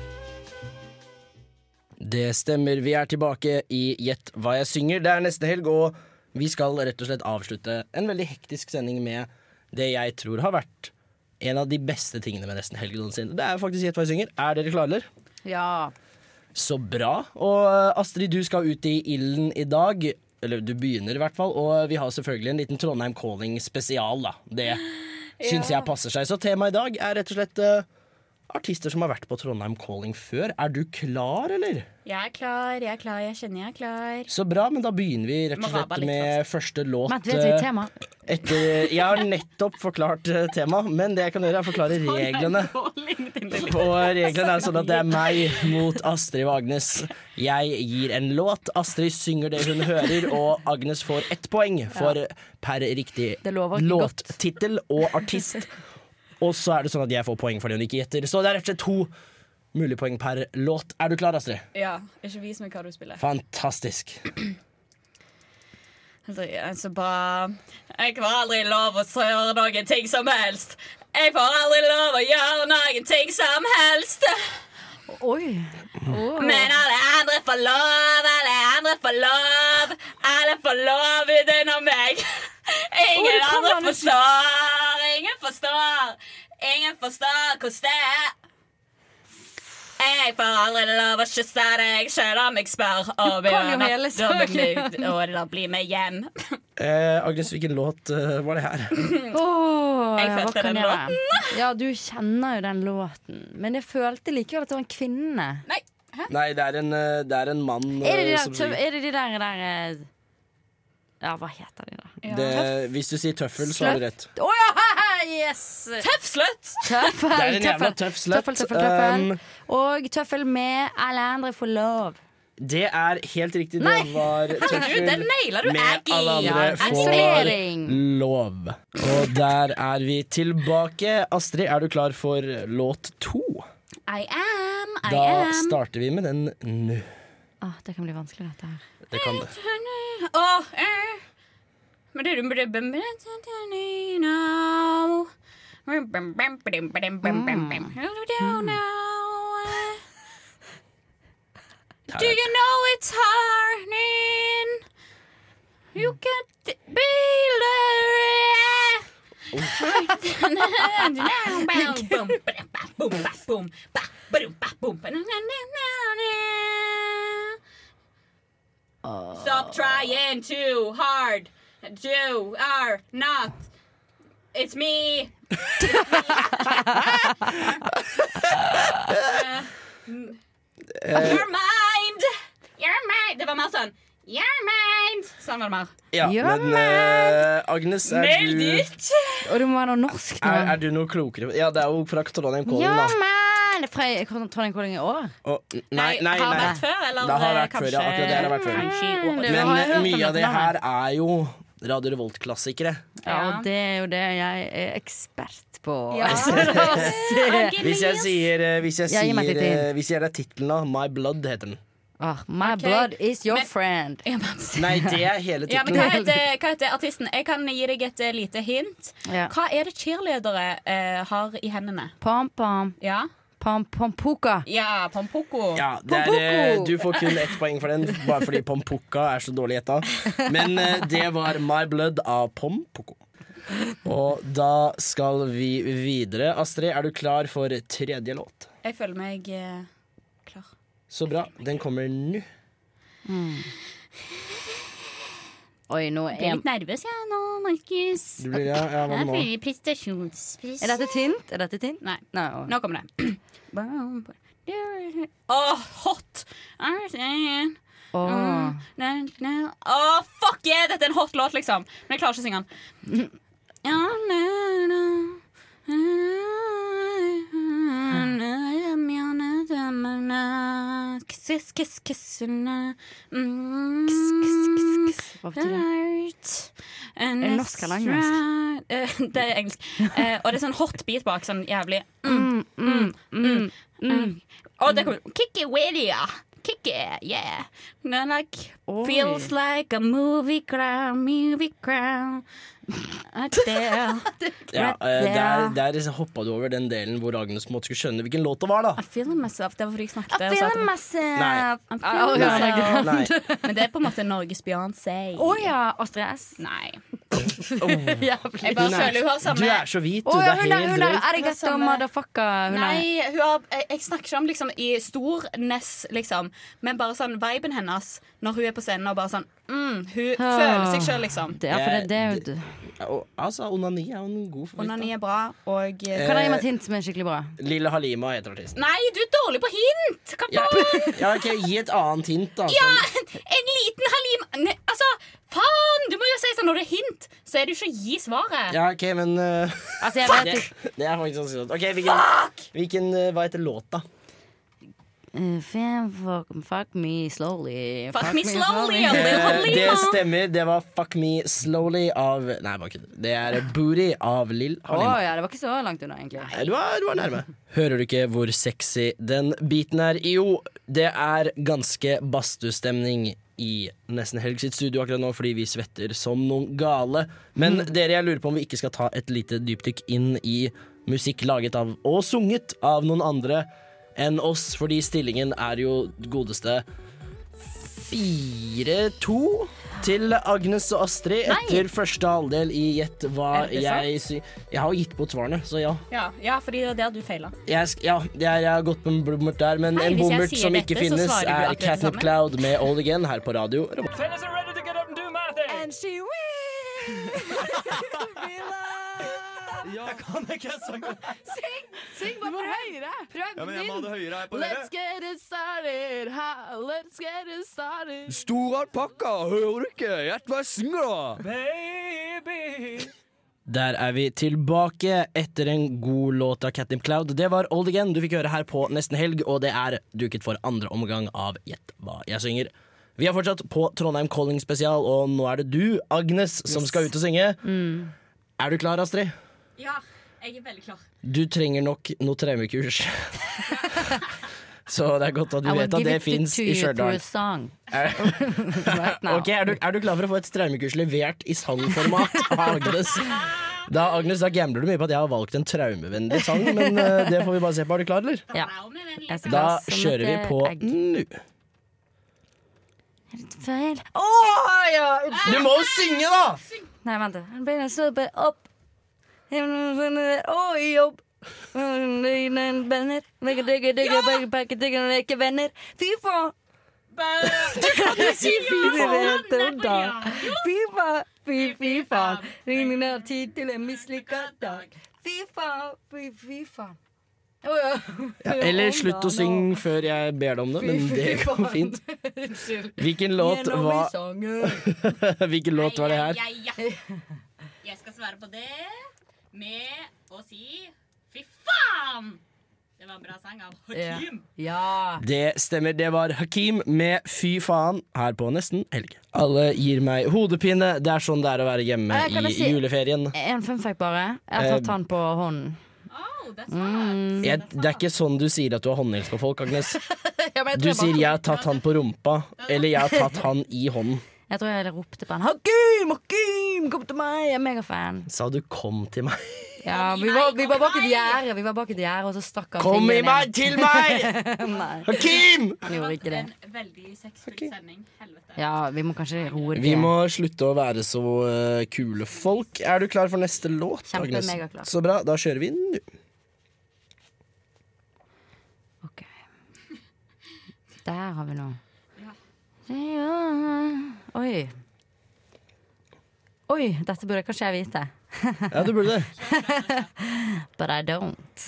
[SPEAKER 3] Det stemmer, vi er tilbake i Gjett hva jeg synger. Det er neste helg, og vi skal rett og slett avslutte en veldig hektisk sending med det jeg tror har vært en av de beste tingene med Nesten helg noensinne. Det er faktisk Gjett hva jeg synger. Er dere klare? eller?
[SPEAKER 9] Ja.
[SPEAKER 3] Så bra. Og eh, Astrid, du skal ut i ilden i dag. Eller du begynner, i hvert fall. Og vi har selvfølgelig en liten Trondheim Calling spesial, da. Det syns jeg passer seg. Så temaet i dag er rett og slett eh, artister som har vært på Trondheim Calling før. Er du klar, eller?
[SPEAKER 7] Jeg er klar, jeg er klar, jeg kjenner jeg er klar.
[SPEAKER 3] Så bra, men da begynner vi rett
[SPEAKER 7] Må
[SPEAKER 3] og
[SPEAKER 7] rabbe
[SPEAKER 3] slett
[SPEAKER 7] litt
[SPEAKER 3] med første låt.
[SPEAKER 9] Vent, vet vi
[SPEAKER 3] eh,
[SPEAKER 9] tema?
[SPEAKER 3] Etter, jeg har nettopp forklart eh, temaet, men det jeg kan gjøre, er å forklare reglene. Og reglene er sånn at det er meg mot Astrid og Agnes. Jeg gir en låt, Astrid synger det hun hører, og Agnes får ett poeng for per riktig låttittel og artist. Og så er det sånn at jeg får poeng for det hun ikke gjetter. Så det er rett og slett to mulige poeng per låt. Er du klar, Astrid?
[SPEAKER 7] <laughs> Ja, ikke vis meg hva du spiller.
[SPEAKER 3] Fantastisk.
[SPEAKER 7] Altså, altså bare Jeg får aldri lov å gjøre noen ting som helst. Jeg får aldri lov å gjøre noen ting som helst.
[SPEAKER 9] Oi.
[SPEAKER 7] Men alle andre får lov, alle andre får lov. Alle får lov utenom meg. <laughs>
[SPEAKER 2] Oi,
[SPEAKER 7] Ingen
[SPEAKER 2] kom
[SPEAKER 7] andre
[SPEAKER 2] an,
[SPEAKER 7] forstår, ingen forstår. Ingen forstår hvordan det er. Jeg får aldri lov å kysse deg, selv om jeg spør. Og
[SPEAKER 9] Du kan jo hele
[SPEAKER 7] da blir-
[SPEAKER 9] sangen.
[SPEAKER 7] Og da blir vi hjem.
[SPEAKER 3] Eh, Agnes, hvilken låt eh, var det her?
[SPEAKER 9] Åh,
[SPEAKER 7] Jeg
[SPEAKER 9] ja,
[SPEAKER 7] følte
[SPEAKER 9] hva kan
[SPEAKER 7] den
[SPEAKER 9] jeg gjøre? Ja, du kjenner jo den låten. Men jeg følte likevel at det var en kvinne.
[SPEAKER 3] Nei, det er en, eh, det er en mann
[SPEAKER 9] Er det de
[SPEAKER 3] eh,
[SPEAKER 9] der,
[SPEAKER 3] som
[SPEAKER 9] tøv-
[SPEAKER 3] synger.
[SPEAKER 9] er det de der, der eh, Ja, hva heter de, da?
[SPEAKER 3] Det, hvis du sier tøffel, så har du rett.
[SPEAKER 9] Å ja, yes!
[SPEAKER 7] Tøff slutt!
[SPEAKER 9] Tøffel,
[SPEAKER 3] Det er en jævla Um,
[SPEAKER 9] tøffel.
[SPEAKER 3] tøff slutt.
[SPEAKER 9] Tøffel, tøffel, tøffel.
[SPEAKER 3] Um,
[SPEAKER 9] Og tøffel med alle andre får lov.
[SPEAKER 3] Det er helt riktig. Det
[SPEAKER 2] Nei!
[SPEAKER 9] <laughs>
[SPEAKER 3] var
[SPEAKER 2] Herregud,
[SPEAKER 3] Tøffel
[SPEAKER 2] den naila du,
[SPEAKER 3] med
[SPEAKER 2] Aggie!
[SPEAKER 3] alle andre
[SPEAKER 2] Ja,
[SPEAKER 3] får
[SPEAKER 2] isolering.
[SPEAKER 3] lov. Og der er vi tilbake. Astrid, er du klar for låt to?
[SPEAKER 9] I am, I
[SPEAKER 3] Da
[SPEAKER 9] am.
[SPEAKER 3] starter vi med den nå.
[SPEAKER 9] Ah, det kan bli vanskelig, dette her.
[SPEAKER 3] Det kan det.
[SPEAKER 7] Åh, eh. Men det er jo bare bum, bum, bum, bum, now. Bum, bum, bum, bum, bum, bum, bum, bum. Do you know? Do you know it's hurting? You can't be <laughs> Stop trying too hard. You are not. It's
[SPEAKER 3] <laughs>
[SPEAKER 7] me.
[SPEAKER 3] Eh.
[SPEAKER 7] uh, m- your mind. Your mind. Det var mer sånn. Your mind. Sånn var det mer.
[SPEAKER 3] Ja, men eh, Agnes, er
[SPEAKER 7] Meld
[SPEAKER 3] du,
[SPEAKER 7] ditt.
[SPEAKER 9] Og du må ha noe norsk nå.
[SPEAKER 3] er, er du noe klokere? Ja, det er jo fra Trondheim Calling,
[SPEAKER 9] ja,
[SPEAKER 3] da.
[SPEAKER 9] men! Fra Trondheim Calling i år?
[SPEAKER 3] Og, nei, nei, nei.
[SPEAKER 9] har vært før, eller
[SPEAKER 3] det
[SPEAKER 7] eh,
[SPEAKER 3] har vært før, ja,
[SPEAKER 9] kanskje-
[SPEAKER 3] akkurat det har vært før.
[SPEAKER 9] Kanskje i år. Det
[SPEAKER 3] Men
[SPEAKER 9] har jeg hørt
[SPEAKER 3] eh,
[SPEAKER 9] om
[SPEAKER 3] mye av
[SPEAKER 9] dette
[SPEAKER 3] det her
[SPEAKER 9] navnet.
[SPEAKER 3] er jo Radio Revolt-klassikere.
[SPEAKER 9] Ja, og det er jo det jeg er ekspert på.
[SPEAKER 3] Ja.
[SPEAKER 9] <laughs>
[SPEAKER 3] Hvis jeg sier, eh, hvis jeg
[SPEAKER 9] Ja, gi
[SPEAKER 3] sier,
[SPEAKER 9] meg tittelen.
[SPEAKER 3] eh, hvis jeg gir deg tittelen, da. My Blood heter den.
[SPEAKER 9] Ah, my blood is your friend.
[SPEAKER 3] Nei, det er
[SPEAKER 9] <laughs>
[SPEAKER 3] hele
[SPEAKER 7] Ja, men
[SPEAKER 3] tittelen.
[SPEAKER 7] hva heter, hva heter artisten? Jeg kan gi deg et eh, lite hint.
[SPEAKER 9] Ja.
[SPEAKER 7] Hva er det cheerledere eh, har i hendene?
[SPEAKER 9] Pom-pom.
[SPEAKER 7] Ja,
[SPEAKER 9] Pom-pom-puka.
[SPEAKER 7] ja pompoko.
[SPEAKER 3] Ja, det er, eh, du får kun ett poeng for den, bare fordi Pompokka er så dårlig gjetta. Men eh, det var My Blood av Pompoko. Og da skal vi videre. Astrid, er du klar for tredje låt?
[SPEAKER 7] Jeg føler meg eh, klar.
[SPEAKER 3] Så bra. Den kommer nå.
[SPEAKER 9] Oi, nå
[SPEAKER 7] Jeg er
[SPEAKER 9] er
[SPEAKER 7] litt nervøs jeg nå, Markus.
[SPEAKER 3] Du blir- ja, ja, hva
[SPEAKER 7] jeg
[SPEAKER 3] nå?
[SPEAKER 7] føler prestasjonspress.
[SPEAKER 9] Er dette tynt? Er dette tynt?
[SPEAKER 7] Nei.
[SPEAKER 9] å.
[SPEAKER 7] Nå kommer det. <clears throat> Åh, hot! I'm saying.
[SPEAKER 9] Åh.
[SPEAKER 7] Mm, na, na. Åh, fuck yeah! Dette er en hot låt, liksom. Men jeg klarer ikke å synge den. Ja, na, na. Kiss, kiss, kiss Kiss, kiss, kiss
[SPEAKER 9] Hva
[SPEAKER 7] betyr det? Er
[SPEAKER 9] det norsk eller engelsk?
[SPEAKER 7] Det er engelsk. Eh, Og det er sånn hot beat bak, sånn jævlig
[SPEAKER 9] Mm, mm, mm, mm.
[SPEAKER 7] Og det kommer Kick it with ya. Kick it, yeah. No, like,
[SPEAKER 9] Oi.
[SPEAKER 7] feels like a movie crown, movie crown. Right <laughs> there.
[SPEAKER 3] Ja,
[SPEAKER 7] Right
[SPEAKER 3] eh,
[SPEAKER 7] there.
[SPEAKER 3] der der hoppa du over den delen hvor Agnes måtte skulle skjønne hvilken låt det var, da.
[SPEAKER 7] I'm feeling myself. Det var fordi jeg snakket.
[SPEAKER 9] I'm
[SPEAKER 7] og sa at-
[SPEAKER 9] feeling myself.
[SPEAKER 3] Nei.
[SPEAKER 7] I'm
[SPEAKER 9] Oh,
[SPEAKER 7] feeling
[SPEAKER 9] ja.
[SPEAKER 7] myself.
[SPEAKER 3] Nei.
[SPEAKER 7] <laughs> Men det er på en måte Norges Beyoncé.
[SPEAKER 9] Å ja, Astrid S. <laughs>
[SPEAKER 7] Nei.
[SPEAKER 9] Jævlig.
[SPEAKER 7] Jeg bare føler hun har samme
[SPEAKER 3] Du er så hvit, du.
[SPEAKER 9] Å, ja,
[SPEAKER 3] det
[SPEAKER 9] hun
[SPEAKER 3] er
[SPEAKER 9] er,
[SPEAKER 3] helt
[SPEAKER 9] hun er sånn, eh,
[SPEAKER 3] drøyt.
[SPEAKER 9] arigato motherfucker. Hun er
[SPEAKER 7] Nei, hun har, jeg, jeg snakker ikke om liksom, i storness, liksom. Men bare sånn viben hennes når hun er på scenen og bare sånn mm, Hun føler seg sjøl, liksom.
[SPEAKER 9] Det er, for det,
[SPEAKER 3] Eh,
[SPEAKER 9] det er jo
[SPEAKER 3] Ja, og, Altså, onani er jo en god favoritt. da.
[SPEAKER 7] Onani er bra, og eh,
[SPEAKER 3] Eh,
[SPEAKER 9] Kan jeg gi meg et hint som er skikkelig bra?
[SPEAKER 3] Lille Halima heter artisten.
[SPEAKER 7] Nei, du er dårlig på hint! Kom
[SPEAKER 3] Ja,
[SPEAKER 7] på!
[SPEAKER 3] ja ok, Gi et annet hint, da.
[SPEAKER 7] Ja,
[SPEAKER 3] som-
[SPEAKER 7] en liten halim Nei, Altså, faen! Du må jo si sånn når det er hint, så er det jo ikke å gi svaret.
[SPEAKER 3] Ja, OK, men eh, <laughs>
[SPEAKER 9] Altså, jeg
[SPEAKER 3] det,
[SPEAKER 9] vet ikke.
[SPEAKER 3] det er faktisk sannsynlig. OK, hvilken, hvilken eh, Hva heter låta?
[SPEAKER 9] Eh, fan, fuck, fuck me slowly.
[SPEAKER 7] Fuck me slowly, ja, det
[SPEAKER 3] Eh, det stemmer. Det var Fuck Me Slowly av Nei, bare kødd. Det er Booty av Lill
[SPEAKER 9] Å
[SPEAKER 3] Halima.
[SPEAKER 9] ja, det var ikke så langt unna, egentlig.
[SPEAKER 3] Nei, Du var, du var nærme. Hører du ikke hvor sexy den biten er? Jo, det er ganske badstustemning i Nesten Helg sitt studio akkurat nå, fordi vi svetter som noen gale. Men dere, jeg lurer på om vi ikke skal ta et lite dypdykk inn i musikk laget av og sunget av noen andre enn oss, fordi stillingen er jo godeste 4-2 til Agnes og Astrid etter første halvdel i Gjett hva
[SPEAKER 7] Er det sant?
[SPEAKER 3] jeg sy... Jeg har jo gitt bort svarene, så ja.
[SPEAKER 7] Ja, ja fordi det er der du feiler.
[SPEAKER 3] Jeg, sk- ja, det er, jeg har gått på en bommert der, men
[SPEAKER 7] Nei,
[SPEAKER 3] en
[SPEAKER 7] hvis jeg
[SPEAKER 3] bommert
[SPEAKER 7] sier
[SPEAKER 3] som
[SPEAKER 7] dette,
[SPEAKER 3] ikke
[SPEAKER 7] så
[SPEAKER 3] finnes,
[SPEAKER 7] svarer du
[SPEAKER 3] er
[SPEAKER 7] akkurat det
[SPEAKER 3] Catnip
[SPEAKER 7] samme.
[SPEAKER 3] Cloud med All Again her på radio. Revolt.
[SPEAKER 22] Fellas are ready to get up and do my thing.
[SPEAKER 5] And she
[SPEAKER 21] Ja, jeg kan ikke sangen.
[SPEAKER 5] Syng! Syng, bare prøv! Høyere. Prøv
[SPEAKER 21] Ja, men jeg må ha det høyere her på
[SPEAKER 5] Let's
[SPEAKER 21] dere.
[SPEAKER 5] get it started, ha, let's get it started.
[SPEAKER 18] Stor alpakka, hører du ikke? Gjett hva jeg synger, da!
[SPEAKER 22] Baby,
[SPEAKER 3] Der er vi tilbake etter en god låt av Catnip Cloud. Det var Old Again du fikk høre her på Nesten Helg, og det er duket for andre omgang av Gjett hva jeg synger. Vi er fortsatt på Trondheim Calling spesial, og nå er det du, Agnes, som
[SPEAKER 7] Yes. Mm.
[SPEAKER 3] skal ut og synge. Er du klar, Astrid?
[SPEAKER 7] Ja, jeg er veldig klar.
[SPEAKER 3] Du trenger nok noe tremekurs. <laughs> Så det er godt at du
[SPEAKER 9] I will
[SPEAKER 3] vet at
[SPEAKER 9] give
[SPEAKER 3] det
[SPEAKER 9] it to
[SPEAKER 3] fins i
[SPEAKER 9] you through a
[SPEAKER 3] Stjørdal.
[SPEAKER 9] song.
[SPEAKER 3] Er,
[SPEAKER 9] <laughs>
[SPEAKER 3] Ok, er, du, er du klar for å få et traumekurs levert i sangformat av Agnes? Da, Agnes, da gambler du mye på at jeg har valgt en traumevennlig sang, men eh, det får vi bare se på. Er du klar, eller?
[SPEAKER 9] Ja.
[SPEAKER 3] Da kjører vi på nå.
[SPEAKER 9] Feil.
[SPEAKER 3] Du må jo synge, da!
[SPEAKER 9] Nei, vent. da. Beina stopper opp. Og i jobb. Venner. Digge, digge, digge, begge, begge, digge, leke venner. Fy faen!
[SPEAKER 7] <laughs>
[SPEAKER 9] Du kan jo si fy faen! da. Fy faen, fy, fy faen. Ringen har tid til en mislykka dag. Fy faen, fy, fy faen. Å, ja.
[SPEAKER 3] Ja, eller slutt å synge før jeg ber deg om det, men det går fint.
[SPEAKER 9] <laughs> Unnskyld.
[SPEAKER 3] Hvilken låt
[SPEAKER 9] Gjennom i
[SPEAKER 3] var-
[SPEAKER 9] sangen.
[SPEAKER 3] <laughs> Hvilken låt var det her?
[SPEAKER 7] Ja, ja. Jeg skal svare på det med å si fy faen! Det var en bra sang av Hakim.
[SPEAKER 9] Ja.
[SPEAKER 3] Det stemmer, det var Hakim med Fy faen her på Nesten helg. Alle gir meg hodepine, det er sånn det er å være hjemme
[SPEAKER 9] Eh, kan
[SPEAKER 3] i
[SPEAKER 9] jeg si-
[SPEAKER 3] juleferien.
[SPEAKER 9] En fun fact, bare. Jeg har
[SPEAKER 3] Eh,
[SPEAKER 9] tatt han på hånden. Mm.
[SPEAKER 3] Jeg, det er ikke sånn du sier at du har håndhils på folk, Agnes.
[SPEAKER 9] <laughs> Ja, men <laughs> jeg
[SPEAKER 3] Du
[SPEAKER 9] tror
[SPEAKER 3] sier
[SPEAKER 9] bare-
[SPEAKER 3] 'jeg har tatt han på rumpa', eller 'jeg har tatt han i hånden'.
[SPEAKER 9] Jeg tror jeg ropte på han. Hakim, Hakim, kom til meg! Jeg er megafan.
[SPEAKER 3] Sa du 'kom til
[SPEAKER 9] <laughs>
[SPEAKER 3] meg'?
[SPEAKER 9] Ja, vi var, vi var bak et gjerde, vi var bak et gjerde, og så stakk han
[SPEAKER 3] Kom i
[SPEAKER 9] fingeren
[SPEAKER 3] meg,
[SPEAKER 9] inn.
[SPEAKER 3] til
[SPEAKER 9] <laughs>
[SPEAKER 3] meg!
[SPEAKER 9] Nei.
[SPEAKER 3] Hakim!
[SPEAKER 9] Han gjorde ikke det.
[SPEAKER 7] En veldig sexfull sending. Helvete.
[SPEAKER 9] Ja, vi må kanskje roe det
[SPEAKER 3] Vi må slutte å være så eh, kule folk. Er du klar for neste låt,
[SPEAKER 9] Kjempe,
[SPEAKER 3] Agnes?
[SPEAKER 9] megaklar.
[SPEAKER 3] Så bra, da kjører vi
[SPEAKER 9] <laughs>
[SPEAKER 3] nå.
[SPEAKER 9] Der har vi noe.
[SPEAKER 7] Ja.
[SPEAKER 9] Ja. Oi. Oi, dette burde kanskje jeg vite.
[SPEAKER 3] Ja, du burde det.
[SPEAKER 9] But I don't.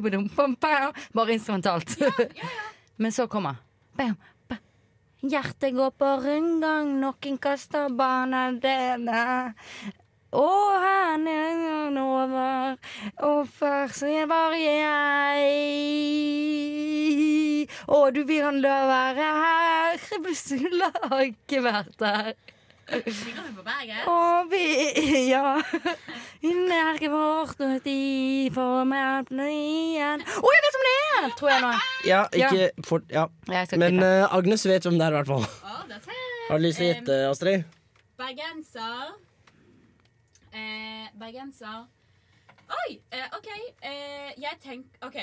[SPEAKER 9] Bare instrumentalt. <laughs> Men så kommer Hjertet går på rundgang, noen kaster banadene. Og hendene over, og først var jeg. Og du vil han la være her, plutselig har jeg ikke vært der.
[SPEAKER 7] Synger vi på berget?
[SPEAKER 9] Og vi, ja Nerket vårt og de får meg igjen Å, jeg vet om det er! Tror jeg nå.
[SPEAKER 3] Ja, ikke for, ja.
[SPEAKER 9] Jeg skal
[SPEAKER 3] Men
[SPEAKER 9] klippe.
[SPEAKER 3] eh, Agnes vet hvem det er, i hvert fall.
[SPEAKER 7] Å, det er sant.
[SPEAKER 3] Har du lyst til å
[SPEAKER 7] Em,
[SPEAKER 3] gjette, Astrid?
[SPEAKER 7] Bergenser. Eh, bergenser. Oi! Eh, OK, eh, jeg tenker OK.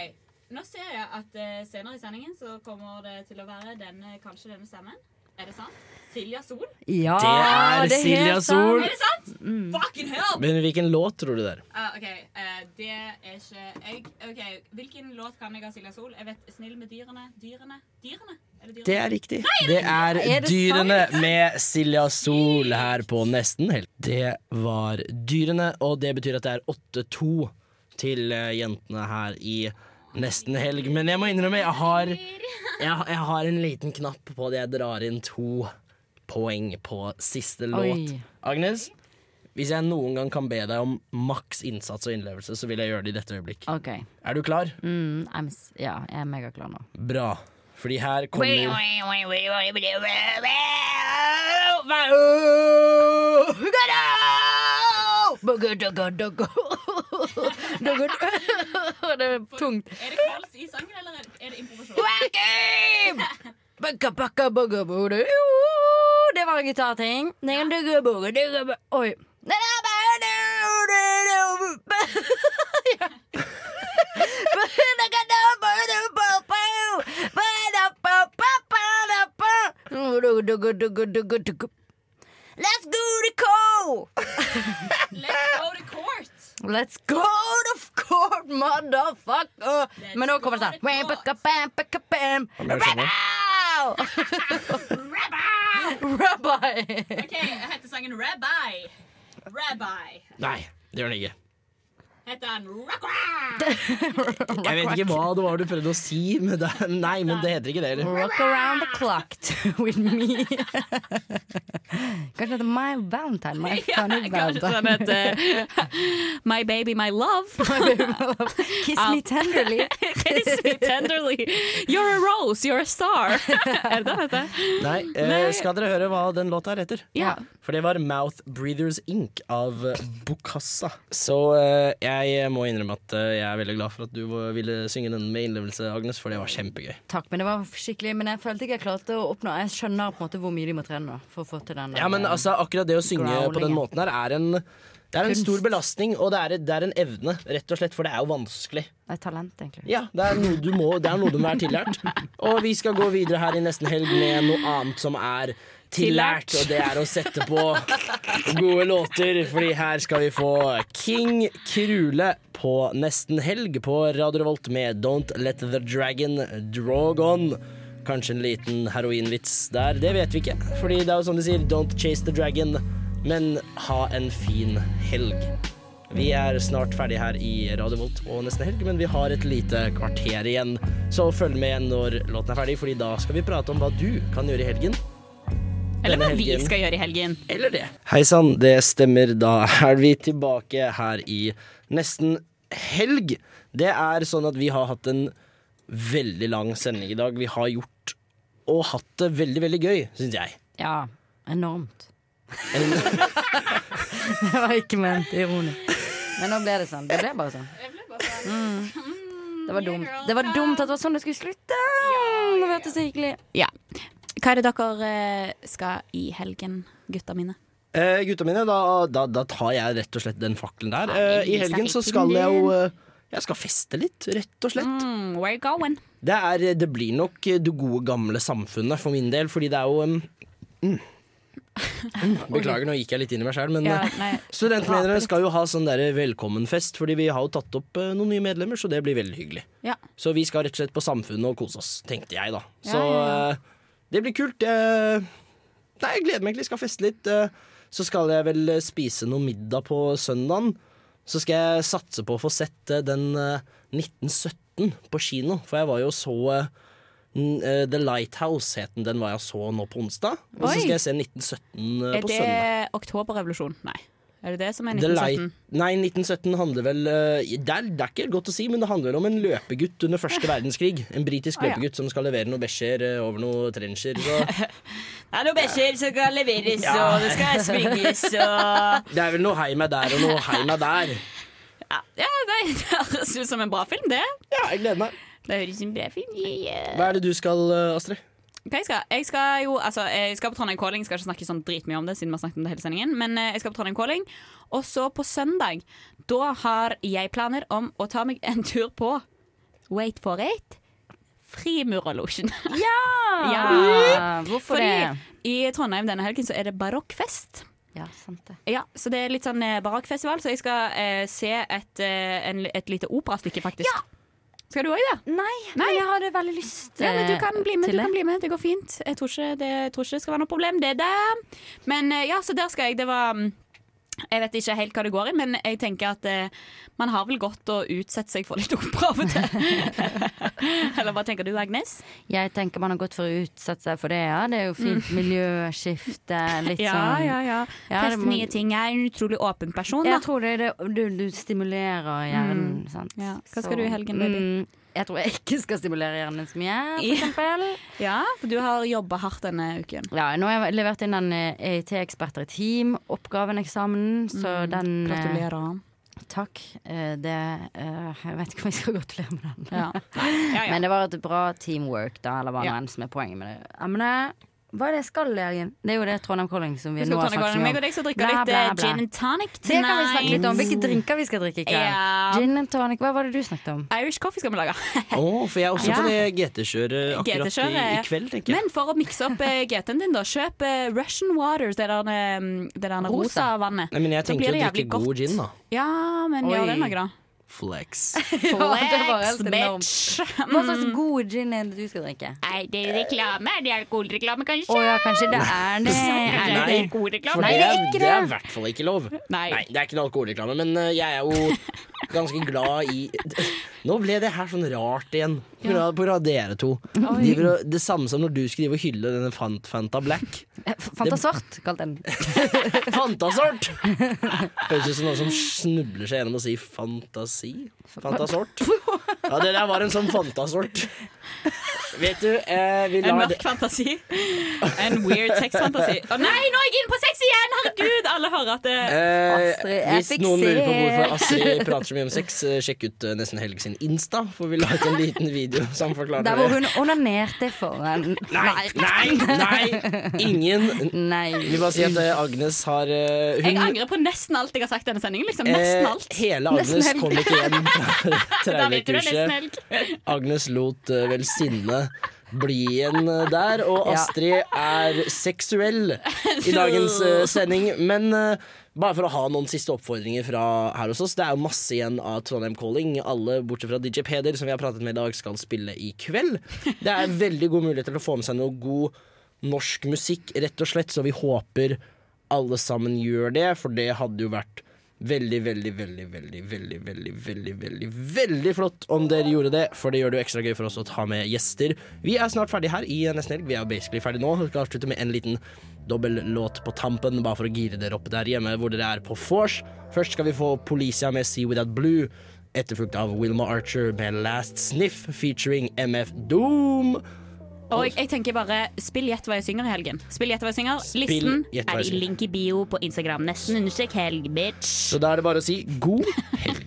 [SPEAKER 7] Nå ser jeg at eh, senere i sendingen så kommer det til å være denne, kanskje denne stemmen. Er det sant? Silja Sol?
[SPEAKER 9] Ja,
[SPEAKER 3] eh, Det er det er Silja helt sant. Sol.
[SPEAKER 7] Er det sant? Fucking hell!
[SPEAKER 3] Men hvilken låt tror du det er?
[SPEAKER 7] Ah, OK, eh, det er ikke jeg OK, hvilken låt kan jeg av Silja Sol? Jeg vet 'Snill med dyrene'. Dyrene? Dyrene? Er det dyrene?
[SPEAKER 3] Det er riktig. Det er
[SPEAKER 7] Er det
[SPEAKER 3] Dyrene med Silja Sol her på Nesten Helt. Det var Dyrene, og det betyr at det er 8-2 til eh, jentene her i Nesten Helg. Men jeg må innrømme, jeg har, jeg, jeg har en liten knapp på det. Jeg drar inn to poeng på siste låt.
[SPEAKER 9] Oi.
[SPEAKER 3] Agnes, hvis jeg noen gang kan be deg om maks innsats og innlevelse, så vil jeg gjøre det i dette øyeblikk.
[SPEAKER 9] OK.
[SPEAKER 3] Er du klar?
[SPEAKER 9] Mm, I'm, s- ja, jeg er megaklar nå.
[SPEAKER 3] Bra. Fordi her kommer
[SPEAKER 9] Det er tungt.
[SPEAKER 7] Er det kals i sangen, eller er det- er det improvisasjon?
[SPEAKER 9] Bakka, bakka, bakka, bakka. Det var en gitarting. Oi. <laughs> Let's go to court!
[SPEAKER 7] Let's go to court!
[SPEAKER 9] Let's go to court, motherfucker! Men nå kommer det sånn Wah, bakka, bam, bakka, bam. Rabbi!
[SPEAKER 7] OK, jeg heter sangen Rabbi. Rabbi.
[SPEAKER 9] <laughs>
[SPEAKER 3] Nei, det gjør den ikke.
[SPEAKER 7] heter han
[SPEAKER 3] Jeg vet ikke hva det var du prøvde å si, men det, nei, men det heter ikke det heller.
[SPEAKER 9] Rock around the clock to- <laughs> with me. Kanskje det heter My Valentine. <laughs> My funny
[SPEAKER 7] Kanskje den
[SPEAKER 9] Valentine.
[SPEAKER 7] heter <laughs> My Baby My Love. <laughs>
[SPEAKER 9] <laughs> Kiss me <laughs> tenderly.
[SPEAKER 7] Kiss me tenderly. You're a rose, you're a <laughs> star. er det den heter?
[SPEAKER 3] Nei, eh, skal dere høre hva den låta her heter?
[SPEAKER 7] Ja.
[SPEAKER 3] For det var Mouth Breathers Inc. av Bokassa. Så eh, jeg må innrømme at eh, jeg er veldig glad for at du ville synge den med innlevelse, Agnes, for det var kjempegøy.
[SPEAKER 9] Takk, men det var skikkelig Men jeg følte ikke jeg klarte å oppnå Jeg skjønner på en måte hvor mye de må trene nå for å få til den.
[SPEAKER 3] Ja, men
[SPEAKER 9] eh,
[SPEAKER 3] altså, akkurat det å synge på den
[SPEAKER 9] growlingen.
[SPEAKER 3] måten her er en det er en
[SPEAKER 9] Kunst.
[SPEAKER 3] stor belastning, og det er, det er en evne, rett og slett, for det er jo vanskelig.
[SPEAKER 9] Det er eh, talent, egentlig.
[SPEAKER 3] Ja, det er noe du må, det er noe du må være tillært. Og vi skal gå videre her i nesten helg med noe annet som er tillært, og det er å sette på gode låter, fordi her skal vi få King Krule på nesten helg på Radio Revolt med Don't Let The Dragon Drog On. Kanskje en liten heroinvits der, det vet vi ikke. Fordi det er jo som de sier, don't chase the dragon, men ha en fin helg. Vi er snart ferdig her i Radio Volt og nesten helg, men vi har et lite kvarter igjen. Så følg med når låten er ferdig, Fordi da skal vi prate om hva du kan gjøre i helgen.
[SPEAKER 7] Eller hva
[SPEAKER 3] Denne
[SPEAKER 7] vi
[SPEAKER 3] helgen.
[SPEAKER 7] skal gjøre i helgen.
[SPEAKER 3] Eller det. Hei sann, det stemmer. Da er vi tilbake her i nesten helg. Det er sånn at vi har hatt en veldig lang sending i dag. Vi har gjort og hatt det veldig, veldig gøy, syns jeg.
[SPEAKER 9] Ja,
[SPEAKER 3] <laughs>
[SPEAKER 9] enormt. det var ikke ment ironisk. Men nå ble det sånn. Det ble bare sånn. Mm. Det var dumt. Det var dumt at det var sånn det skulle slutte. Det var så hyggelig.
[SPEAKER 7] Ja. Hva er det dere eh, skal i helgen, gutta mine?
[SPEAKER 3] Eh, gutta mine, da, da, da tar jeg rett og slett den fakkelen der. Eh, I helgen så skal jeg jo eh, Jeg skal feste litt, rett og slett.
[SPEAKER 7] Mm, where you going?
[SPEAKER 3] Det, er, eh, det blir nok det gode gamle samfunnet for min del, fordi det er jo em, mm.
[SPEAKER 7] <laughs>
[SPEAKER 3] Mm, Beklager, nå gikk jeg litt inn i meg sjøl, men
[SPEAKER 7] Ja,
[SPEAKER 3] eh,
[SPEAKER 7] nei.
[SPEAKER 3] studentmedlemmene skal jo ha sånn der velkommenfest, fordi vi har jo tatt opp eh, noen nye medlemmer, så det blir veldig hyggelig.
[SPEAKER 7] Ja.
[SPEAKER 3] Så vi skal rett og slett på Samfunnet og kose oss, tenkte jeg da.
[SPEAKER 7] Ja,
[SPEAKER 3] Så
[SPEAKER 7] ja, ja.
[SPEAKER 3] eh, det blir kult. Jeg, nei, jeg gleder meg egentlig. Skal feste litt. eh, så skal jeg vel eh, spise noe middag på søndagen. Så skal jeg satse på å få sett eh, den eh, 1917 på kino, for jeg var jo så eh, n- eh, The Lighthouse het den, den var jeg så nå på onsdag. Og
[SPEAKER 7] Oi.
[SPEAKER 3] så skal jeg se 1917 eh,
[SPEAKER 7] Er
[SPEAKER 3] på
[SPEAKER 7] det
[SPEAKER 3] søndag.
[SPEAKER 7] oktoberrevolusjon? Nei. Er det det som er
[SPEAKER 3] The Light-
[SPEAKER 7] 1917?
[SPEAKER 3] Nei, 1917 handler vel eh, det er, det er ikke godt å si, men det handler vel om en løpegutt under første verdenskrig. En britisk
[SPEAKER 7] Å, ja.
[SPEAKER 3] løpegutt som skal levere noen beskjer eh, over noen trencher. Så.
[SPEAKER 7] Det er noen beskjer som kan leveres,
[SPEAKER 3] Ja. og det skal
[SPEAKER 7] springes, og
[SPEAKER 3] Det er vel noe hei meg der og noe hei meg der.
[SPEAKER 7] <laughs> Ja, nei, det høres ut som en bra film, det.
[SPEAKER 3] Ja, jeg gleder meg.
[SPEAKER 7] Det høres ut som en bra film. Yeah.
[SPEAKER 3] Hva er det du skal, eh, Astrid?
[SPEAKER 7] Hva jeg skal? Jeg skal jo, altså, jeg skal på Trondheim Calling. Jeg skal ikke snakke sånn dritmye om det, siden vi har snakket om det hele sendingen. Men eh, jeg skal på Trondheim Calling. Og så på søndag, da har jeg planer om å ta meg en tur på Wait for it. Frimurerlosjen.
[SPEAKER 9] Ja! Mm.
[SPEAKER 7] Ja.
[SPEAKER 9] Hvorfor
[SPEAKER 7] Fordi
[SPEAKER 9] det?
[SPEAKER 7] i Trondheim denne helgen så er det barokkfest.
[SPEAKER 9] Ja, sant det.
[SPEAKER 7] Ja, så det er litt sånn eh, barokkfestival, så jeg skal eh, se et, eh, en, et lite operastykke, faktisk. Skal du òg det?
[SPEAKER 9] Nei,
[SPEAKER 7] Nei.
[SPEAKER 9] men jeg hadde veldig lyst eh,
[SPEAKER 7] Ja, men du kan bli med,
[SPEAKER 9] til
[SPEAKER 7] du
[SPEAKER 9] det.
[SPEAKER 7] kan bli med. Det går fint. Jeg tror ikke det, jeg tror ikke det skal være noe problem, det der. Men eh, ja, så der skal jeg. Det var mm, Jeg vet ikke helt hva det går i, men jeg tenker at eh, man har vel godt å utsette seg for litt opera av og til. <laughs> Eller hva tenker du, Agnes?
[SPEAKER 9] Jeg tenker man har gått for å utsette seg for det, ja. Det er jo fint
[SPEAKER 7] Mm.
[SPEAKER 9] miljøskifte, litt
[SPEAKER 7] ja,
[SPEAKER 9] sånn
[SPEAKER 7] ja, ja.
[SPEAKER 9] Ja, det
[SPEAKER 7] Teste
[SPEAKER 9] må-
[SPEAKER 7] nye ting. Jeg er en utrolig åpen person.
[SPEAKER 9] Jeg
[SPEAKER 7] Da.
[SPEAKER 9] tror det, det du, du stimulerer hjernen,
[SPEAKER 7] Mm.
[SPEAKER 9] sant.
[SPEAKER 7] Ja. Hva
[SPEAKER 9] Så,
[SPEAKER 7] skal du i helgen, baby?
[SPEAKER 9] mm, jeg tror jeg ikke skal stimulere hjernen så mye, for
[SPEAKER 7] Ja.
[SPEAKER 9] eksempel.
[SPEAKER 7] Ja, for du har jobba hardt denne uken.
[SPEAKER 9] Ja, nå har jeg levert inn den EIT-eksperter i team-oppgaven, eksamen, så
[SPEAKER 7] Mm,
[SPEAKER 9] den eh,
[SPEAKER 7] gratulerer.
[SPEAKER 9] Takk. Eh, Det eh, Jeg vet ikke om jeg skal gratulere med den. <laughs>
[SPEAKER 7] Ja.
[SPEAKER 9] Men det var et bra teamwork, da, eller hva
[SPEAKER 7] Ja.
[SPEAKER 9] enn som er poenget med det. Emnet hva er det jeg skal i helgen? Det er jo det Trondheim Calling som vi
[SPEAKER 7] Vi
[SPEAKER 9] nå
[SPEAKER 7] skal
[SPEAKER 9] har
[SPEAKER 7] ta
[SPEAKER 9] snakket så mye om.
[SPEAKER 7] meg og deg skal drikke
[SPEAKER 9] Bla,
[SPEAKER 7] litt
[SPEAKER 9] bla,
[SPEAKER 7] eh,
[SPEAKER 9] bla.
[SPEAKER 7] gin and tonic
[SPEAKER 9] Det kan vi snakke litt om. Hvilke
[SPEAKER 7] tonight.
[SPEAKER 9] drinker vi skal drikke i kveld.
[SPEAKER 7] Ja.
[SPEAKER 9] Gin and tonic. Hva var det du snakket om?
[SPEAKER 7] Irish coffee skal vi lage.
[SPEAKER 3] <laughs> Å, for jeg er også på det
[SPEAKER 7] Ja.
[SPEAKER 3] GT-kjøret akkurat i,
[SPEAKER 7] GT-kjøret.
[SPEAKER 3] i kveld, tenker jeg.
[SPEAKER 7] Men for å mikse opp eh, GT-en din, da, kjøp eh, Russian Waters, det der, eh, det der rosa vannet.
[SPEAKER 3] Nei, men jeg
[SPEAKER 7] Så blir
[SPEAKER 3] tenker å drikke
[SPEAKER 7] det jævlig
[SPEAKER 3] god gin, da.
[SPEAKER 7] Ja, men
[SPEAKER 9] Oi.
[SPEAKER 7] <laughs> gjør det noe, da. <laughs>
[SPEAKER 3] Flex.
[SPEAKER 9] Flex,
[SPEAKER 7] bitch.
[SPEAKER 9] Hva slags god gin er det du skal drikke?
[SPEAKER 7] <laughs> Nei, det er reklame. Er det alkoholreklame, kanskje?
[SPEAKER 9] Å ja, kanskje det er det. Er det
[SPEAKER 3] Nei,
[SPEAKER 9] det?
[SPEAKER 3] for det
[SPEAKER 7] Nei, det er
[SPEAKER 3] er,
[SPEAKER 7] ikke
[SPEAKER 3] det er i
[SPEAKER 7] det.
[SPEAKER 3] hvert fall ikke lov.
[SPEAKER 7] Nei.
[SPEAKER 3] det er ikke noe alkoholreklame, men eh, jeg er
[SPEAKER 7] <laughs>
[SPEAKER 3] jo ganske glad i <laughs> Nå ble det her sånn rart igjen, på grunn av- på grunn av dere to.
[SPEAKER 9] Oi.
[SPEAKER 3] De, var- det samme som når du skulle drive og hylle denne Fant, Fanta Black.
[SPEAKER 9] Fanta Svart, kalt den.
[SPEAKER 3] Fanta Sort! Høres ut som noen som snubler seg gjennom å si fantasi. Fanta Sort. Ja, det der var en sånn Fanta Sort. Vet du, eh, vi
[SPEAKER 7] En
[SPEAKER 3] lar
[SPEAKER 7] mørk fantasi. En weird sexfantasi. Å nei, nå er jeg inne på sex igjen! Herregud, alle hører at det
[SPEAKER 3] Eh,
[SPEAKER 7] jeg
[SPEAKER 3] hvis
[SPEAKER 7] fikk
[SPEAKER 3] noen lurer på
[SPEAKER 7] se.
[SPEAKER 3] hvorfor Astrid prater så mye om sex, eh, sjekk ut eh, Nesten Helg sin Insta, for vi la ut en liten video som forklarer
[SPEAKER 9] Der hvor
[SPEAKER 3] det.
[SPEAKER 9] hun onanerte foran
[SPEAKER 3] Nei, nei, nei! Ingen.
[SPEAKER 9] Nei.
[SPEAKER 3] Vi bare sier at eh, Agnes har eh,
[SPEAKER 7] Jeg angrer på nesten alt jeg har sagt i denne sendingen. Liksom. Nesten
[SPEAKER 3] eh,
[SPEAKER 7] alt.
[SPEAKER 3] hele
[SPEAKER 7] Nesten
[SPEAKER 3] Agnes
[SPEAKER 7] helg.
[SPEAKER 3] kom ikke hjem fra
[SPEAKER 7] Da vet du det, nesten
[SPEAKER 3] traumekurset.
[SPEAKER 7] helg.
[SPEAKER 3] Agnes lot eh, vel sinne bli igjen eh, der, og
[SPEAKER 7] Ja.
[SPEAKER 3] Astrid er seksuell i dagens eh, sending. Men eh, bare for å ha noen siste oppfordringer fra her hos oss. Det er jo masse igjen av Trondheim Calling. Alle bortsett fra DJ Peder, som vi har pratet med i dag, skal spille i kveld. Det er veldig gode muligheter til å få med seg noe god norsk musikk, rett og slett, så vi håper alle sammen gjør det, for det hadde jo vært Veldig, veldig, veldig, veldig, veldig, veldig, veldig veldig, veldig flott om dere gjorde det. For det gjør det jo ekstra gøy for oss å ta med gjester. Vi er snart ferdig her i Nesten Helg. Vi er jo basically ferdig nå. Vi skal avslutte med en liten dobbellåt på tampen, bare for å gire dere opp der hjemme hvor dere er på vors. Først skal vi få Policia med See Without Blue, etterfulgt av Wilma Archer med Last Sniff featuring MF Doom.
[SPEAKER 7] Og jeg, jeg tenker bare spill Gjett hva jeg synger i helgen. Spill Gjett hva jeg synger. Listen
[SPEAKER 3] Gjett hva
[SPEAKER 7] er
[SPEAKER 3] jeg
[SPEAKER 7] i
[SPEAKER 3] synger.
[SPEAKER 7] link i bio på Instagram. Nesten understrek helg, bitch.
[SPEAKER 3] Så da er det bare å si god helg.